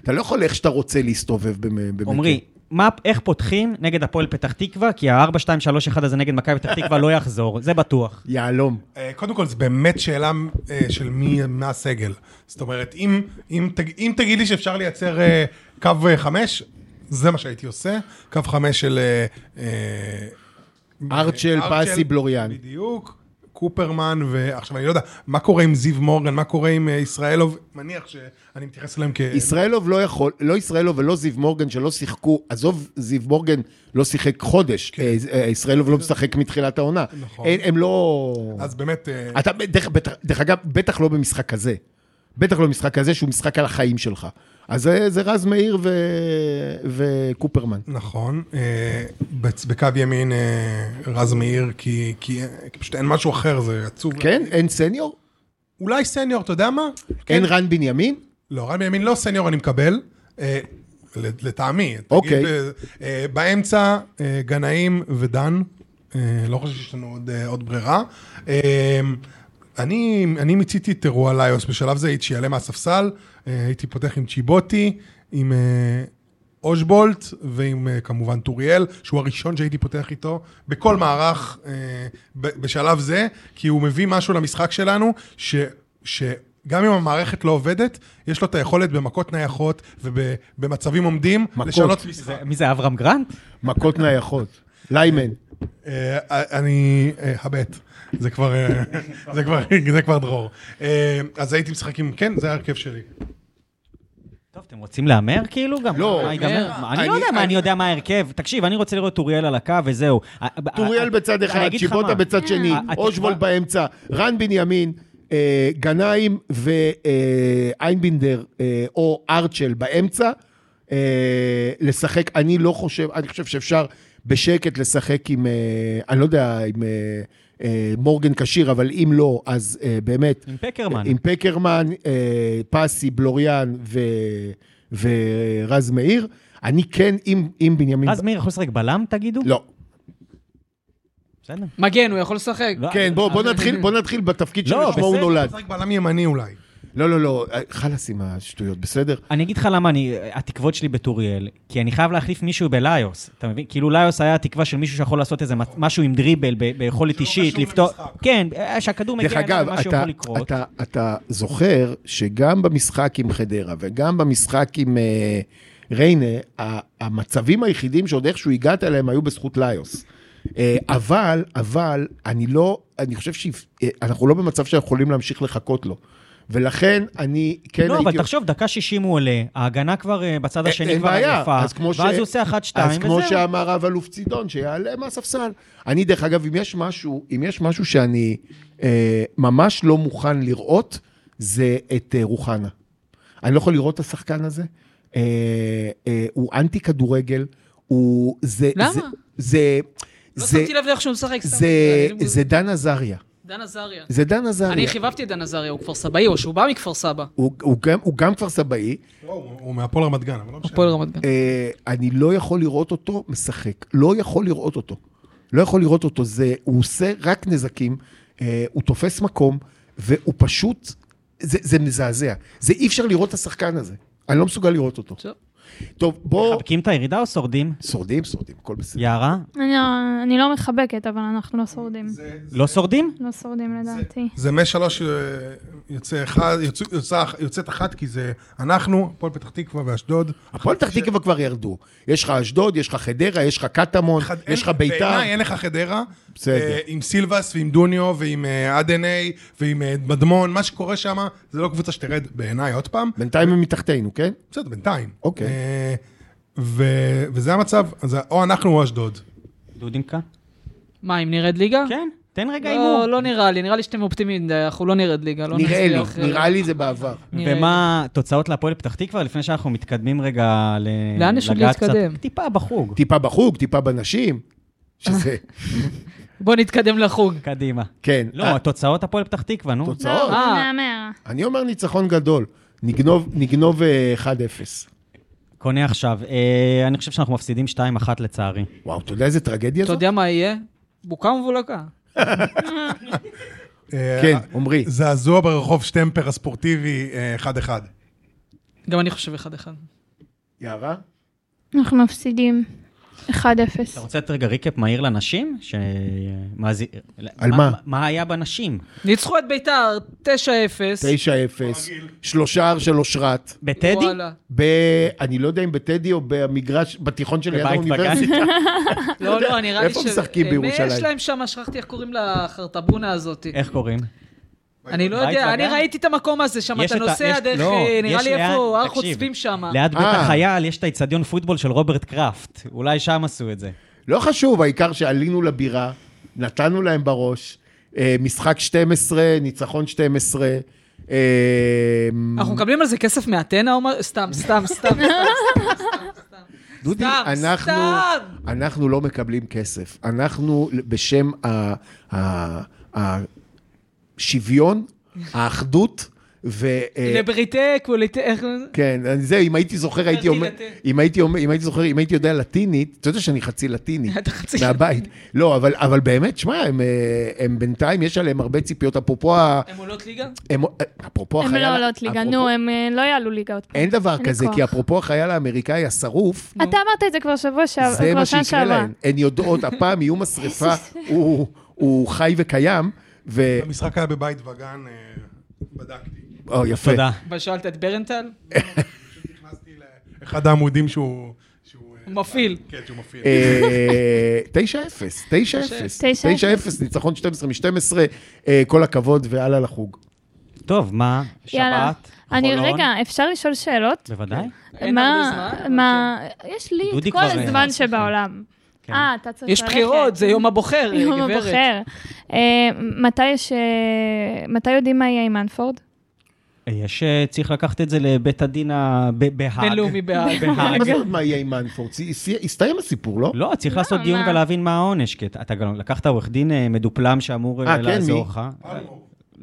[SPEAKER 2] אתה לא יכול איך שאתה רוצה להסתובב במ- במקרה.
[SPEAKER 1] עמרי, מה- איך פותחים נגד הפועל פתח תקווה? כי ה-4, 2, 3, 1 הזה נגד מכבי פתח תקווה לא יחזור, זה בטוח.
[SPEAKER 2] יהלום.
[SPEAKER 4] אה, קודם כל, זו באמת שאלה אה, של מי מהסגל. זאת אומרת, אם, אם, תג, אם תגיד לי שאפשר לייצר אה, קו אה, חמש, זה מה שהייתי עושה. קו חמש של... אה, אה,
[SPEAKER 2] ארצ'ל, פסי, בלוריאן.
[SPEAKER 4] בדיוק. קופרמן, ועכשיו אני לא יודע, מה קורה עם זיו מורגן, מה קורה עם אה, ישראלוב, מניח שאני מתייחס אליהם כ...
[SPEAKER 2] ישראלוב לא יכול, לא ישראלוב ולא זיו מורגן שלא שיחקו, עזוב, זיו מורגן לא שיחק חודש, אה, אה, ישראלוב לא משחק מתחילת העונה.
[SPEAKER 4] נכון.
[SPEAKER 2] אין- הם לא...
[SPEAKER 4] אז באמת... אה,
[SPEAKER 2] אתה, דרך, בטח, דרך אגב, בטח לא במשחק כזה. בטח לא במשחק כזה, שהוא משחק על החיים שלך. אז זה, זה רז מאיר ו, וקופרמן.
[SPEAKER 4] נכון, אה, בצ- בקו ימין אה, רז מאיר, כי, כי, אה, כי פשוט אין משהו אחר, זה עצוב.
[SPEAKER 2] כן? אין סניור?
[SPEAKER 4] אולי סניור, אתה יודע מה?
[SPEAKER 2] אין רן בנימין?
[SPEAKER 4] לא, רן בנימין לא סניור, אני מקבל. אה, ל- לטעמי. תגיד,
[SPEAKER 2] אוקיי.
[SPEAKER 4] אה, אה, באמצע, אה, גנאים ודן. אה, לא חושב שיש לנו עוד, אה, עוד ברירה. אה, אני, אני מיציתי את אירוע ליוס בשלב זה, הייתי שיעלה מהספסל, אה, הייתי פותח עם צ'יבוטי, עם אה, אושבולט ועם אה, כמובן טוריאל, שהוא הראשון שהייתי פותח איתו בכל מערך אה, ב- בשלב זה, כי הוא מביא משהו למשחק שלנו, ש... ש גם אם המערכת לא עובדת, יש לו את היכולת במכות נייחות ובמצבים עומדים,
[SPEAKER 2] מכות.
[SPEAKER 4] לשנות משחק.
[SPEAKER 1] מי זה, אברהם גרנט?
[SPEAKER 2] מכות נייחות. ליימן.
[SPEAKER 4] אה, אני... אה, הבט. זה כבר... אה, [LAUGHS] זה כבר... זה כבר דרור. אה, אז הייתי משחק עם... כן, זה ההרכב שלי.
[SPEAKER 1] טוב, אתם רוצים להמר כאילו גם?
[SPEAKER 2] לא,
[SPEAKER 1] מה ייגמר?
[SPEAKER 6] אה,
[SPEAKER 1] מה, אני לא
[SPEAKER 2] אני-
[SPEAKER 1] יודע מה,
[SPEAKER 2] אני-
[SPEAKER 1] אני יודע מה ההרכב. תקשיב, אני רוצה לראות טוריאל על הקו וזהו.
[SPEAKER 2] טוריאל בצד אחד, צ'יבוטה בצד שני,
[SPEAKER 1] אה, התקווה-
[SPEAKER 2] אושבולט באמצע, רן בנימין, אה, גנאים ואיינבינדר אה, או ארצ'ל באמצע. אה, לשחק, אני לא חושב, אני חושב שאפשר בשקט לשחק עם, אה, אני לא יודע, עם אה, אה, מורגן כשיר, אבל אם לא, אז אה, באמת...
[SPEAKER 1] עם פקרמן.
[SPEAKER 2] עם פקרמן, אה, פסי, בלוריאן ו, ורז מאיר. אני כן, אם, אם בנימין...
[SPEAKER 1] אז מאיר יכול לשחק בלם, תגידו?
[SPEAKER 2] לא.
[SPEAKER 1] בסדר.
[SPEAKER 6] מגן, הוא יכול לשחק.
[SPEAKER 1] לא,
[SPEAKER 2] כן, בוא, בוא נתחיל, בוא נתחיל בתפקיד
[SPEAKER 1] לא,
[SPEAKER 2] שלשמו הוא
[SPEAKER 1] בסדר.
[SPEAKER 2] נולד.
[SPEAKER 4] משחק בלם ימני אולי.
[SPEAKER 2] לא, לא, לא, חלאס עם השטויות, בסדר?
[SPEAKER 1] אני אגיד לך למה אני, התקוות שלי בטוריאל, כי אני חייב להחליף מישהו בליוס, אתה מבין? כאילו ליוס היה התקווה של מישהו שיכול לעשות איזה מצ- משהו עם דריבל, ב- ביכולת
[SPEAKER 4] שלא
[SPEAKER 1] אישית,
[SPEAKER 4] קשור
[SPEAKER 1] לפתור...
[SPEAKER 4] למשחק.
[SPEAKER 1] כן, אה, שהכדור
[SPEAKER 2] לא דרך
[SPEAKER 1] מגיע אליו,
[SPEAKER 2] אגב,
[SPEAKER 1] משהו
[SPEAKER 2] אתה,
[SPEAKER 1] יכול לקרות.
[SPEAKER 2] אתה, אתה זוכר שגם במשחק עם חדרה וגם במשחק עם אה, ריינה, ה- המצבים היחידים שעוד איכשהו הגעת אליהם היו בזכות ליוס. אה, אבל, אבל, אני לא, אני חושב שאנחנו לא במצב שאנחנו יכולים להמשיך לחכות לו. ולכן אני כן
[SPEAKER 1] לא,
[SPEAKER 2] הייתי...
[SPEAKER 1] אבל תחשוב, דקה 60 הוא עולה, ההגנה כבר אה, בצד השני
[SPEAKER 2] אין
[SPEAKER 1] כבר
[SPEAKER 2] בעיה,
[SPEAKER 1] עייפה,
[SPEAKER 2] אז כמו ש-
[SPEAKER 1] ואז הוא עושה 1-2
[SPEAKER 2] אז כמו
[SPEAKER 1] וזהו.
[SPEAKER 2] שאמר רב אלוף צידון, שיעלה מהספסל. אני, דרך אגב, אם יש משהו, אם יש משהו שאני אה, ממש לא מוכן לראות, זה את אה, רוחנה. אני לא יכול לראות את השחקן הזה. אה, אה, הוא אנטי כדורגל, הוא... זה,
[SPEAKER 6] למה?
[SPEAKER 2] זה, זה,
[SPEAKER 6] לא
[SPEAKER 2] זה,
[SPEAKER 6] שמתי לב לאיך שהוא משחק סתם.
[SPEAKER 2] זה,
[SPEAKER 6] אני-
[SPEAKER 2] זה דן עזריה.
[SPEAKER 6] דן עזריה.
[SPEAKER 2] זה דן עזריה.
[SPEAKER 6] אני חיבבתי את דן עזריה, הוא כפר סבאי, או שהוא בא מכפר סבא.
[SPEAKER 2] הוא, הוא, גם, הוא גם כפר סבאי,
[SPEAKER 4] לא, הוא הוא מהפועל רמת גן, אבל לא משנה.
[SPEAKER 6] הפועל רמת גן.
[SPEAKER 2] אה, אני לא יכול לראות אותו משחק. לא יכול לראות אותו. לא יכול לראות אותו. זה, הוא עושה רק נזקים, אה, הוא תופס מקום, והוא פשוט... זה, זה מזעזע. זה אי אפשר לראות את השחקן הזה. אני לא מסוגל לראות אותו.
[SPEAKER 6] טוב.
[SPEAKER 2] טוב, בוא...
[SPEAKER 1] מחבקים את הירידה או שורדים?
[SPEAKER 2] שורדים, שורדים, הכל בסדר.
[SPEAKER 1] יערה?
[SPEAKER 5] אני לא- אני לא מחבקת, אבל אנחנו לא שורדים.
[SPEAKER 1] לא שורדים?
[SPEAKER 5] לא שורדים לדעתי.
[SPEAKER 4] זה משלוש אה, יוצא אחד, יוצא- יוצא- יוצאת אחת, כי זה אנחנו, הפועל פתח תקווה ואשדוד.
[SPEAKER 2] הפועל פתח תקווה כבר ירדו. יש לך אשדוד, יש לך חדרה, יש לך קטמון,
[SPEAKER 4] אחד- אין-
[SPEAKER 2] יש לך ביתר.
[SPEAKER 4] בעיניי אין לך חדרה.
[SPEAKER 2] בסדר.
[SPEAKER 4] אה, עם סילבס ועם דוניו ועם אה, אדני ועם אה, מדמון, מה שקורה שם, זה לא קבוצה שתרד בעיניי עוד פעם.
[SPEAKER 2] בינתיים הם מתחתנו, כן?
[SPEAKER 4] בסדר, בינתיים.
[SPEAKER 2] אוקיי.
[SPEAKER 4] אה, ו- וזה המצב, אז או אנחנו או אשדוד.
[SPEAKER 1] דודינקה?
[SPEAKER 6] מה, אם נרד ליגה?
[SPEAKER 1] כן, תן רגע הימור.
[SPEAKER 6] לא, לא נראה לי, נראה לי שאתם אופטימיים, מדי, אנחנו לא נרד ליגה, לא
[SPEAKER 2] נראה לי,
[SPEAKER 6] נצליח, אה,
[SPEAKER 2] נראה לי זה בעבר.
[SPEAKER 6] נראה
[SPEAKER 1] ומה התוצאות להפועל פתח תקווה, לפני שאנחנו מתקדמים רגע ל...
[SPEAKER 6] לאן יש עוד
[SPEAKER 1] לגעת קצת-
[SPEAKER 6] להתקדם?
[SPEAKER 1] טיפה בחוג.
[SPEAKER 2] טיפה בחוג, טיפה בנשים, שזה,
[SPEAKER 6] בוא נתקדם לחוג.
[SPEAKER 1] קדימה.
[SPEAKER 2] כן.
[SPEAKER 1] לא, התוצאות הפועל פתח תקווה, נו.
[SPEAKER 5] לא,
[SPEAKER 2] התוצאות.
[SPEAKER 5] זה
[SPEAKER 6] אה.
[SPEAKER 5] מהמר.
[SPEAKER 2] אני אומר ניצחון גדול. נגנוב, נגנוב אה, 1-0.
[SPEAKER 1] קונה עכשיו. אה, אני חושב שאנחנו מפסידים 2-1 לצערי.
[SPEAKER 2] וואו, אתה יודע איזה טרגדיה
[SPEAKER 6] אתה
[SPEAKER 2] זאת?
[SPEAKER 6] יודע מה יהיה? בוקה ומבולקה.
[SPEAKER 4] אה,
[SPEAKER 2] כן, עמרי.
[SPEAKER 4] זעזוע ברחוב שטמפר הספורטיבי, אה, אחד-אחד.
[SPEAKER 6] גם אני חושב אחד-אחד.
[SPEAKER 2] יערה?
[SPEAKER 5] אנחנו מפסידים
[SPEAKER 1] אתה
[SPEAKER 5] 1-0.
[SPEAKER 1] רוצה לתת רגע ריקאפ מהיר לנשים? ש... מה זה-
[SPEAKER 2] על
[SPEAKER 1] מה?
[SPEAKER 2] מה?
[SPEAKER 1] מה היה בנשים?
[SPEAKER 6] ניצחו את ביתר 9-0.
[SPEAKER 2] 9-0, שלושה הר של אושרת,
[SPEAKER 1] בטדי?
[SPEAKER 6] וואלה.
[SPEAKER 2] ב... אני לא יודע אם בטדי או במגרש, בתיכון שליד
[SPEAKER 1] בבית
[SPEAKER 2] האוניברסיטה.
[SPEAKER 6] לא, לא, נראה לי
[SPEAKER 2] איפה משחקים בירושלים?
[SPEAKER 6] יש להם שם, שכחתי איך קוראים לחרטבונה הזאת.
[SPEAKER 1] איך קוראים?
[SPEAKER 6] אני לא
[SPEAKER 1] בית
[SPEAKER 6] יודע,
[SPEAKER 1] וגן?
[SPEAKER 6] אני ראיתי את המקום הזה, שם
[SPEAKER 1] יש
[SPEAKER 6] אתה
[SPEAKER 1] את ה-
[SPEAKER 6] נוסע
[SPEAKER 1] יש-
[SPEAKER 6] דרך,
[SPEAKER 1] לא,
[SPEAKER 6] אה, נראה
[SPEAKER 1] יש
[SPEAKER 6] לי איפה
[SPEAKER 1] ליד-
[SPEAKER 6] הר
[SPEAKER 1] תקשיב,
[SPEAKER 6] חוצבים שם.
[SPEAKER 1] ליד בית
[SPEAKER 2] אה.
[SPEAKER 1] החייל יש את האיצטדיון פוטבול של רוברט קראפט. אולי שם עשו את זה.
[SPEAKER 2] [LAUGHS] לא חשוב, העיקר שעלינו לבירה, נתנו להם בראש, אה, משחק 12, ניצחון 12. אה,
[SPEAKER 6] אנחנו מקבלים על זה כסף מאתנה או מה? סתם, סתם, סתם, סתם,
[SPEAKER 2] דודי,
[SPEAKER 6] סתם,
[SPEAKER 2] אנחנו,
[SPEAKER 6] סתם.
[SPEAKER 2] אנחנו לא מקבלים כסף. אנחנו, בשם ה- ה- ה- השוויון, האחדות, ו...
[SPEAKER 6] [LAUGHS]
[SPEAKER 2] אה,
[SPEAKER 6] לבריטה, קוליטה, איך...
[SPEAKER 2] כן, אני- זה, אם הייתי זוכר, הייתי אומר,
[SPEAKER 6] לטין.
[SPEAKER 2] אם הייתי אומר, אם הייתי זוכר, אם הייתי יודע לטינית, אתה יודע שאני חצי לטיני,
[SPEAKER 6] אתה חצי
[SPEAKER 2] מהבית. לא, אבל, אבל באמת, שמע, הם, אה, הם בינתיים, יש עליהם הרבה ציפיות, אפרופו, ה-
[SPEAKER 6] הם עולות ליגה?
[SPEAKER 2] הם, אפרופו
[SPEAKER 5] הם
[SPEAKER 2] החייל,
[SPEAKER 5] לא עולות ליגה,
[SPEAKER 2] אפרופו-
[SPEAKER 5] נו, הם אה, לא יעלו ליגה עוד פעם.
[SPEAKER 2] אין דבר
[SPEAKER 5] אין לי
[SPEAKER 2] כזה,
[SPEAKER 5] כוח.
[SPEAKER 2] כי אפרופו החייל האמריקאי השרוף,
[SPEAKER 5] אתה אמרת את זה כבר שבוע שעבר,
[SPEAKER 2] זה
[SPEAKER 5] כבר
[SPEAKER 2] מה
[SPEAKER 5] שנה
[SPEAKER 2] שיקרה
[SPEAKER 5] שעברה.
[SPEAKER 2] להן. הן יודעות, הפעם
[SPEAKER 1] [LAUGHS]
[SPEAKER 2] איום השרפה הוא- הוא חי וקיים, ו...
[SPEAKER 4] המשחק היה בבית וגן, אה, בדקתי.
[SPEAKER 2] או, אה, יפה.
[SPEAKER 1] תודה.
[SPEAKER 6] אבל שאלת את ברנטל?
[SPEAKER 4] נכנסתי לאחד העמודים שהוא... שהוא, אה,
[SPEAKER 6] מפעיל.
[SPEAKER 4] כן, שהוא מפעיל.
[SPEAKER 2] אה, 9-0, 9-0, 9-0, ניצחון 12 מ-12, אה, כל הכבוד והלאה לחוג.
[SPEAKER 1] אה, טוב, מה?
[SPEAKER 5] יאללה.
[SPEAKER 1] שבת?
[SPEAKER 5] אני,
[SPEAKER 1] חולון?
[SPEAKER 5] רגע, אפשר לשאול שאלות?
[SPEAKER 1] בוודאי.
[SPEAKER 2] כן.
[SPEAKER 6] אין
[SPEAKER 5] מה-
[SPEAKER 6] הרבה זמן, אבל כן.
[SPEAKER 5] מה, יש לי
[SPEAKER 1] דודי
[SPEAKER 5] את כל
[SPEAKER 1] כבר, אה,
[SPEAKER 5] הזמן
[SPEAKER 1] סליחה.
[SPEAKER 5] שבעולם.
[SPEAKER 1] כן.
[SPEAKER 5] אה, אתה צריך ללכת.
[SPEAKER 6] אוקיי. יש בחירות, זה יום הבוחר, אה,
[SPEAKER 5] [LAUGHS] יום
[SPEAKER 6] גברת.
[SPEAKER 5] הבוחר. אה, מתי יש... אה, מתי יודעים מה יהיה עם אנפורד?
[SPEAKER 1] יש, אה, צריך לקחת את זה לבית הדין ה- ב- בהאג.
[SPEAKER 6] בינלאומי בהאג.
[SPEAKER 1] [LAUGHS] בהאג.
[SPEAKER 2] מה זה עוד לא מה יהיה עם מנפורד? הסתיים הסיפור, לא?
[SPEAKER 1] לא, צריך לעשות
[SPEAKER 5] מה?
[SPEAKER 1] דיון ולהבין מה העונש, כי אתה גם לקחת עורך דין אה, מדופלם שאמור
[SPEAKER 2] אה,
[SPEAKER 1] אה,
[SPEAKER 2] כן,
[SPEAKER 1] לעזור
[SPEAKER 2] מי?
[SPEAKER 1] לך.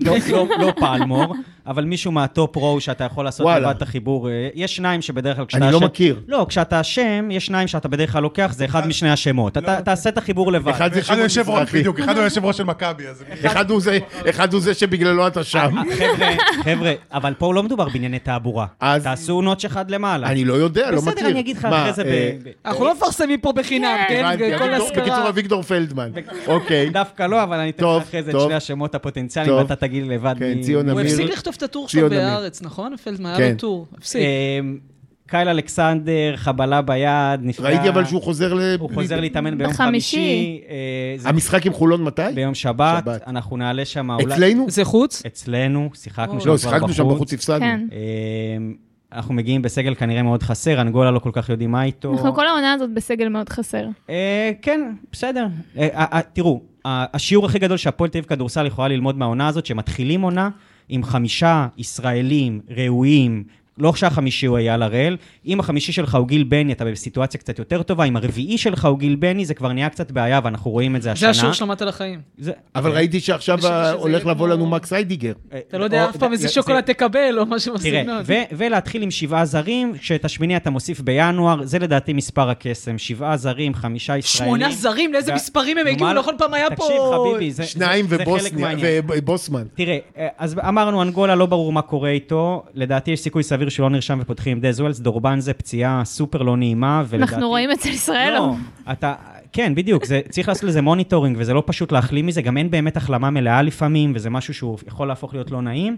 [SPEAKER 1] לא, לא, לא פלמור, אבל מישהו מהטופ רו שאתה יכול לעשות
[SPEAKER 2] וואלה.
[SPEAKER 1] לבד את החיבור. אה, יש שניים שבדרך כלל כשאתה
[SPEAKER 2] אני לא מכיר.
[SPEAKER 1] לא, כשאתה אשם, יש שניים שאתה בדרך כלל לוקח, זה אחד משני השמות. אתה תעשה את החיבור לבד.
[SPEAKER 2] לא, אחד זה
[SPEAKER 4] אחד הוא
[SPEAKER 2] שמעון
[SPEAKER 4] יושב ראש,
[SPEAKER 2] מזרחי.
[SPEAKER 4] בדיוק, אחד הוא יושב ראש של מכבי, אז...
[SPEAKER 2] אחד הוא זה- אחד הוא זה שבגללו אתה
[SPEAKER 1] אה,
[SPEAKER 2] שם.
[SPEAKER 1] חבר'ה, חבר'ה, אבל פה לא מדובר בענייני תעבורה.
[SPEAKER 2] אז-
[SPEAKER 1] תעשו נוטש אחד למעלה.
[SPEAKER 2] אני לא יודע, לא מכיר.
[SPEAKER 1] בסדר, אני אגיד לך
[SPEAKER 2] מה,
[SPEAKER 1] אחרי זה
[SPEAKER 2] אה,
[SPEAKER 1] ב- ב-
[SPEAKER 6] אנחנו לא מפרסמים פה בחינם, כן?
[SPEAKER 2] הבנתי,
[SPEAKER 6] כל
[SPEAKER 2] אביגדור- בקיצור,
[SPEAKER 6] הסקרה.
[SPEAKER 2] אביגדור
[SPEAKER 1] [LAUGHS]
[SPEAKER 2] פלדמן. אוקיי.
[SPEAKER 1] דווקא לא, אבל אני אתן
[SPEAKER 2] טוב,
[SPEAKER 1] לך אחרי זה את
[SPEAKER 2] טוב.
[SPEAKER 1] שני השמות הפוטנציאליים,
[SPEAKER 2] טוב.
[SPEAKER 1] ואתה תגיד לי לבד
[SPEAKER 2] כן,
[SPEAKER 1] מי-
[SPEAKER 2] ציון
[SPEAKER 1] מי-
[SPEAKER 6] הוא
[SPEAKER 2] אמיר.
[SPEAKER 6] הפסיק לכתוב את הטור
[SPEAKER 2] ציון
[SPEAKER 6] שלו
[SPEAKER 2] אמיר.
[SPEAKER 6] בהארץ, נכון? פלדמן היה
[SPEAKER 2] כן.
[SPEAKER 6] לו טור. הפסיק.
[SPEAKER 1] אמ, קייל אלכסנדר, חבלה ביד, נפגע.
[SPEAKER 2] ראיתי אבל שהוא חוזר ל...
[SPEAKER 1] הוא חוזר להתאמן ביום
[SPEAKER 5] בחמישי.
[SPEAKER 1] חמישי. אה, זה
[SPEAKER 2] המשחק עם חולון מתי?
[SPEAKER 1] ביום שבת,
[SPEAKER 2] שבת.
[SPEAKER 1] אנחנו נעלה שם אולי...
[SPEAKER 2] אצלנו?
[SPEAKER 6] זה חוץ?
[SPEAKER 1] אצלנו, שיחקנו שם כבר
[SPEAKER 2] לא,
[SPEAKER 1] בחוץ.
[SPEAKER 2] שיחקנו שם בחוץ, הפסדנו.
[SPEAKER 1] אוקיי.
[SPEAKER 5] כן.
[SPEAKER 1] אמ, אנחנו מגיעים בסגל כנראה מאוד חסר, אנגולה לא כל כך יודעים מה איתו.
[SPEAKER 5] אנחנו כל העונה הזאת בסגל מאוד חסר.
[SPEAKER 1] אה, כן, בסדר. אה, אה, אה, תראו, ה- השיעור הכי גדול שהפועל תל אביב כדורסל יכולה ללמוד מהעונה הזאת, שמתחילים עונה עם חמישה ישראלים ראויים, לא שהחמישי הוא אייל הראל, אם החמישי שלך הוא גיל בני, אתה בסיטואציה קצת יותר טובה, אם הרביעי שלך הוא גיל בני, זה כבר נהיה קצת בעיה, ואנחנו רואים את זה השנה.
[SPEAKER 6] זה השיעור שלמדת לחיים.
[SPEAKER 1] זה-
[SPEAKER 2] אבל ראיתי שעכשיו
[SPEAKER 6] חשבתי שזה
[SPEAKER 2] הולך
[SPEAKER 6] יהיה
[SPEAKER 2] לבוא
[SPEAKER 6] כמו-
[SPEAKER 2] לנו מקס היידיגר.
[SPEAKER 6] אתה לא יודע
[SPEAKER 1] או-
[SPEAKER 6] אף פעם איזה
[SPEAKER 1] אה, זה-
[SPEAKER 6] שוקולד תקבל, או משהו
[SPEAKER 1] אה, תראה,
[SPEAKER 6] בסגנון.
[SPEAKER 1] ו- ולהתחיל עם שבעה זרים, שאת השמיני אתה מוסיף בינואר, זה לדעתי מספר הקסם. שבעה זרים, חמישה ישראלים.
[SPEAKER 6] שמונה זרים, לאיזה
[SPEAKER 1] זה-
[SPEAKER 6] מספרים הם
[SPEAKER 1] נו,
[SPEAKER 6] הגיעו?
[SPEAKER 1] מה-
[SPEAKER 6] לא כל פעם היה פה...
[SPEAKER 1] תקשיב, חביבי, זה- זה-
[SPEAKER 2] שניים
[SPEAKER 1] זה חלק
[SPEAKER 2] ובוסניה,
[SPEAKER 1] מהעניין.
[SPEAKER 2] ובוסמן.
[SPEAKER 1] תראה, אה, אז אמרנו, אנגולה, לא ברור מה קורה איתו. לדעתי יש סיכוי סביר שהוא לא נרשם ופותחים עם דזוולס. דורבן זה פציעה סופר לא נעימה, ולדעתי...
[SPEAKER 5] אנחנו רואים אצל ישראל.
[SPEAKER 1] לא, אתה... כן, בדיוק, זה, צריך לעשות לזה מוניטורינג, וזה לא פשוט להחלים מזה, גם אין באמת החלמה מלאה לפעמים, וזה משהו שהוא יכול להפוך להיות לא נעים.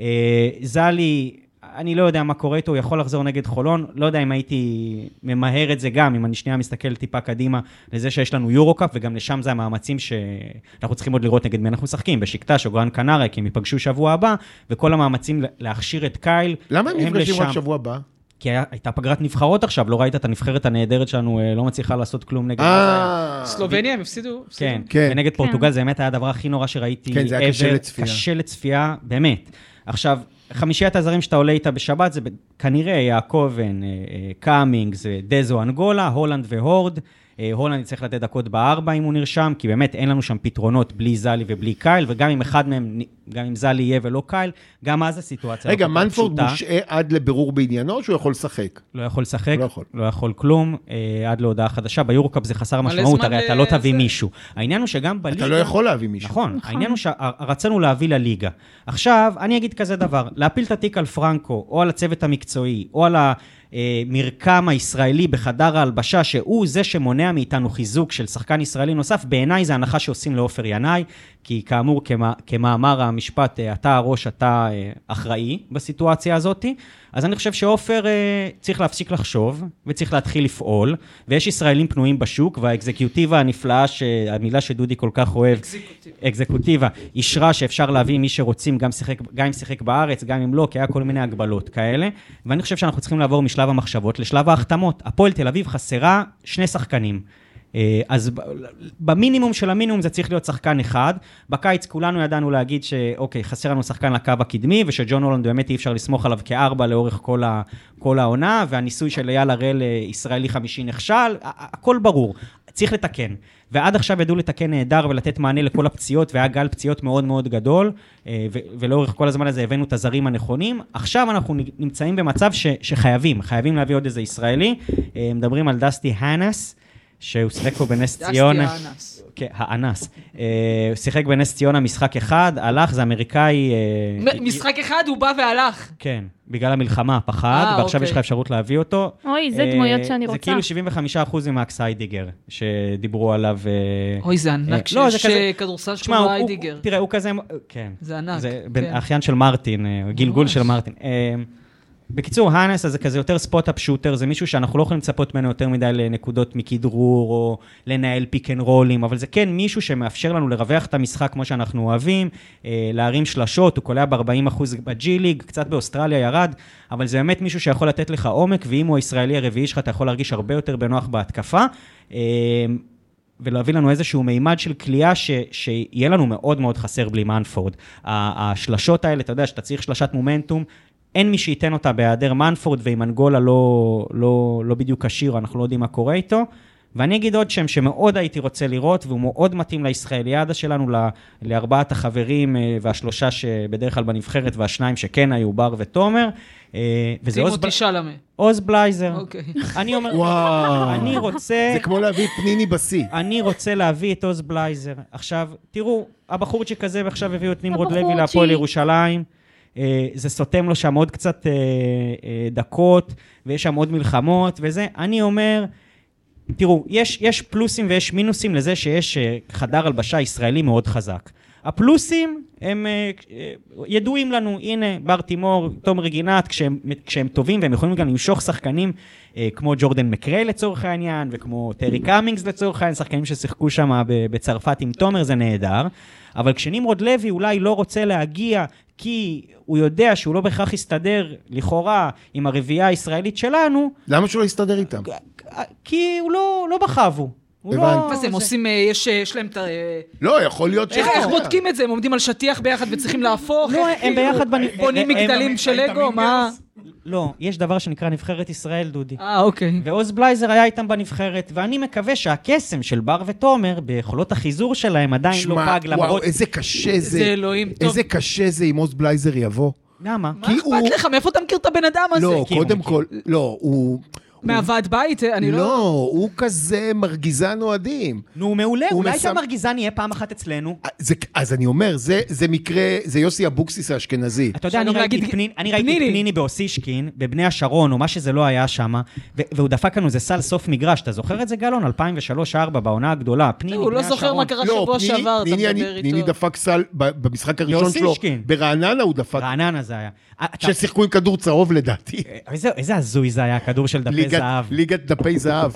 [SPEAKER 1] אה, זלי, אני לא יודע מה קורה איתו, הוא יכול לחזור נגד חולון, לא יודע אם הייתי ממהר את זה גם, אם אני שנייה מסתכל טיפה קדימה לזה שיש לנו יורו-קאפ, וגם לשם זה המאמצים שאנחנו צריכים עוד לראות נגד מי אנחנו משחקים, בשקטש או גרן קנריה, כי הם ייפגשו שבוע הבא, וכל המאמצים להכשיר את קייל,
[SPEAKER 2] למה הם נפגשים רק
[SPEAKER 1] לשם.
[SPEAKER 2] שבוע הבא?
[SPEAKER 1] כי היה, הייתה פגרת נבחרות עכשיו, לא ראית את הנבחרת הנהדרת שלנו, אה, לא מצליחה לעשות כלום נגד... מזיה.
[SPEAKER 2] אה,
[SPEAKER 6] סלובניה, הם הפסידו? הפסידו.
[SPEAKER 1] כן,
[SPEAKER 2] כן.
[SPEAKER 1] כן. ונגד פורטוגל זה באמת היה הדבר הכי נורא שראיתי.
[SPEAKER 2] כן, זה היה קשה
[SPEAKER 1] ever.
[SPEAKER 2] לצפייה.
[SPEAKER 1] קשה לצפייה, באמת. עכשיו, חמישיית הזרים שאתה עולה איתה בשבת, זה ב- כנראה יעקובן, אה, אה, קאמינגס, אה, דזו אנגולה, הולנד והורד. אה, הולנד יצטרך לתת דקות בארבע אם הוא נרשם, כי באמת אין לנו שם פתרונות בלי זלי ובלי קייל, וגם אם אחד מהם, נ- גם אם זלי יהיה ולא קייל, גם אז הסיטואציה
[SPEAKER 2] רגע,
[SPEAKER 1] לא כל כך
[SPEAKER 2] מנפורד
[SPEAKER 1] פשוטה.
[SPEAKER 2] מושעה עד לבירור בעניינו, או שהוא יכול לשחק?
[SPEAKER 1] לא יכול לשחק,
[SPEAKER 2] לא יכול.
[SPEAKER 1] לא יכול כלום, אה, עד להודעה חדשה. ביורוקאפ זה חסר
[SPEAKER 6] מלא
[SPEAKER 1] משמעות,
[SPEAKER 6] זמן
[SPEAKER 1] הרי אתה לא
[SPEAKER 6] לזה.
[SPEAKER 1] תביא מישהו. העניין הוא שגם בליגה...
[SPEAKER 2] אתה לא יכול להביא מישהו.
[SPEAKER 1] נכון, העניין הוא שרצינו להביא לליגה. עכשיו, אני אגיד כזה דבר, להפיל את התיק על פרנקו, או על הצוות המקצועי, או על המרקם הישראלי בחדר ההלבשה, שהוא זה שמונע מאיתנו חיזוק של שחקן ישראלי נוסף, בעיניי זה הנחה שעושים לעופר ינאי, כי כאמור, כמה- כמאמר המשפט, אה, אתה הראש, אתה אה, אחראי בסיטואציה הזאת. אז אני חושב שעופר אה, צריך להפסיק לחשוב, וצריך להתחיל לפעול, ויש ישראלים פנויים בשוק, והאקזקיוטיבה הנפלאה, ש- המילה שדודי כל כך אוהב, אקזקוטיבה, אישרה שאפשר להביא מי שרוצים, גם, שיחק, גם אם שיחק בארץ, גם אם לא, כי היה כל מיני הגבלות כאלה. ואני חושב שאנחנו צריכים לעבור משלב המחשבות לשלב ההחתמות. הפועל תל אביב חסרה שני שחקנים. אה, אז ב- במינימום של המינימום זה צריך להיות שחקן אחד. בקיץ כולנו ידענו להגיד שאוקיי, חסר לנו שחקן לקו הקדמי, ושג'ון הולנד באמת אי אפשר לסמוך עליו כארבע לאורך כל, ה, כל העונה, והניסוי של אייל הראל אה, ישראלי חמישי נכשל, ה- ה- הכל ברור. צריך לתקן. ועד עכשיו ידעו לתקן נהדר ולתת מענה לכל הפציעות, והיה גל פציעות מאוד מאוד גדול, אה, ו- ולאורך כל הזמן הזה הבאנו את הזרים הנכונים. עכשיו אנחנו נ- נמצאים במצב ש- שחייבים, חייבים להביא עוד איזה ישראלי. אה, מדברים על דסטי האנס, שהוא שיחק פה בנס
[SPEAKER 6] דסטי
[SPEAKER 1] ציונה.
[SPEAKER 6] האנס.
[SPEAKER 1] כן, האנס. אה, הוא שיחק בנס ציונה משחק אחד, הלך, זה אמריקאי... אה,
[SPEAKER 6] מ- משחק אחד, הוא בא והלך.
[SPEAKER 1] כן, בגלל המלחמה, פחד,
[SPEAKER 6] אה,
[SPEAKER 1] ועכשיו
[SPEAKER 6] אוקיי.
[SPEAKER 1] יש לך אפשרות להביא אותו.
[SPEAKER 5] אוי, זה
[SPEAKER 1] אה,
[SPEAKER 5] דמויות שאני
[SPEAKER 1] זה
[SPEAKER 5] רוצה.
[SPEAKER 1] כאילו 75% ממקס היידיגר, שדיברו עליו. אה,
[SPEAKER 6] אוי, זה
[SPEAKER 1] אה,
[SPEAKER 6] ענק
[SPEAKER 1] לא, זה
[SPEAKER 6] שיש
[SPEAKER 1] כזה-
[SPEAKER 6] אה, כדורסל
[SPEAKER 1] תשמע,
[SPEAKER 6] שקוראים
[SPEAKER 1] הוא-
[SPEAKER 6] לו
[SPEAKER 1] הוא-
[SPEAKER 6] איידיגר.
[SPEAKER 1] תראה, הוא כזה... כן.
[SPEAKER 6] זה ענק,
[SPEAKER 1] בן-
[SPEAKER 6] כן.
[SPEAKER 1] האחיין של מרטין, אה, גלגול
[SPEAKER 6] ממש.
[SPEAKER 1] של מרטין. אה, בקיצור, האנס הזה כזה יותר ספוט-אפ שוטר, זה מישהו שאנחנו לא יכולים לצפות ממנו יותר מדי לנקודות מכדרור, או לנהל פיק אנד רולים, אבל זה כן מישהו שמאפשר לנו לרווח את המשחק כמו שאנחנו אוהבים, אה, להרים שלשות, הוא קולע ב-40% בג'י ליג, קצת באוסטרליה ירד, אבל זה באמת מישהו שיכול לתת לך עומק, ואם הוא הישראלי הרביעי שלך, אתה יכול להרגיש הרבה יותר בנוח בהתקפה. אה, ולהביא לנו איזשהו מימד של כליאה ש- שיהיה לנו מאוד מאוד חסר בלי מנפורד. ה- השלשות האלה, אתה יודע, שאתה צריך שלשת מומנטום, אין מי שייתן אותה בהיעדר מנפורד, ועם אנגולה לא, לא, לא בדיוק כשיר, אנחנו לא יודעים מה קורה איתו. ואני אגיד עוד שם שמאוד הייתי רוצה לראות, והוא מאוד מתאים לישראליאדה שלנו, ל- לארבעת החברים אה, והשלושה שבדרך כלל בנבחרת, והשניים שכן היו, בר ותומר, אה, וזה עוז
[SPEAKER 6] טימותי
[SPEAKER 1] בל-
[SPEAKER 6] שלמה.
[SPEAKER 1] עוז בלייזר.
[SPEAKER 6] אוקיי.
[SPEAKER 1] אני אומר,
[SPEAKER 2] וואו.
[SPEAKER 1] אני רוצה...
[SPEAKER 2] זה כמו להביא את פניני בשיא.
[SPEAKER 1] אני רוצה להביא את עוז בלייזר. עכשיו, תראו, הבחורצ'יק הזה עכשיו הביאו את נמרוד לוי
[SPEAKER 5] הבחורצ'יק.
[SPEAKER 1] להפועל ירושלים. אה, זה סותם לו שם עוד קצת אה, אה, דקות, ויש שם עוד מלחמות וזה. אני אומר, תראו, יש, יש פלוסים ויש מינוסים לזה שיש אה, חדר הלבשה ישראלי מאוד חזק. הפלוסים הם אה, אה, ידועים לנו, הנה בר תימור, תומר גינת, כשהם, כשהם טובים והם יכולים גם למשוך שחקנים אה, כמו ג'ורדן מקריי לצורך העניין, וכמו טרי קאמינגס לצורך העניין, שחקנים ששיחקו שם אה, ב- בצרפת עם תומר, זה נהדר. אבל כשנמרוד לוי אולי לא רוצה להגיע כי הוא יודע שהוא לא בהכרח יסתדר, לכאורה, עם הרביעייה הישראלית שלנו,
[SPEAKER 2] למה שהוא לא יסתדר איתם?
[SPEAKER 1] כי הוא לא, לא בחבו. הוא לא-
[SPEAKER 2] הבנתי.
[SPEAKER 6] אז הם עושים, אה, יש אה, יש להם את ה... אה,
[SPEAKER 2] לא, יכול להיות ש...
[SPEAKER 6] איך איך בודקים את זה? הם עומדים על שטיח ביחד וצריכים להפוך?
[SPEAKER 1] לא,
[SPEAKER 6] איך
[SPEAKER 1] הם
[SPEAKER 6] כאילו
[SPEAKER 1] ביחד בנ-
[SPEAKER 6] בונים
[SPEAKER 1] הם- הם-
[SPEAKER 6] מגדלים של לגו? מה...
[SPEAKER 1] לא, יש דבר שנקרא נבחרת ישראל, דודי.
[SPEAKER 6] אה, אוקיי.
[SPEAKER 1] ועוז בלייזר היה איתם בנבחרת, ואני מקווה שהקסם של בר ותומר, ביכולות החיזור שלהם, עדיין לא
[SPEAKER 2] שמע,
[SPEAKER 1] פג, למרות...
[SPEAKER 2] וואו, איזה קשה זה.
[SPEAKER 6] זה אלוהים, טוב.
[SPEAKER 2] איזה קשה זה אם עוז בלייזר יבוא.
[SPEAKER 1] למה?
[SPEAKER 6] מה
[SPEAKER 2] כי הוא-
[SPEAKER 6] אכפת לך? מאיפה אתה מכיר את הבן אדם הזה?
[SPEAKER 2] לא,
[SPEAKER 1] כי הוא
[SPEAKER 2] קודם
[SPEAKER 1] מכיר.
[SPEAKER 2] כל, לא, הוא...
[SPEAKER 6] מהוועד בית? אה, אני
[SPEAKER 2] לא,
[SPEAKER 6] לא...
[SPEAKER 2] הוא כזה מרגיזן אוהדים.
[SPEAKER 1] נו, מעולה,
[SPEAKER 2] הוא
[SPEAKER 1] אולי
[SPEAKER 2] מסם-
[SPEAKER 1] אתה מרגיזן יהיה פעם אחת אצלנו.
[SPEAKER 2] זה- אז אני אומר, זה- זה מקרה, זה יוסי אבוקסיס האשכנזי.
[SPEAKER 1] אתה יודע, אני
[SPEAKER 6] שלום
[SPEAKER 1] ראיתי,
[SPEAKER 6] להגיד-
[SPEAKER 1] את פנין, אני ראיתי
[SPEAKER 6] פניני.
[SPEAKER 1] את פניני באוסישקין, בבני השרון, או מה שזה לא היה שם, והוא דפק לנו איזה סל סוף מגרש. אתה זוכר את זה, גלאון? 2003-2004, בעונה הגדולה. פניני, בני
[SPEAKER 6] הוא
[SPEAKER 1] השרון.
[SPEAKER 6] לא זוכר מה קרה שבוע
[SPEAKER 2] פניני-
[SPEAKER 6] שעבר, אתה
[SPEAKER 2] פניני,
[SPEAKER 6] מדבר
[SPEAKER 2] אני- פניני
[SPEAKER 6] איתו.
[SPEAKER 2] דפק סל ב- במשחק הראשון שלו.
[SPEAKER 1] באוסישקין.
[SPEAKER 2] ברעננה הוא דפק,
[SPEAKER 1] רעננה זה היה. אה, אתה-
[SPEAKER 2] ששיחקו עם כדור צהוב לדעתי.
[SPEAKER 1] איזה- איזה הזוי זה היה, הכדור של דפי
[SPEAKER 2] [LAUGHS] ליגת-
[SPEAKER 1] זהב.
[SPEAKER 2] ליגת
[SPEAKER 1] [LAUGHS]
[SPEAKER 2] דפי זהב.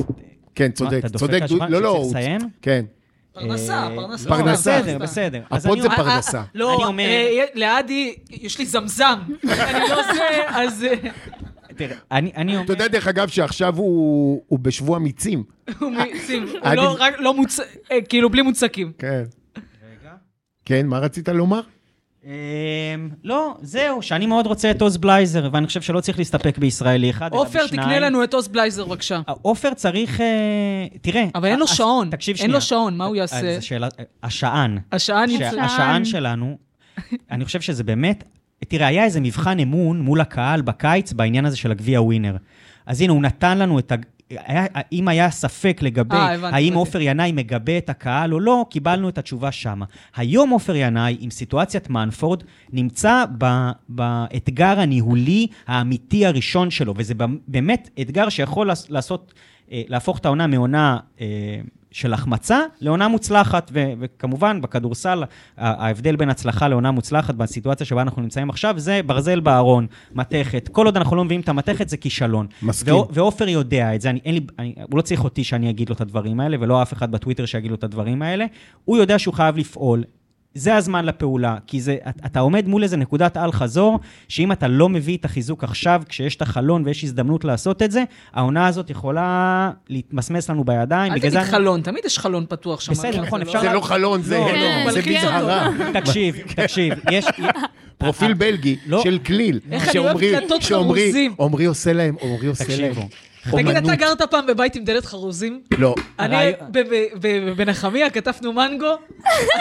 [SPEAKER 2] כן, צודק,
[SPEAKER 1] אתה דופק
[SPEAKER 2] צודק.
[SPEAKER 1] על
[SPEAKER 2] דוד-
[SPEAKER 1] השולחן
[SPEAKER 2] לא, לא,
[SPEAKER 1] שצריך
[SPEAKER 2] הוא-
[SPEAKER 1] לסיים?
[SPEAKER 2] כן.
[SPEAKER 6] פרנסה,
[SPEAKER 1] אה,
[SPEAKER 6] פרנסה.
[SPEAKER 1] לא,
[SPEAKER 2] פרנסה.
[SPEAKER 1] בסדר, בסדר. אז
[SPEAKER 2] הפוד
[SPEAKER 1] אני
[SPEAKER 2] זה
[SPEAKER 1] אומר-
[SPEAKER 2] פרנסה.
[SPEAKER 1] אני
[SPEAKER 6] לא,
[SPEAKER 1] אומר-
[SPEAKER 6] אה, לעדי, יש לי
[SPEAKER 1] [LAUGHS]
[SPEAKER 6] זמזם. אני לא זה, אז... אה,
[SPEAKER 1] תראה, אני אני אומר...
[SPEAKER 2] אתה יודע, דרך אגב, שעכשיו הוא הוא בשבוע מיצים.
[SPEAKER 6] הוא מ- שים, הוא
[SPEAKER 2] אני-
[SPEAKER 6] לא- רק- לא מוצ... אה, כאילו, בלי מוצקים.
[SPEAKER 2] כן. כן, מה רצית לומר?
[SPEAKER 1] אמ, לא, זהו, שאני מאוד רוצה את עוז בלייזר, ואני חושב שלא צריך להסתפק בישראלי אחד, אלא
[SPEAKER 6] עופר,
[SPEAKER 1] בשניים.
[SPEAKER 6] תקנה לנו את עוז בלייזר, בבקשה.
[SPEAKER 1] עופר צריך... אה, תראה...
[SPEAKER 6] אבל אין לו
[SPEAKER 1] אה, אז-
[SPEAKER 6] שעון.
[SPEAKER 1] תקשיב
[SPEAKER 6] אין
[SPEAKER 1] שנייה.
[SPEAKER 6] לו שעון, מה הוא יעשה?
[SPEAKER 1] אה, זו שאלה... אה, השען.
[SPEAKER 6] השעה
[SPEAKER 1] שה-
[SPEAKER 6] נמצאה.
[SPEAKER 1] השען שלנו, אני חושב שזה באמת... תראה, היה איזה מבחן אמון מול הקהל בקיץ בעניין הזה של הגביע ווינר. אז הנה, הוא נתן לנו את ה... היה, אם היה ספק לגבי
[SPEAKER 6] אה, הבנתי,
[SPEAKER 1] האם
[SPEAKER 6] הבנתי.
[SPEAKER 1] עופר ינאי מגבה את הקהל או לא, קיבלנו את התשובה שמה. היום עופר ינאי, עם סיטואציית מנפורד, נמצא ב, באתגר הניהולי האמיתי הראשון שלו, וזה במ- באמת אתגר שיכול לעש- לעשות, אה, להפוך את העונה מעונה אה, של החמצה לעונה מוצלחת, ו, וכמובן בכדורסל ה- ההבדל בין הצלחה לעונה מוצלחת בסיטואציה שבה אנחנו נמצאים עכשיו זה ברזל בארון, מתכת. כל עוד אנחנו לא מביאים את המתכת זה כישלון.
[SPEAKER 2] מסכים.
[SPEAKER 1] ועו- ועופר יודע את זה, אני, אין לי, אני, הוא לא צריך אותי שאני אגיד לו את הדברים האלה, ולא אף אחד בטוויטר שיגיד לו את הדברים האלה. הוא יודע שהוא חייב לפעול. זה הזמן לפעולה, כי זה, את- אתה עומד מול איזה נקודת אל-חזור, שאם אתה לא מביא את החיזוק עכשיו, כשיש את החלון ויש הזדמנות לעשות את זה, העונה הזאת יכולה להתמסמס לנו בידיים. בגלל
[SPEAKER 6] אל תגיד
[SPEAKER 1] זה אני-
[SPEAKER 6] חלון, תמיד יש חלון פתוח שם.
[SPEAKER 1] בסדר,
[SPEAKER 6] זה
[SPEAKER 1] נכון,
[SPEAKER 6] לא-
[SPEAKER 1] אפשר
[SPEAKER 2] זה לא חלון, זה
[SPEAKER 1] לא, כן.
[SPEAKER 5] לא,
[SPEAKER 2] זה
[SPEAKER 5] מלכיאור.
[SPEAKER 2] בזהרה.
[SPEAKER 1] תקשיב, תקשיב, יש...
[SPEAKER 2] פרופיל בלגי
[SPEAKER 1] לא.
[SPEAKER 2] של כליל.
[SPEAKER 6] איך אני אוהבת
[SPEAKER 2] שעמרי-
[SPEAKER 6] דלתות
[SPEAKER 2] שעמרי-
[SPEAKER 6] חרוזים.
[SPEAKER 2] עמרי עושה להם, עמרי עושה להם.
[SPEAKER 1] תקשיבו.
[SPEAKER 6] תגיד, אתה
[SPEAKER 2] אומנות.
[SPEAKER 6] גרת פעם בבית עם דלת חרוזים?
[SPEAKER 2] לא.
[SPEAKER 6] אני,
[SPEAKER 1] ראי-
[SPEAKER 6] ב- ב- ב- בנחמיה כתבנו מנגו,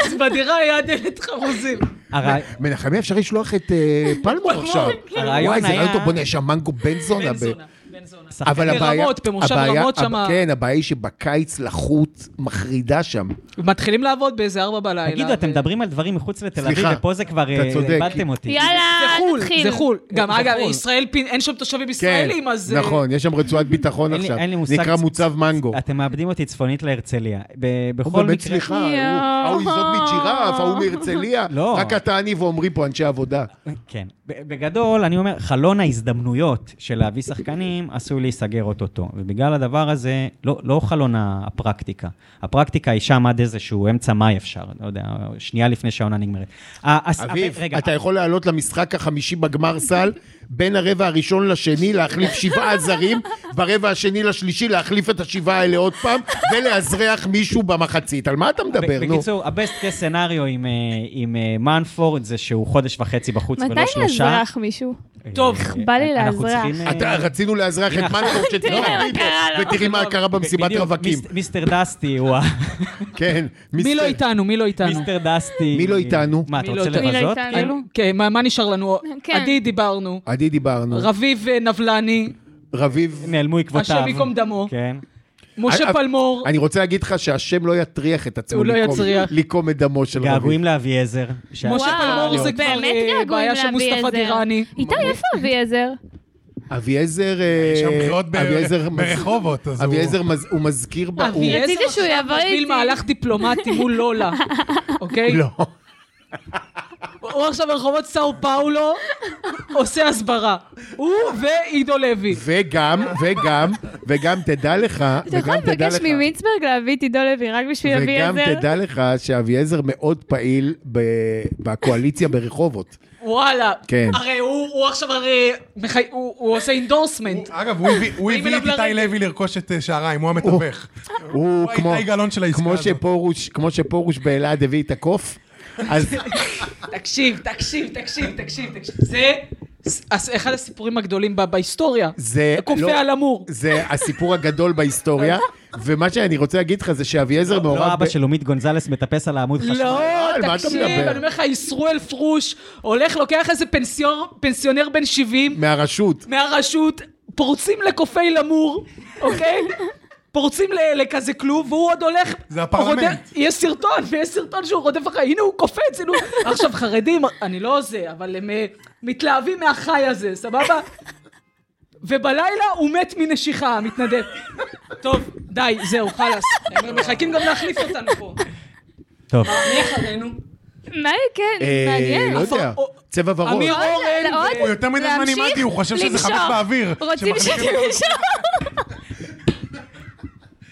[SPEAKER 6] אז בדירה היה דלת חרוזים.
[SPEAKER 1] הרעי-
[SPEAKER 2] מנחמיה אפשר לשלוח את אה,
[SPEAKER 1] [LAUGHS]
[SPEAKER 2] פלמור עכשיו.
[SPEAKER 1] הרעיון
[SPEAKER 2] וואי, זה
[SPEAKER 1] היה-
[SPEAKER 2] רעיון טוב, בוא נשם מנגו בן זונה.
[SPEAKER 6] בן
[SPEAKER 2] ב-
[SPEAKER 6] זונה, בן זונה.
[SPEAKER 2] אבל הבעיה...
[SPEAKER 6] ברמות, במושב
[SPEAKER 2] הבעיה-
[SPEAKER 6] רמות
[SPEAKER 2] הב-
[SPEAKER 6] שמה-
[SPEAKER 2] כן, הבעיה היא שבקיץ לחות מחרידה שם.
[SPEAKER 6] מתחילים לעבוד באיזה ארבע בלילה.
[SPEAKER 1] תגידו, אתם
[SPEAKER 6] ו-
[SPEAKER 1] מדברים על דברים מחוץ לתל אביב,
[SPEAKER 2] סליחה,
[SPEAKER 1] ופה זה כבר
[SPEAKER 2] אתה
[SPEAKER 1] אה,
[SPEAKER 2] צודק,
[SPEAKER 1] איבדתם
[SPEAKER 2] כי-
[SPEAKER 1] אותי.
[SPEAKER 5] [LAUGHS]
[SPEAKER 6] זה
[SPEAKER 5] יאללה,
[SPEAKER 6] חו"ל,
[SPEAKER 5] אה, נתחיל.
[SPEAKER 6] זה חו"ל. גם
[SPEAKER 1] זה
[SPEAKER 6] אגב,
[SPEAKER 1] חו"ל.
[SPEAKER 6] ישראל, פין- אין שם תושבים
[SPEAKER 2] אה, כן,
[SPEAKER 6] ישראלים, אז... אה,
[SPEAKER 2] נכון, יש שם רצועת ביטחון
[SPEAKER 1] אין לי-
[SPEAKER 2] עכשיו.
[SPEAKER 1] אין לי מושג.
[SPEAKER 2] נקרא מוצב מנגו.
[SPEAKER 1] אתם מאבדים אותי צפונית להרצליה. ב-
[SPEAKER 2] הוא
[SPEAKER 1] בכל
[SPEAKER 2] באמת,
[SPEAKER 1] מקרה...
[SPEAKER 2] סליחה, הוא-
[SPEAKER 5] יואו.
[SPEAKER 2] ההוא יזוד מג'ירף, ההוא מהרצליה.
[SPEAKER 1] לא.
[SPEAKER 2] רק אתה, אני ועמרי פה אנשי עבודה.
[SPEAKER 1] כן. ב- בגדול, אני אומר, חלון ההזדמנויות של להביא שחקנים עשוי להיסגר אוטוטו. ובגלל הדבר הזה, לא, לא חלון ה- הפרקטיקה. הפרקטיקה היא שם עד איזשהו אמצע מאי אפשר, לא יודע, שנייה לפני שהעונה נגמרת. ה- הס-
[SPEAKER 2] אביב,
[SPEAKER 1] רגע,
[SPEAKER 2] אתה יכול לעלות למשחק החמישי בגמר סל, בין הרבע הראשון לשני להחליף שבעה זרים, ברבע השני לשלישי להחליף את השבעה האלה עוד פעם, ולאזרח מישהו במחצית. על מה אתה מדבר, נו?
[SPEAKER 1] בקיצור, הבסט קייס סנאריו עם, אה, עם אה, מנפורד זה שהוא חודש וחצי בחוץ
[SPEAKER 5] מתי
[SPEAKER 1] ולא שלושה.
[SPEAKER 5] נאזרח מישהו?
[SPEAKER 1] אה,
[SPEAKER 6] טוב,
[SPEAKER 1] אה,
[SPEAKER 5] בא לי
[SPEAKER 1] אנחנו
[SPEAKER 5] לאזרח.
[SPEAKER 1] צריכים, אה,
[SPEAKER 2] אתה- לא רצינו לאזרח את מנפורד
[SPEAKER 5] תראה מה
[SPEAKER 2] שתתחרבי
[SPEAKER 5] קרה
[SPEAKER 2] בו,
[SPEAKER 5] לו.
[SPEAKER 2] ותראי מה קרה במסיבת
[SPEAKER 1] בדיוק,
[SPEAKER 2] רווקים.
[SPEAKER 1] מיס- מיסטר דסטי הוא ה...
[SPEAKER 2] [LAUGHS] כן,
[SPEAKER 6] מי לא
[SPEAKER 2] מיסטר-
[SPEAKER 6] איתנו? מי לא איתנו?
[SPEAKER 1] מיסטר דסטי.
[SPEAKER 2] מי לא איתנו?
[SPEAKER 1] מה, אתה
[SPEAKER 6] מי לא
[SPEAKER 1] רוצה
[SPEAKER 6] איתנו?
[SPEAKER 5] מי לא
[SPEAKER 1] לבזות?
[SPEAKER 5] איתנו?
[SPEAKER 1] כאילו?
[SPEAKER 6] כן, מה מה נשאר לנו?
[SPEAKER 5] כן.
[SPEAKER 6] עדי דיברנו,
[SPEAKER 2] עדי דיברנו,
[SPEAKER 6] רביב אה, נבלני,
[SPEAKER 2] רביב...
[SPEAKER 1] נעלמו עקבותיו.
[SPEAKER 6] השם ייקום דמו.
[SPEAKER 1] כן.
[SPEAKER 6] משה
[SPEAKER 2] אני-
[SPEAKER 6] פלמור.
[SPEAKER 2] אה, אני רוצה להגיד לך שהשם לא יטריח את עצמו
[SPEAKER 6] הוא לא
[SPEAKER 2] ליקום-
[SPEAKER 6] יצריח.
[SPEAKER 2] ליקום את דמו של רביב.
[SPEAKER 1] געגועים לאביעזר. שה-
[SPEAKER 6] משה
[SPEAKER 5] וואו,
[SPEAKER 6] פלמור זה כבר,
[SPEAKER 5] באמת
[SPEAKER 6] אה,
[SPEAKER 5] געגועים
[SPEAKER 6] בעיה של
[SPEAKER 5] לאביעזר.
[SPEAKER 6] מוסטפא דיראני.
[SPEAKER 5] איתי,
[SPEAKER 1] אוקיי.
[SPEAKER 5] איפה
[SPEAKER 1] [LAUGHS]
[SPEAKER 5] אביעזר?
[SPEAKER 2] אביעזר... אה,
[SPEAKER 4] יש שם בחירות ב-
[SPEAKER 2] אביעזר מז-
[SPEAKER 4] ברחובות, אז הוא-
[SPEAKER 2] אביעזר מז- הוא מזכיר... ב- הוא-
[SPEAKER 6] אביעזר
[SPEAKER 5] אה, רציתי שהוא
[SPEAKER 6] עכשיו
[SPEAKER 5] יבוא
[SPEAKER 6] מוביל
[SPEAKER 5] איתי.
[SPEAKER 6] מהלך דיפלומטי מול
[SPEAKER 5] [LAUGHS]
[SPEAKER 6] לולה, אוקיי?
[SPEAKER 2] לא.
[SPEAKER 6] הוא עכשיו ברחובות סאו פאולו עושה הסברה. הוא ועידו לוי.
[SPEAKER 2] וגם, וגם, וגם תדע לך,
[SPEAKER 5] אתה יכול
[SPEAKER 2] וגם תדע
[SPEAKER 5] לבקש
[SPEAKER 2] לך,
[SPEAKER 5] ממינצברג להביא את עידו לוי רק בשביל אביעזר?
[SPEAKER 2] וגם תדע לך שאביעזר מאוד פעיל ב- בקואליציה ברחובות.
[SPEAKER 6] וואלה.
[SPEAKER 2] כן.
[SPEAKER 6] הרי הוא הוא עכשיו הרי... מחי- הוא הוא עושה אינדורסמנט.
[SPEAKER 4] אגב, הוא הביא- הוא
[SPEAKER 6] אה, באים
[SPEAKER 4] הביא את
[SPEAKER 6] אליו אה,
[SPEAKER 4] איתי
[SPEAKER 6] לרגל.
[SPEAKER 4] לוי לרכוש את אה, שעריים, הוא המתווך.
[SPEAKER 2] הוא
[SPEAKER 4] האיתי
[SPEAKER 2] כמו,
[SPEAKER 4] גלאון של העסקה
[SPEAKER 2] כמו
[SPEAKER 4] הזאת.
[SPEAKER 2] שפרוש, כמו שפרוש באלעד הביא את הקוף, אז
[SPEAKER 6] תקשיב, תקשיב, תקשיב, תקשיב, תקשיב. זה הס- אחד הסיפורים הגדולים ב- בהיסטוריה.
[SPEAKER 2] זה...
[SPEAKER 6] [LAUGHS] כופה
[SPEAKER 2] לא-
[SPEAKER 6] על אמור.
[SPEAKER 2] זה הסיפור הגדול בהיסטוריה, ומה שאני רוצה להגיד לך זה שאביעזר מעורב...
[SPEAKER 1] לא אבא
[SPEAKER 2] ב-
[SPEAKER 1] של לומית גונזלס מטפס על העמוד חשמל.
[SPEAKER 6] לא,
[SPEAKER 2] על מה אתה
[SPEAKER 6] תקשיב,
[SPEAKER 2] מדבר?
[SPEAKER 6] אני אומר לך, ישראל פרוש הולך, לוקח איזה פנסיור- פנסיונר בן 70
[SPEAKER 2] מהרשות.
[SPEAKER 6] מהרשות, פורצים לקופי למור, אוקיי? פורצים ל- לכזה כלוב, והוא עוד הולך...
[SPEAKER 4] זה הפרלמנט.
[SPEAKER 6] רודף- יש סרטון, ויש סרטון שהוא רודף אחרי, הנה הוא קופץ, הנה הוא... עכשיו, חרדים, אני לא זה, אבל הם אה, מתלהבים מהחי הזה, סבבה? ובלילה הוא מת מנשיכה, המתנדב. טוב, די, זהו, חלאס. הם מחכים גם להחליף אותנו פה.
[SPEAKER 1] טוב,
[SPEAKER 6] מי אחרינו?
[SPEAKER 5] מה, כן,
[SPEAKER 2] אה,
[SPEAKER 5] מעניין.
[SPEAKER 2] לא יודע,
[SPEAKER 6] אפור-
[SPEAKER 2] צבע ורוד.
[SPEAKER 6] אמיר-
[SPEAKER 5] עוד-
[SPEAKER 6] אורן,
[SPEAKER 5] לא, עוד-
[SPEAKER 4] הוא יותר מדי זמן
[SPEAKER 5] להמשיך?
[SPEAKER 4] עימדי, הוא חושב שזה
[SPEAKER 5] למשוך.
[SPEAKER 4] חפץ באוויר.
[SPEAKER 5] רוצים
[SPEAKER 4] שמחליפים
[SPEAKER 5] שאני אמשוך?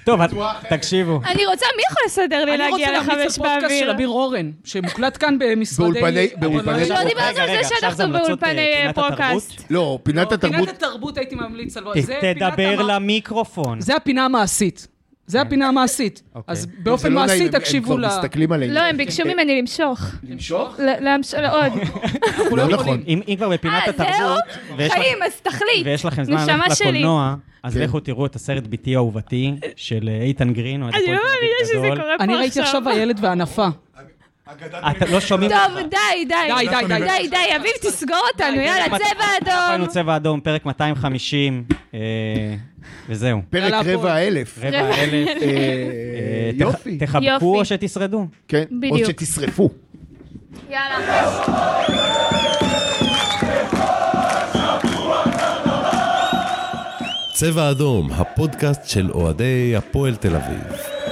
[SPEAKER 1] טוב, את- תקשיבו.
[SPEAKER 5] [LAUGHS] אני רוצה, מי יכול לסדר לי
[SPEAKER 6] אני רוצה
[SPEAKER 5] להגיע
[SPEAKER 6] להמליץ
[SPEAKER 5] לחמש
[SPEAKER 6] לפודקאסט של
[SPEAKER 5] באוויר?
[SPEAKER 6] אביר אורן, שמוקלט כאן במשרדי...
[SPEAKER 2] באולפני-
[SPEAKER 6] אבל לא
[SPEAKER 2] באולפני-
[SPEAKER 6] יודע-
[SPEAKER 5] לא דיברנו על
[SPEAKER 1] רגע, רגע,
[SPEAKER 5] זה
[SPEAKER 1] עכשיו זה
[SPEAKER 5] שאנחנו
[SPEAKER 1] המלצות, אה,
[SPEAKER 5] באולפני
[SPEAKER 1] פינת
[SPEAKER 5] פרוקאסט.
[SPEAKER 1] התרבות.
[SPEAKER 2] לא, פינת התרבות...
[SPEAKER 6] פינת התרבות הייתי ממליץ על...
[SPEAKER 1] ת-
[SPEAKER 6] זה פינת
[SPEAKER 1] תדבר
[SPEAKER 6] המ-
[SPEAKER 1] למיקרופון.
[SPEAKER 6] זה הפינה המעשית. זה הפינה המעשית. אז
[SPEAKER 2] זה
[SPEAKER 6] באופן
[SPEAKER 2] לא נעים,
[SPEAKER 6] מעשי
[SPEAKER 2] הם-
[SPEAKER 6] תקשיבו ל...
[SPEAKER 2] הם כבר מסתכלים עלינו.
[SPEAKER 5] לא, הם
[SPEAKER 6] כן,
[SPEAKER 5] ביקשו ממני למשוך.
[SPEAKER 2] למשוך?
[SPEAKER 5] ל- להמש- לא,
[SPEAKER 1] [LAUGHS]
[SPEAKER 5] עוד.
[SPEAKER 2] לא נכון.
[SPEAKER 1] אם אם כבר בפינת
[SPEAKER 5] אה, זהו?
[SPEAKER 1] התרבות, ויש לך-
[SPEAKER 5] חיים, אז תחליט.
[SPEAKER 1] ויש לכם זמן
[SPEAKER 5] נשמה
[SPEAKER 1] ללכת
[SPEAKER 5] שלי.
[SPEAKER 1] לקולנוע, אז
[SPEAKER 2] כן.
[SPEAKER 1] לכו תראו את הסרט ביתי אהובתי של אה, איתן גרין. אוהד
[SPEAKER 5] אני
[SPEAKER 1] הפועל
[SPEAKER 5] לא
[SPEAKER 1] תל אביב
[SPEAKER 5] מאמינה שזה
[SPEAKER 1] גדול.
[SPEAKER 5] קורה פה
[SPEAKER 6] אני ראיתי עכשיו הילד והנפה.
[SPEAKER 4] אגדת
[SPEAKER 1] אתה לא שומעים
[SPEAKER 5] טוב, די, די.
[SPEAKER 6] די, די, די.
[SPEAKER 5] די, די, אביב, תסגור אותנו,
[SPEAKER 6] די,
[SPEAKER 5] יאללה, צבע
[SPEAKER 1] ראינו
[SPEAKER 5] אדום.
[SPEAKER 1] צבע אדום, פרק 250, אה, וזהו.
[SPEAKER 2] פרק
[SPEAKER 6] יאללה,
[SPEAKER 2] רבע
[SPEAKER 6] הפועל.
[SPEAKER 2] אלף.
[SPEAKER 1] רבע אלף.
[SPEAKER 2] אה,
[SPEAKER 1] אה, תח-
[SPEAKER 2] יופי.
[SPEAKER 5] יופי.
[SPEAKER 1] תחבקו או שתשרדו.
[SPEAKER 2] כן, או
[SPEAKER 5] בדיוק.
[SPEAKER 2] שתשרפו.
[SPEAKER 5] [LAUGHS] יאללה.
[SPEAKER 3] צבע אדום, הפודקאסט של אוהדי הפועל תל אביב.